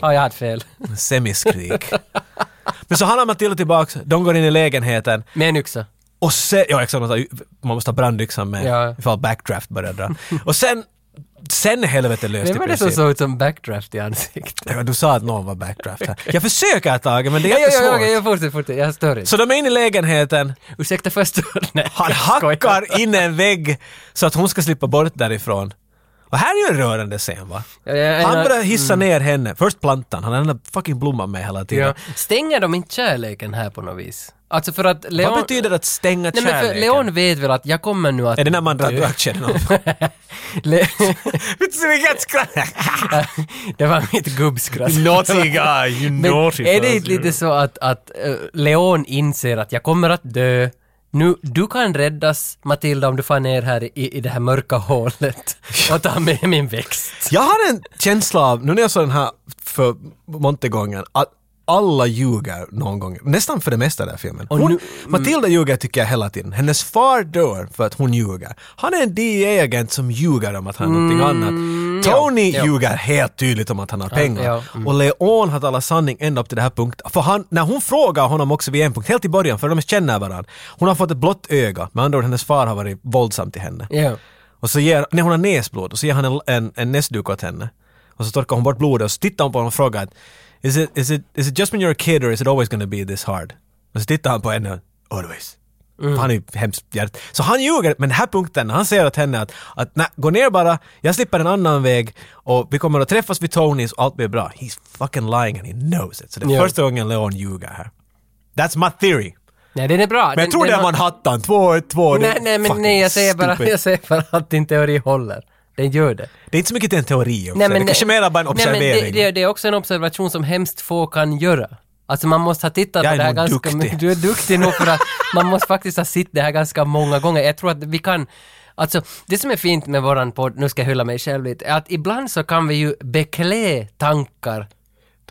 Speaker 1: Ja, jag hade fel.
Speaker 2: Semiskrik. Men så han och Matilda tillbaks, de går in i lägenheten
Speaker 1: Med en yxa.
Speaker 2: och sen, ja exakt, man måste ha- man måste ha brandyxan med
Speaker 1: Ja.
Speaker 2: ifall backdraft börjar dra. Och sen, sen är helvetet löst
Speaker 1: Vem
Speaker 2: i
Speaker 1: var det som
Speaker 2: princip.
Speaker 1: såg ut som backdraft i ansiktet?
Speaker 2: Ja, Du sa att någon var backdraft här. Jag försöker ett tag men det
Speaker 1: Ja,
Speaker 2: är
Speaker 1: ja,
Speaker 2: jättesvårt.
Speaker 1: ja, jag fortsätter, fortsätter. Jag stör inte.
Speaker 2: Så de är inne i lägenheten,
Speaker 1: Ursäkta först. Nej,
Speaker 2: han
Speaker 1: jag skojar.
Speaker 2: hackar in en vägg så att hon ska slippa bort därifrån. Och här är ju en rörande scen va?
Speaker 1: Ja, ja, ja,
Speaker 2: Han
Speaker 1: ja.
Speaker 2: börjar hissa ner henne. Först plantan, han har den där fucking blomman med hela tiden.
Speaker 1: Ja. Stänger de inte kärleken här på något vis? Alltså för att Leon...
Speaker 2: Vad betyder att stänga
Speaker 1: Nej, men för
Speaker 2: kärleken?
Speaker 1: Leon vet väl att jag kommer nu att...
Speaker 2: Är det när man drar Alltså,
Speaker 1: dö?
Speaker 2: draktkärnan av?
Speaker 1: Le...
Speaker 2: Vilket skratt!
Speaker 1: det var mitt gubbskratt.
Speaker 2: Naughty guy, you
Speaker 1: Men
Speaker 2: naughty
Speaker 1: är det
Speaker 2: person.
Speaker 1: inte lite så att, att eh, Leon inser att jag kommer att dö, nu, du kan räddas Matilda om du far ner här i, i det här mörka hålet och tar med min växt.
Speaker 2: Jag har en känsla av, nu när jag såg den här för monte gången, att alla ljuger någon gång. Nästan för det mesta i den här filmen. Hon,
Speaker 1: nu-
Speaker 2: Matilda ljuger tycker jag hela tiden. Hennes far dör för att hon ljuger. Han är en DEA-agent som ljuger om att han har någonting annat. Tony
Speaker 1: Mm. ja.
Speaker 2: ljuger helt tydligt om att han har pengar.
Speaker 1: ja, Mm.
Speaker 2: Och Leon har talat sanning ända upp till det här punkten. För han, när hon frågar honom också vid en punkt, helt i början, för de känner varandra. Hon har fått ett blått öga, med andra ord hennes far har varit våldsam till henne.
Speaker 1: Ja.
Speaker 2: Och så ger, när hon har näsblod, och så ger han en, en, en näsduk åt henne. Och så torkar hon bort blodet och så tittar hon på honom och frågar att is it, is, it, is it just when you're a kid or is it always gonna be this hard? Och så tittar han på henne och always.
Speaker 1: Mm.
Speaker 2: Han är ju hemskt hjärt. Så han ljuger, men den här punkten, han säger åt henne att, att nej, gå ner bara, jag slipper en annan väg och vi kommer att träffas vid Tonys och allt blir bra. He's fucking lying and he knows it. Så det är
Speaker 1: Ja.
Speaker 2: första gången Leon ljuger här. That's my theory.
Speaker 1: Nej, den är bra.
Speaker 2: Men jag tror det var en hattan, två, två. det är
Speaker 1: Nej, nej, men
Speaker 2: fucking
Speaker 1: nej, jag säger, bara,
Speaker 2: stupid.
Speaker 1: jag säger bara att din teori håller. Den gör det.
Speaker 2: Det är inte så mycket till en teori också.
Speaker 1: Nej,
Speaker 2: det kanske mer bara en observering.
Speaker 1: Nej, men det, det, det är också en observation som hemskt få kan göra. Alltså man måste ha tittat
Speaker 2: Jag
Speaker 1: på
Speaker 2: är
Speaker 1: det här
Speaker 2: nog
Speaker 1: ganska
Speaker 2: duktig.
Speaker 1: mycket. Du är duktig nog för att man måste faktiskt ha sett det här ganska många gånger. Jag tror att vi kan Alltså, det som är fint med våran podd, nu ska jag hylla mig själv lite, är att ibland så kan vi ju beklä tankar.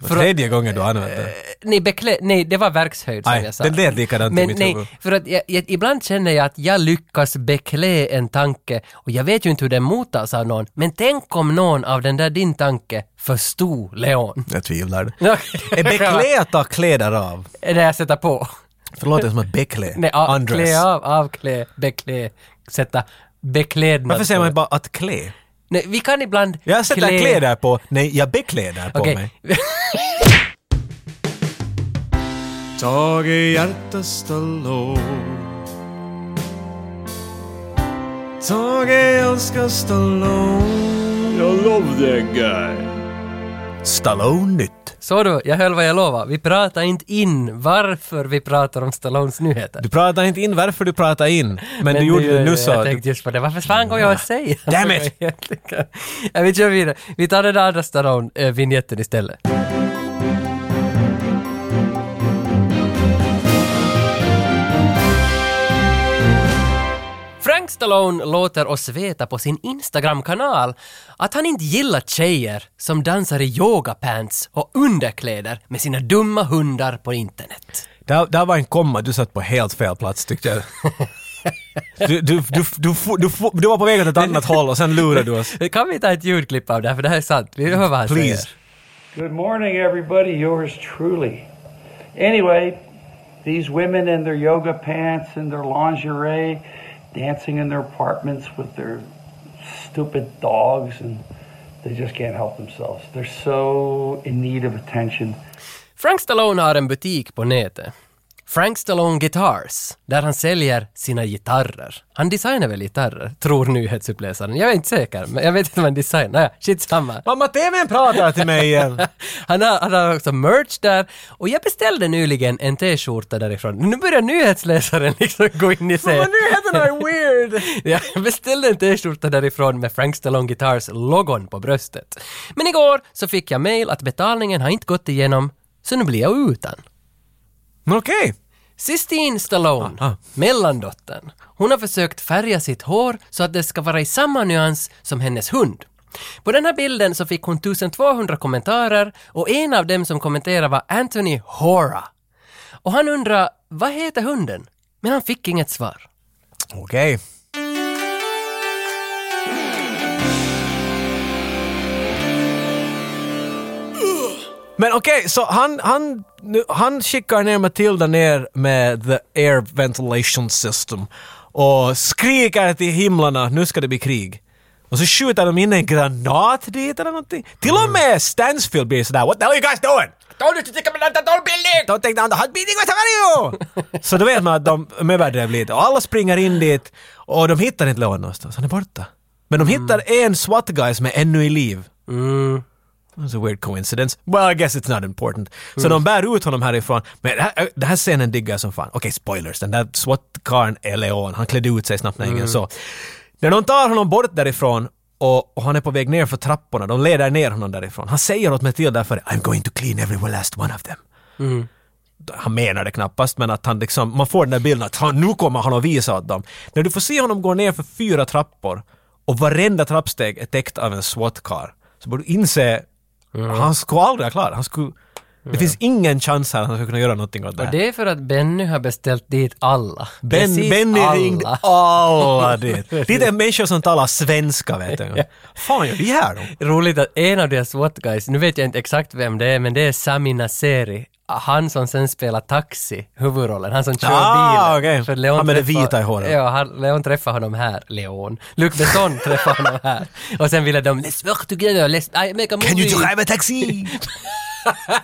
Speaker 2: det var tredje gången du använde det.
Speaker 1: Nej, beklä, nej det var verkshöjd som
Speaker 2: Nej,
Speaker 1: jag sa.
Speaker 2: det lät likadant i
Speaker 1: Men
Speaker 2: mitt huvud.
Speaker 1: nej, för att jag, jag, ibland känner jag att jag lyckas beklä en tanke och jag vet ju inte hur den mottas av någon, men tänk om någon av den där din tanke förstod Leon.
Speaker 2: Jag tvivlar.
Speaker 1: Okej.
Speaker 2: Är beklä att ta kläder av?
Speaker 1: Det jag sätta på.
Speaker 2: Förlåt, det är som att beklä.
Speaker 1: Nej, av,
Speaker 2: Undress.
Speaker 1: klä av, avklä, beklä, sätta beklädnad.
Speaker 2: Varför säger man
Speaker 1: på.
Speaker 2: inte bara att klä?
Speaker 1: Nej, vi kan ibland
Speaker 2: Jag sätter
Speaker 1: klä-
Speaker 2: kläder på, nej jag bekläder på
Speaker 1: Okej.
Speaker 2: mig.
Speaker 10: Tage hjärta Stallone Tage älskar Stallone Jag love that guy
Speaker 2: Stallone nytt.
Speaker 1: Så du, jag höll vad jag lovade. Vi pratar inte in varför vi pratar om Stallones nyheter.
Speaker 2: Du pratar inte in varför du pratar in, men, du gjorde det nu
Speaker 1: Jag
Speaker 2: så.
Speaker 1: tänkte just på det. Varför fan går jag och säger?
Speaker 2: Damn it!
Speaker 1: ja, vi kör vidare. Vi tar den där andra Stallone-vinjetten istället. Frank Stallone låter oss veta på sin Instagram-kanal att han inte gillar tjejer som dansar i yogapants och underkläder med sina dumma hundar på internet.
Speaker 2: Där, där var en komma, du satt på helt fel plats tyckte jag. Du, du, du, du, du, du, du var på väg åt ett annat håll och sen lurade du oss.
Speaker 1: Kan vi ta ett ljudklipp av det här? För det här är sant. Vi hör vad han
Speaker 2: Please.
Speaker 1: säger.
Speaker 10: Good morning everybody, yours truly. Anyway, these women in their yoga pants and their lingerie dancing in their apartments with their stupid dogs and they just can't help themselves. They're so in need of attention.
Speaker 1: Frank Stallone har en butik på nätet. Frank Stallone Guitars, där han säljer sina gitarrer. Han designar väl gitarrer, tror nyhetsuppläsaren. Jag är inte säker, men jag vet inte vad han designar. Nej, skitsamma.
Speaker 2: Mamma, TVn pratar till mig igen!
Speaker 1: han, har, han har också merch där och jag beställde nyligen en t-skjorta därifrån. Nu börjar nyhetsläsaren liksom gå in i sig.
Speaker 2: Mamma, nyheterna är weird!
Speaker 1: Ja, jag beställde en t-skjorta därifrån med Frank Stallone Guitars logon på bröstet. Men igår så fick jag mail att betalningen har inte gått igenom, så nu blir jag utan.
Speaker 2: Okej.
Speaker 1: Sistine Stallone,
Speaker 2: Ah, ah.
Speaker 1: mellandottern, hon har försökt färga sitt hår så att det ska vara i samma nyans som hennes hund. På den här bilden så fick hon 1200 kommentarer och en av dem som kommenterade var Anthony Hora. Och han undrar, vad heter hunden? Men han fick inget svar.
Speaker 2: Okej. Men okej, så han, han, nu, han skickar ner Matilda ner med the air ventilation system och skriker till himlarna, nu ska det bli krig. Och så skjuter de in en granat dit eller någonting. Till och med Stansfield blir sådär “What the hell are you guys doing?” “Don't you take down the whole building!” “Don't take down the whole building, what are you?” Så då vet man att de de överdrev lite och alla springer in dit och de hittar inte Leon någonstans, han är borta. Men de hittar en SWAT guy som är ännu i liv. That's a weird coincidence. Well, I guess it's not important. Så de bär ut honom härifrån. Men det här, den här scenen diggar jag som fan. Okej, spoilers. Den där SWAT-karln är Leon. Han klädde ut sig snabbt när ingen såg. När de tar honom bort därifrån och, och han är på väg ner för trapporna, de leder ner honom därifrån. Han säger åt Matilda för I'm going to clean every last one of them. Han menar det knappast, men att han liksom, man får den där bilden att han, nu kommer han att visa åt dem. När du får se honom gå ner för fyra trappor och varenda trappsteg är täckt av en SWAT-kar, så borde du inse han skulle aldrig ha klarat han skulle, Det finns ingen chans här att han skulle kunna göra någonting åt det
Speaker 1: Och
Speaker 2: här.
Speaker 1: det är för att Benny har beställt dit alla.
Speaker 2: Äh. Ben,
Speaker 1: Precis
Speaker 2: Benny
Speaker 1: alla.
Speaker 2: ringde alla dit. Det är människor som talar svenska vet du. Fan gör vi här då?
Speaker 1: Roligt att en av deras SWAT guys, nu vet jag inte exakt vem det är, men det är Sami Nasseri. Han som sen spelar taxi, huvudrollen. Han som kör
Speaker 2: Ah,
Speaker 1: bilen.
Speaker 2: okej.
Speaker 1: För Leon
Speaker 2: Han med det
Speaker 1: träffar-
Speaker 2: vita i håret.
Speaker 1: Ja, han, Leon träffar honom här. Leon. Luc Besson träffar honom här. Och sen ville de “Let's work together, let's I make a movie”.
Speaker 2: Can you drive a taxi?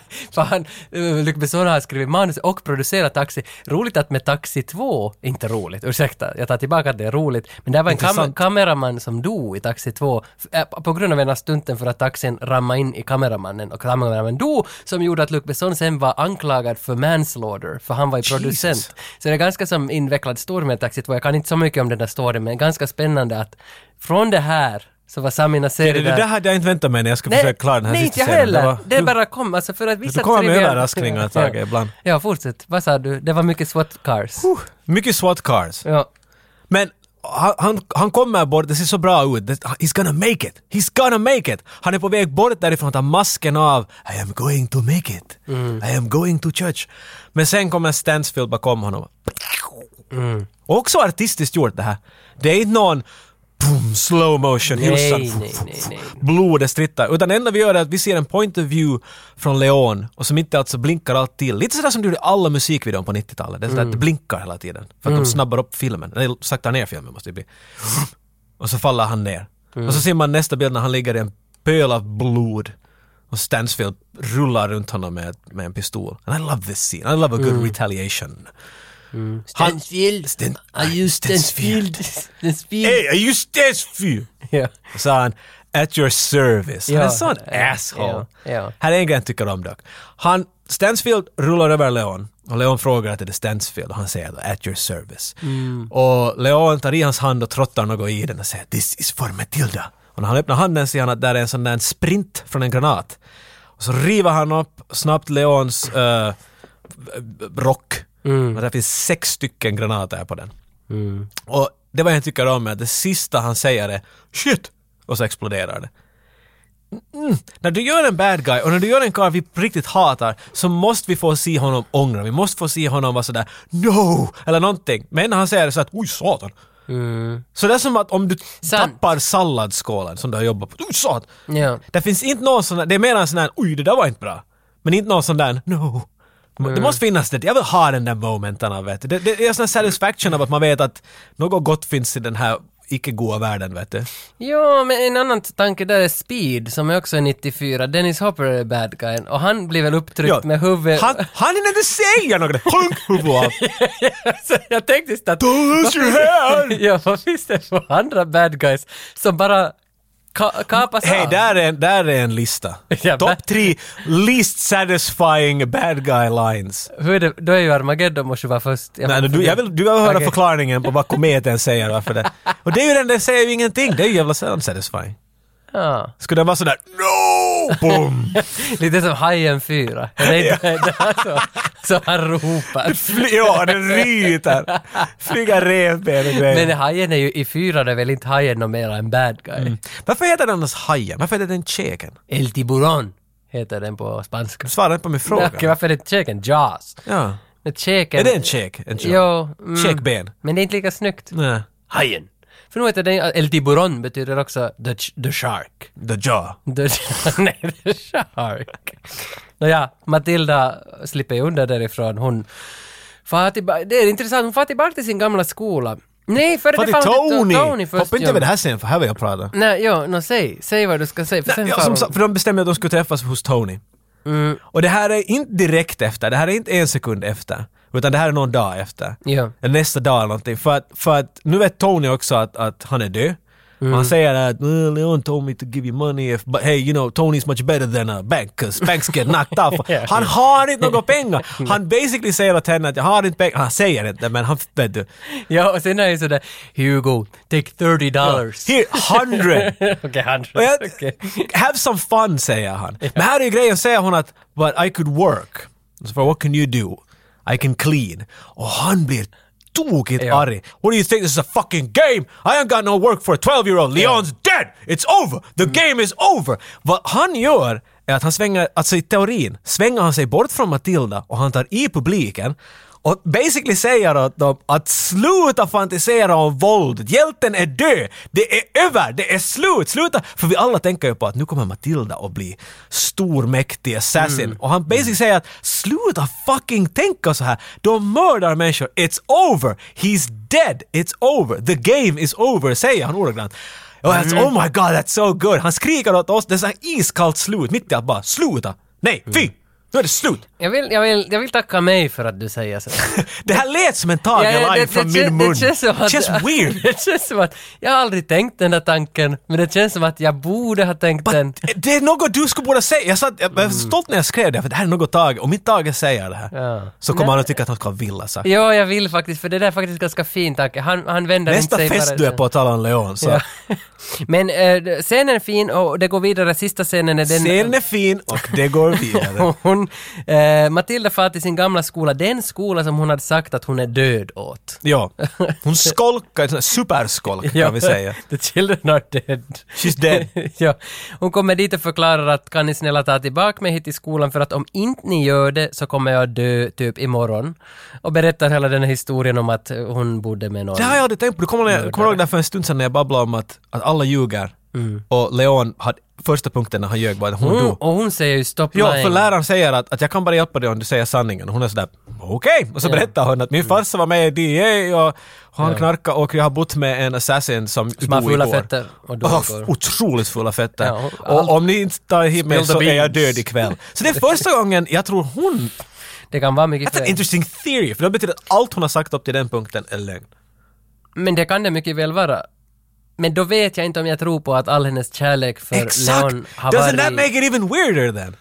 Speaker 1: För han, eh, Luc Besson har skrivit manus och producerat Taxi. Roligt att med Taxi 2, inte roligt, ursäkta, jag tar tillbaka att det är roligt, men det var en kam-
Speaker 2: Intressant.
Speaker 1: kameraman som dog i Taxi 2 f- eh, på grund av ena stunten för att taxin rammade in i kameramannen och kameramannen dog, som gjorde att Luc Besson sen var anklagad för manslaughter, för han var ju producent. Så det är ganska som invecklad story med Taxi 2, jag kan inte så mycket om den där storyn, men ganska spännande att från det här så var Sami
Speaker 2: Det,
Speaker 1: Nasseri
Speaker 2: det, det där hade jag inte väntat mig när jag ska försöka klara den här
Speaker 1: nej,
Speaker 2: sista
Speaker 1: inte jag
Speaker 2: scenen.
Speaker 1: heller.
Speaker 2: Det
Speaker 1: Det,
Speaker 2: var- du-
Speaker 1: bara kom. Alltså för att vissa
Speaker 2: Du kommer med
Speaker 1: triviala-
Speaker 2: överraskningar, Tage, ibland.
Speaker 1: Ja, fortsätt. Vad sa du? Det var mycket SWAT cars.
Speaker 2: Mycket SWAT cars.
Speaker 1: Ja.
Speaker 2: Men han, han, han kommer bort, det ser så bra ut. Det- He's gonna make it! He's gonna make it! Han är på väg bort därifrån, tar masken av. I am going to make it!
Speaker 1: Mm.
Speaker 2: I am going to church! Men sen kommer Stansfield bakom honom.
Speaker 1: Mm.
Speaker 2: Också artistiskt gjort det här. Det är inte någon boom, slow motion,
Speaker 1: Nej,
Speaker 2: hylsan.
Speaker 1: nej, nej, nej.
Speaker 2: Blodet strittar. Utan det enda vi gör är att vi ser en point of view från Leon och som inte alltså blinkar allt till. Lite sådär som du gjorde i alla musikvideon på 90-talet. Det är sådär att det blinkar hela tiden. För att de snabbar upp filmen. Eller saktar ner filmen måste det bli. Och så faller han ner. Och så ser man nästa bild när han ligger i en pöl av blod. Och Stansfield rullar runt honom med, med en pistol. And I love this scene. I love a good retaliation. Han-
Speaker 1: Stansfield.
Speaker 2: Stan-
Speaker 1: Are you Stansfield? Stansfield.
Speaker 2: Hey, are you Stansfield?
Speaker 1: Ja.
Speaker 2: sa han “at your service”. Han är
Speaker 1: Ja.
Speaker 2: en sån
Speaker 1: Ja.
Speaker 2: asshole.
Speaker 1: Ja. Ja.
Speaker 2: Här är en grej jag tycker om dock. Han, Stansfield rullar över Leon och Leon frågar att det är Stansfield och han säger då, “at your service”.
Speaker 1: Mm.
Speaker 2: Och Leon tar i hans hand och trottar något i den och säger “this is for Matilda”. Och när han öppnar handen ser han att där är en sån där sprint från en granat. Och så river han upp snabbt Leons eh, rock.
Speaker 1: Mm.
Speaker 2: Och där finns sex stycken granater på den. Och det var jag tycker om med att det sista han säger är “shit” och så exploderar det. Mm. När du gör en bad guy och när du gör en karl vi riktigt hatar så måste vi få se honom ångra, vi måste få se honom vara sådär “no” eller någonting. Men när han säger det så att “oj satan” Så det är som att om du
Speaker 1: Sant.
Speaker 2: tappar salladsskålen som du har jobbat på. Oj satan!
Speaker 1: Ja.
Speaker 2: Det finns inte någon sån där, det är mer en sån där “oj det där var inte bra”. Men inte någon sån där “no”.
Speaker 1: Mm.
Speaker 2: Det måste finnas det, jag vill ha den där momenten av vet du. Det, det är sån här satisfaction av att man vet att något gott finns i den här icke-goa världen, vet du.
Speaker 1: Jo, men en annan tanke där är Speed, som är också är 94. Dennis Hopper är bad guyen och han blir väl upptryckt
Speaker 2: Ja,
Speaker 1: med huvudet...
Speaker 2: Han, han hinner inte säga något! Honk huvud av!
Speaker 1: Så jag tänkte just att...
Speaker 2: Don't lose your hair!
Speaker 1: ja, vad finns det för andra bad guys som bara ka- kapas
Speaker 2: Hej,
Speaker 1: av?
Speaker 2: där, är en- där är en lista.
Speaker 1: Ja, men-
Speaker 2: Topp tre least satisfying bad guy lines.
Speaker 1: Hur är det? Då är ju Armageddon måste ju vara först. Jag
Speaker 2: Nej,
Speaker 1: bara-
Speaker 2: du, jag vill, du vill höra
Speaker 1: Okej.
Speaker 2: förklaringen på vad kometen säger. Varför det. Och det är ju den, den säger ju ingenting. Det är ju jävla sällan satisfying.
Speaker 1: Ja.
Speaker 2: Skulle den vara sådär NO! Boom!
Speaker 1: Lite som Hajen 4. Eller inte, det är så, så han ropar.
Speaker 2: Fly, ja, den ryter! Flyga revben och grejer.
Speaker 1: Men Hajen är ju i fyran är väl inte Hajen någon mera än bad guy?
Speaker 2: Varför heter den annars hajen? Varför heter den käken?
Speaker 1: El Tiburón heter den på spanska.
Speaker 2: Du svarar inte på min fråga.
Speaker 1: Okej, varför är det käken? Jaws.
Speaker 2: Ja.
Speaker 1: Men käken...
Speaker 2: Är det en käk? En käk?
Speaker 1: Jo. mm.
Speaker 2: Käkben?
Speaker 1: Men det är inte lika snyggt.
Speaker 2: Nej.
Speaker 1: Hajen. För nu heter den El Tiburón betyder också the, ch- the shark.
Speaker 2: The jaw.
Speaker 1: The, nej, the shark. Nåja, Matilda slipper ju undan därifrån. Hon far tillbaka... Det är intressant, hon far tillbaka till sin gamla skola. Nej, för
Speaker 2: Fattig
Speaker 1: det far hon till
Speaker 2: Tony!
Speaker 1: Tony först.
Speaker 2: Hoppa inte
Speaker 1: ja.
Speaker 2: över det här sen, för här vill jag prata.
Speaker 1: Nej, jo, nå säg. Säg vad du ska säga, för sen
Speaker 2: Ja,
Speaker 1: far
Speaker 2: som
Speaker 1: hon- Mm.
Speaker 2: sagt, för de bestämde att de skulle träffas hos Tony. Och det här är inte direkt efter, det här är inte en sekund efter. Utan det här är någon dag efter.
Speaker 1: Ja.
Speaker 2: Eller nästa dag eller någonting. För att, för att nu vet Tony också att, att han är död.
Speaker 1: Mm.
Speaker 2: Han säger att "Eh, Leon told me to give you money if, but hey you know Tony's much better than a bank 'cause banks get knocked off. Han har inte några pengar! Han basically säger åt henne att jag har inte pengar. Han säger inte men han vet du.
Speaker 1: Ja, och sen är det sådär, Hugo, take 30 dollars.
Speaker 2: Here, 100!
Speaker 1: Okej, han
Speaker 2: Och jag,
Speaker 1: okej.
Speaker 2: Have some fun, säger han. Men här är ju grejen, säger hon att “But I could work”. Så för, “What can you do?” “I can clean”. Och han blir tokigt
Speaker 1: Ja.
Speaker 2: arg. “What do you think? This is a fucking game! I ain't got no work for a 12-year-old! Leon's dead! It's over! The
Speaker 1: Mm.
Speaker 2: game is over!” Vad han gör är att han svänger, alltså i teorin, svänger han sig bort från Matilda och han tar i publiken och basically säger åt dem att sluta fantisera om våld. Hjälten är död. Det är över. Det är slut. Sluta. För vi alla tänker ju på att nu kommer Matilda att bli stor, mäktig assassin. Och han basically säger att sluta fucking tänka så här. De mördar människor. It's over. He's dead. It's over. The game is over, säger han ordagrant. Och jag mm. oh my god, that's so good. Han skriker åt oss. Det är så här iskallt slut. Mitt i allt bara, sluta. Nej, fy. Nu är det slut.
Speaker 1: Jag vill, jag, vill, jag vill tacka mig för att du säger så.
Speaker 2: Det här lät som en tagen
Speaker 1: Ja,
Speaker 2: line från
Speaker 1: kän-
Speaker 2: min mun.
Speaker 1: Det känns, som att,
Speaker 2: Känns weird.
Speaker 1: det känns som att jag har aldrig tänkt den där tanken, men det känns som att jag borde ha tänkt
Speaker 2: But
Speaker 1: den. Mm.
Speaker 2: det är något du skulle borde säga. Jag, satt, jag var stolt när jag skrev det, för det här är något Tage, om inte Tage säger det här
Speaker 1: Ja.
Speaker 2: så kommer han att tycka att han ska ha villa sagt.
Speaker 1: Ja, jag vill faktiskt, för det där är faktiskt ganska fin tanke. Han, han vänder
Speaker 2: Nästa
Speaker 1: inte sig
Speaker 2: fest
Speaker 1: bara-
Speaker 2: du är på talar om Leon. Så.
Speaker 1: Ja. Men eh, scenen är fin och det går vidare, sista scenen är den...
Speaker 2: Scenen är fin och det går vidare.
Speaker 1: Och hon, eh, Matilda far till sin gamla skola, den skola som hon hade sagt att hon är död åt.
Speaker 2: ja. Hon skolkar, en sån här superskolk kan vi säga.
Speaker 1: The children are dead.
Speaker 2: She's dead.
Speaker 1: ja. Hon kommer dit och förklarar att kan ni snälla ta tillbaka mig hit till skolan för att om inte ni gör det så kommer jag dö typ imorgon. Och berättar hela den här historien om att eh, hon bodde med någon.
Speaker 2: Det har jag aldrig tänkt på. Du kommer, jag kommer ihåg det här för en stund sedan när jag babblade om att, att alla ljuger.
Speaker 1: Mm.
Speaker 2: Och Leon, hade, första punkten när han ljög var att hon
Speaker 1: hon,
Speaker 2: dog.
Speaker 1: Mm, och hon säger ju stopp
Speaker 2: Ja,
Speaker 1: lying.
Speaker 2: för läraren säger att, att jag kan bara hjälpa dig om du säger sanningen. Och hon är sådär okej. Och så berättar hon att min farsa var med i DEA och han knarkade och jag har bott med en assassin som
Speaker 1: Som har
Speaker 2: dog
Speaker 1: fulla
Speaker 2: igår.
Speaker 1: fötter och dog
Speaker 2: Oh,
Speaker 1: igår.
Speaker 2: otroligt fulla fötter.
Speaker 1: Ja, och-
Speaker 2: och om ni inte tar hit mig
Speaker 1: Spill the
Speaker 2: så är jag
Speaker 1: beans.
Speaker 2: död ikväll. Så det är första gången jag tror hon...
Speaker 1: Det kan vara mycket
Speaker 2: That's an
Speaker 1: fel.
Speaker 2: interesting theory. För det betyder att allt hon har sagt upp till den punkten är lögn.
Speaker 1: Men det kan det mycket väl vara. Men då vet jag inte om jag tror på att all hennes kärlek för
Speaker 2: Exakt!
Speaker 1: Leon har
Speaker 2: Doesn't
Speaker 1: varit...
Speaker 2: that make it even weirder then?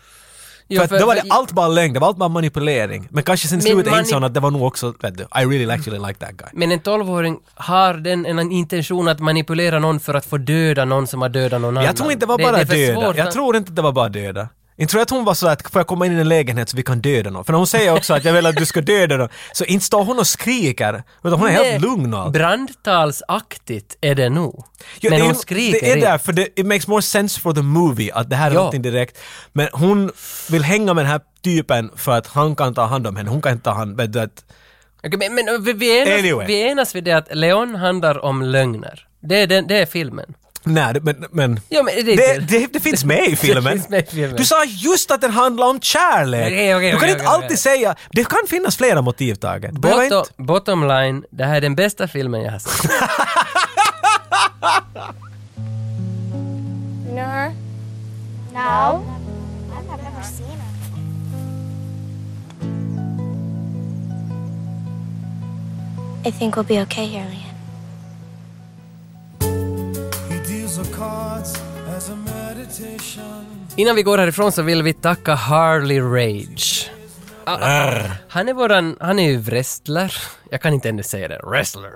Speaker 1: Ja,
Speaker 2: för att då var det
Speaker 1: för-
Speaker 2: allt bara lögn, det var allt bara manipulering. Men kanske sen i
Speaker 1: Men
Speaker 2: slutet insåg
Speaker 1: mani-
Speaker 2: hon att det var nog också, vet du, I really actually like that guy.
Speaker 1: Men en tolvåring har den en intention att manipulera någon för att få döda någon som har dödat någon annan.
Speaker 2: Jag tror inte det var bara
Speaker 1: för
Speaker 2: döda.
Speaker 1: svårt
Speaker 2: Jag
Speaker 1: att-
Speaker 2: tror inte det var bara döda. Inte tror jag att hon var så att får jag komma in i en lägenhet så vi kan döda någon? För när hon säger också att jag vill att du ska döda någon, så inte står hon och skriker, utan hon är
Speaker 1: Nej,
Speaker 2: helt lugn och allt.
Speaker 1: Brandtalsaktigt är det nog.
Speaker 2: Ja,
Speaker 1: Men
Speaker 2: det är,
Speaker 1: hon
Speaker 2: ju-
Speaker 1: skriker
Speaker 2: Det är
Speaker 1: inte.
Speaker 2: därför det, it makes more sense for the movie att det här är
Speaker 1: Ja.
Speaker 2: någonting direkt. Men hon vill hänga med den här typen för att han kan ta hand om henne. Hon kan inte ta hand vet du, att,
Speaker 1: Okej, men, men vi, vi, enas,
Speaker 2: Anyway.
Speaker 1: vi enas vid det att Leon handlar om lögner. Det är, den, det är filmen.
Speaker 2: Nej, det- men... men
Speaker 1: Ja, men det,
Speaker 2: det, det, det finns med i
Speaker 1: Det
Speaker 2: filmen.
Speaker 1: finns med i filmen.
Speaker 2: Du sa just att den handlar om kärlek.
Speaker 1: Okej, okej,
Speaker 2: du kan
Speaker 1: okej,
Speaker 2: inte
Speaker 1: okej,
Speaker 2: alltid
Speaker 1: okej.
Speaker 2: säga... Det kan finnas flera motiv, Tage. Det behöver
Speaker 1: Bottom,
Speaker 2: inte-
Speaker 1: bottom line, det här är den bästa filmen jag har sett.
Speaker 11: You know her?
Speaker 7: No. I've never seen her.
Speaker 6: I think we'll be okay here, Leon.
Speaker 12: He deals the cards as a meditation.
Speaker 1: Innan vi går härifrån så vill vi tacka Harley Rage. Ah, ah, han är våran, han är ju wrestler. Jag kan inte ännu säga det. Wrestler.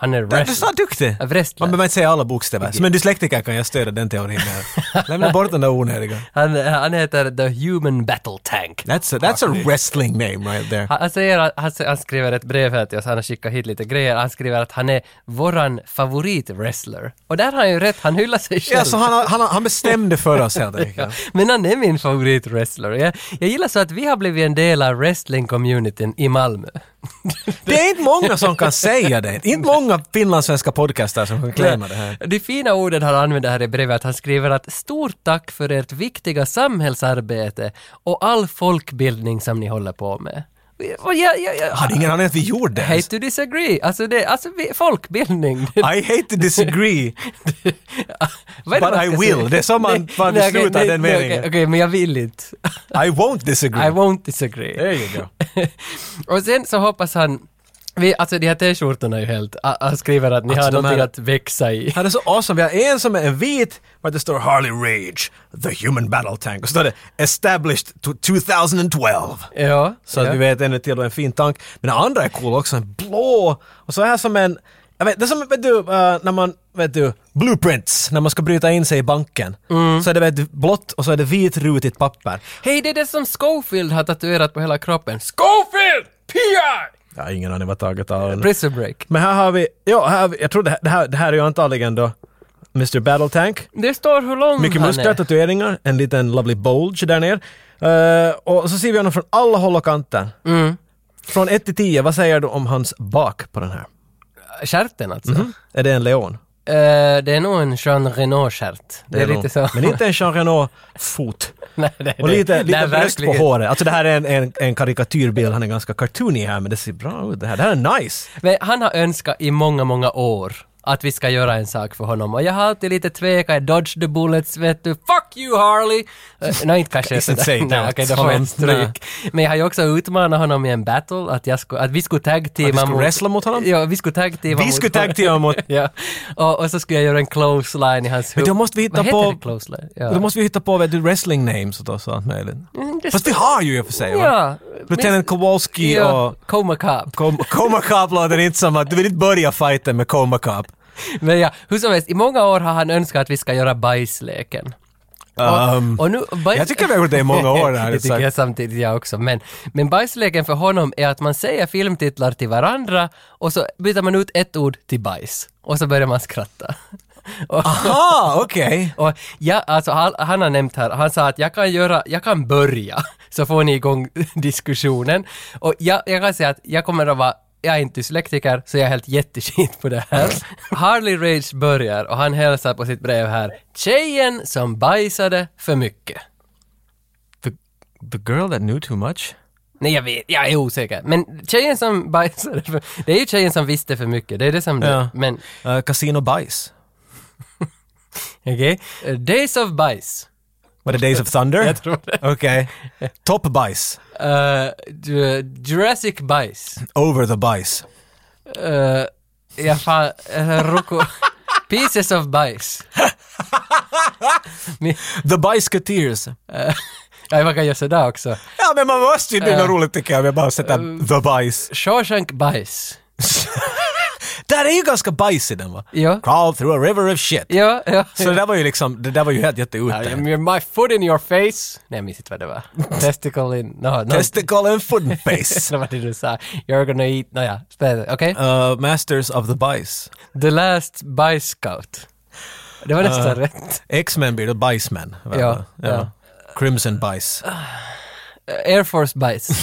Speaker 1: Han är
Speaker 2: Du sa
Speaker 1: wrestler.
Speaker 2: duktig!
Speaker 1: Ja, Wrestler.
Speaker 2: Man behöver inte säga alla bokstäver. Som en dyslektiker kan jag stödja den teorin här. Lämna bort den där onödiga.
Speaker 1: Han, han heter The Human Battle Tank.
Speaker 2: That's a, that's a wrestling name right there.
Speaker 1: Han, han, säger, att- han, han skriver ett brev här till oss, han har skickat hit lite grejer. Han skriver att han är våran favoritwrestler. Och där har han ju rätt, han hyllar sig själv.
Speaker 2: Ja, så han, har- han, har- han bestämde för oss helt enkelt.
Speaker 1: Men han är min favoritwrestler. Jag, jag gillar så att vi har blivit en del av wrestling-communityn i Malmö.
Speaker 2: Det är inte många som kan säga det. Inte många finlandssvenska podcaster som kan claima det här.
Speaker 1: Det fina ordet han använder här i brevet, att han skriver att stort tack för ert viktiga samhällsarbete och all folkbildning som ni håller på med. Och jag, jag, jag,
Speaker 2: Jag hade ingen aning att vi gjorde det.
Speaker 1: hate to disagree, alltså, det, alltså vi, folkbildning.
Speaker 2: I hate to disagree.
Speaker 1: Vad är det
Speaker 2: But
Speaker 1: man
Speaker 2: I
Speaker 1: ska
Speaker 2: will.
Speaker 1: säga?
Speaker 2: Det är så man- man
Speaker 1: Nej, okej,
Speaker 2: slutar
Speaker 1: nej,
Speaker 2: den
Speaker 1: nej,
Speaker 2: meningen.
Speaker 1: Okej, okej, men jag vill inte.
Speaker 2: I won't disagree.
Speaker 1: I won't disagree.
Speaker 2: There you go.
Speaker 1: och sen så hoppas han, vi, alltså de här t-skjortorna är ju helt, a- han skriver att ni
Speaker 2: Alltså,
Speaker 1: har
Speaker 2: de här-
Speaker 1: någonting att växa i.
Speaker 2: Han är så awesome. Vi har en som är en vit, var det står Harley Rage, the human battle tank. Och så står det established to 2012.
Speaker 1: Ja,
Speaker 2: Så
Speaker 1: ja.
Speaker 2: att vi vet ännu till och en fin tank. Men den andra är cool också, en blå. Och så här som en, jag vet, det är som, vet du, eh, när man, vet du, blueprints, när man ska bryta in sig i banken. Så är det vet du, blått och så är det vit rutigt papper.
Speaker 1: Hej, det är det som Schofield har tatuerat på hela kroppen. Schofield! P.I.
Speaker 2: Jag har ingen aning vad taget av den.
Speaker 1: Prison break.
Speaker 2: Men här har vi, ja, här har vi, jag tror det här, det här, det här är ju antagligen då Mr. Battle Tank.
Speaker 1: Det står hur lång
Speaker 2: Mycket
Speaker 1: han
Speaker 2: muskler,
Speaker 1: är.
Speaker 2: tatueringar, en liten lovely bulge där ner. Eh, och så ser vi honom från alla håll och kanter.
Speaker 1: Mm.
Speaker 2: Från 1 till 10, vad säger du om hans bak på den här?
Speaker 1: Stjärten alltså.
Speaker 2: Är det en leon?
Speaker 1: Eh, det är nog en Jean Reno-stjärt. Det, är
Speaker 2: nog-
Speaker 1: lite så.
Speaker 2: Men inte en Jean Reno-fot.
Speaker 1: Nej, det,
Speaker 2: Och lite,
Speaker 1: det-
Speaker 2: lite
Speaker 1: nej,
Speaker 2: bröst på
Speaker 1: verkligen.
Speaker 2: håret. Alltså det här är en, en, en karikatyrbild, han är ganska cartoonig här men det ser bra ut det här. Det här är nice.
Speaker 1: Men han har önskat i många, många år att vi ska göra en sak för honom och jag har alltid lite tvekat, jag dodge the bullets vet du, fuck you Harley! Eh, Nej inte kanske jag
Speaker 2: Inte säg
Speaker 1: sådär.
Speaker 2: det
Speaker 1: Nej
Speaker 2: åt
Speaker 1: okej, då får jag
Speaker 2: honom.
Speaker 1: ett stryk. Men jag har ju också utmanat honom i en battle, att, jag skulle, att vi skulle tag-teama
Speaker 2: Att vi skulle wrestla mot honom?
Speaker 1: Ja, vi skulle tag-teama
Speaker 2: Vi skulle tag-teama mot-
Speaker 1: ja. och, och så skulle jag göra en close line i hans
Speaker 2: Men
Speaker 1: huvud.
Speaker 2: då måste vi hitta
Speaker 1: Vad
Speaker 2: på-
Speaker 1: heter det close line? Ja. Mm,
Speaker 2: Då måste vi hitta på vet du, wrestling names och så allt möjligt.
Speaker 1: det
Speaker 2: Fast vi har ju i och för sig va?
Speaker 1: Ja.
Speaker 2: Lieutenant Kowalski
Speaker 1: ja,
Speaker 2: och
Speaker 1: Coma Cop.
Speaker 2: Kom- Coma Cop låter inte som att du vill inte börja fighten med Coma Cop.
Speaker 1: Men ja, hur som helst, i många år har han önskat att vi ska göra bajsleken.
Speaker 2: Um,
Speaker 1: Och nu, bajs...
Speaker 2: Mm. jag tycker vi har gjort det i många år här.
Speaker 1: det tycker jag samtidigt jag också. Men, men bajsleken för honom är att man säger filmtitlar till varandra och så byter man ut ett ord till bajs. Och så börjar man skratta. Och,
Speaker 2: Aha, okej.
Speaker 1: och ja, alltså, han, han har nämnt här, han sa att jag kan göra, jag kan börja, så får ni igång diskussionen. Och jag, jag kan säga att jag kommer att vara jag är inte dyslektiker, så jag är helt jätteskit på det här. Harley Rage börjar och han hälsar på sitt brev här. Tjejen som bajsade för mycket.
Speaker 2: The girl that knew too much?
Speaker 1: Nej, jag vet, jag är osäker. Men tjejen som bajsade för, Det är ju tjejen som visste för mycket, det är det som det.
Speaker 2: Ja.
Speaker 1: Men,
Speaker 2: Uh, casino Bice.
Speaker 1: okej. Eh, Days of Bajs.
Speaker 2: Var det Days of Thunder?
Speaker 1: Jag tror det.
Speaker 2: Okej. Top Bice.
Speaker 1: Eh, Ju- Jurassic Bajs.
Speaker 2: Over the Bice.
Speaker 1: Uh, jag fan, eh, Rocco... Pieces of Bajs. Min-
Speaker 2: The Biceketeers.
Speaker 1: Eh, ja, man kan göra sådär också.
Speaker 2: Ja men man måste ju, det är något roligt tycker jag, om jag bara sätter The Bice.
Speaker 1: Shawshank Bajs.
Speaker 2: Där är ju ganska bajs i den va?
Speaker 1: Ja.
Speaker 2: Crawl through a river of shit.
Speaker 1: Ja, ja.
Speaker 2: Så det där var ju liksom, det där var ju helt jätteute.
Speaker 1: My foot in your face. Nej, jag minns inte vad det var. Testicle in... No, no.
Speaker 2: Testicle and foot and face.
Speaker 1: Eller vad det du sa. You're gonna eat... Nåja, spännande. Okej?
Speaker 2: Uh, masters of the Bice.
Speaker 1: The Last By Scout. Det var nästan rätt.
Speaker 2: X-Men blir då Bicemen. väl?
Speaker 1: Ja, ja.
Speaker 2: Crimson Bice.
Speaker 1: Air Force Bice.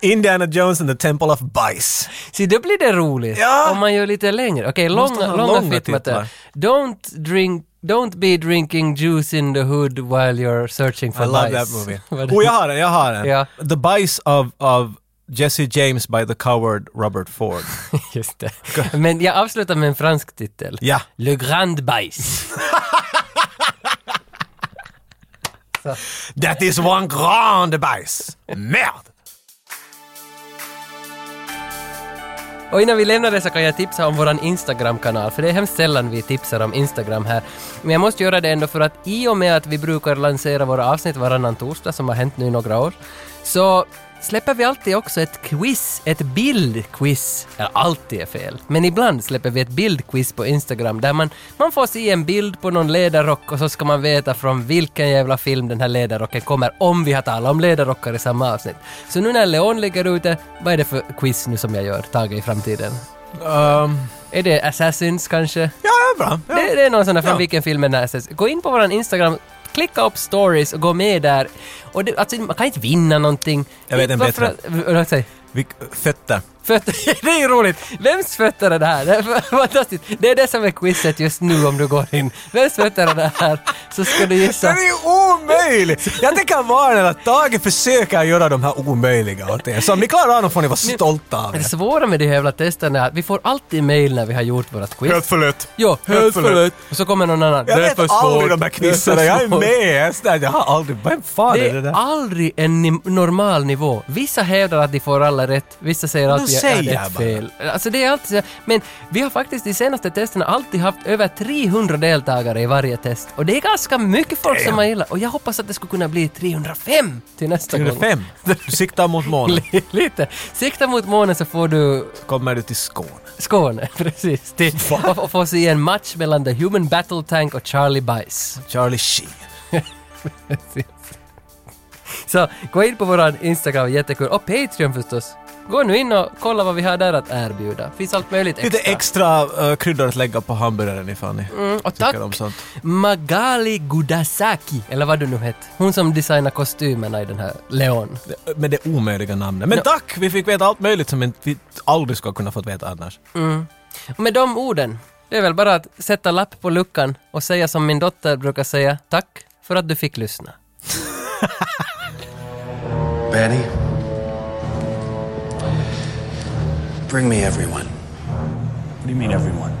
Speaker 2: Indiana Jones and the Temple of Bice.
Speaker 1: Se, då blir det roligt.
Speaker 2: Ja!
Speaker 1: Om man gör lite längre. Okej,
Speaker 2: Måste
Speaker 1: långa,
Speaker 2: ha
Speaker 1: långa,
Speaker 2: långa
Speaker 1: fitmattor.
Speaker 2: titlar.
Speaker 1: Don't drink... Don't be drinking juice in the hood while you're searching for
Speaker 2: I love
Speaker 1: bice.
Speaker 2: that movie.
Speaker 1: Vad-
Speaker 2: oh, jag har den, jag har den.
Speaker 1: Ja.
Speaker 2: The Bice of, of Jesse James by the Coward Robert Ford.
Speaker 1: Just det. Men jag avslutar med en fransk titel.
Speaker 2: Ja.
Speaker 1: Le Grand Bajs.
Speaker 2: That is one grand bajs! Merde!
Speaker 1: Och innan vi lämnar det så kan jag tipsa om våran Instagram-kanal, för det är hemskt sällan vi tipsar om Instagram här. Men jag måste göra det ändå för att i och med att vi brukar lansera våra avsnitt varannan torsdag, som har hänt nu i några år, så släpper vi alltid också ett quiz, ett bildquiz. Eller alltid är fel, men ibland släpper vi ett bildquiz på Instagram där man, man får se en bild på någon ledarrock och så ska man veta från vilken jävla film den här ledarrocken kommer, om vi har talat om ledarrockar i samma avsnitt. Så nu när Leon ligger ute, vad är det för quiz nu som jag gör, Tage, i framtiden? Är det Assassins kanske?
Speaker 2: Ja, bra. Ja.
Speaker 1: Um. Det, det är någon sån där från vilken filmen är Assassins. Gå in på våran Instagram, klicka upp stories och gå med där. Och det, alltså, man kan inte vinna någonting.
Speaker 2: Jag vet en
Speaker 1: Varför-
Speaker 2: bättre.
Speaker 1: Vad säger-
Speaker 2: Vilk- Fötter.
Speaker 1: Fötter, det är ju roligt! Vems fötter är det här? Det är fantastiskt. Det är det som är quizet just nu om du går in. Vems fötter är det här? Så ska du
Speaker 2: Det
Speaker 1: gissa.
Speaker 2: är ju omöjligt! Jag tänker varna att Tage försöker göra de här omöjliga åt er. Så om ni klarar av dem får ni vara stolta av
Speaker 1: Det
Speaker 2: er.
Speaker 1: svåra med de här jävla testerna är att vi får alltid mail när vi har gjort vårt quiz.
Speaker 2: Helt för lätt.
Speaker 1: Ja, helt
Speaker 2: Helt för
Speaker 1: för lätt. Och så kommer någon annan.
Speaker 2: Jag
Speaker 1: Det är
Speaker 2: vet
Speaker 1: för svårt.
Speaker 2: aldrig de här knissorna,
Speaker 1: Det är
Speaker 2: jag
Speaker 1: för
Speaker 2: är
Speaker 1: svårt.
Speaker 2: med ens där. Jag har aldrig... Vem fan
Speaker 1: Det
Speaker 2: är det
Speaker 1: är
Speaker 2: där?
Speaker 1: aldrig en ni- normal nivå. Vissa hävdar att de får alla rätt, vissa säger
Speaker 2: Men de
Speaker 1: alltid att
Speaker 2: säger
Speaker 1: det är ett
Speaker 2: bara.
Speaker 1: fel. Alltså det är alltid så. Men vi har faktiskt de senaste testerna alltid haft över 300 deltagare i varje test. Och det är ganska mycket folk som har gillat. Och jag hoppas att det skulle kunna bli 305 till nästa gång.
Speaker 2: 305? Du siktar mot månen.
Speaker 1: Lite. Sikta mot månen så får du
Speaker 2: Kommer du till Skåne?
Speaker 1: Skåne, precis. Till, och, och får se en match mellan The Human Battle Tank och Charlie Bice.
Speaker 2: Charlie Sheen.
Speaker 1: Så gå in på våran Instagram, jättekul. Och Patreon förstås. Gå nu in och kolla vad vi har där att erbjuda. Finns allt möjligt
Speaker 2: Lite
Speaker 1: extra.
Speaker 2: extra eh, kryddor att lägga på hamburgaren ifall ni
Speaker 1: Mm, och tack
Speaker 2: tycker om sånt.
Speaker 1: Magali Gudasaki, eller vad du nu hette. Hon som designar kostymerna i den här Leon.
Speaker 2: Med det omöjliga namnet. Men
Speaker 1: Ja.
Speaker 2: tack! Vi fick veta allt möjligt som inte- vi aldrig skulle ha kunnat fått veta annars.
Speaker 1: Mm. Och med de orden, det är väl bara att sätta lapp på luckan och säga som min dotter brukar säga, tack för att du fick lyssna.
Speaker 9: Benny, bring me everyone. What do you mean, everyone?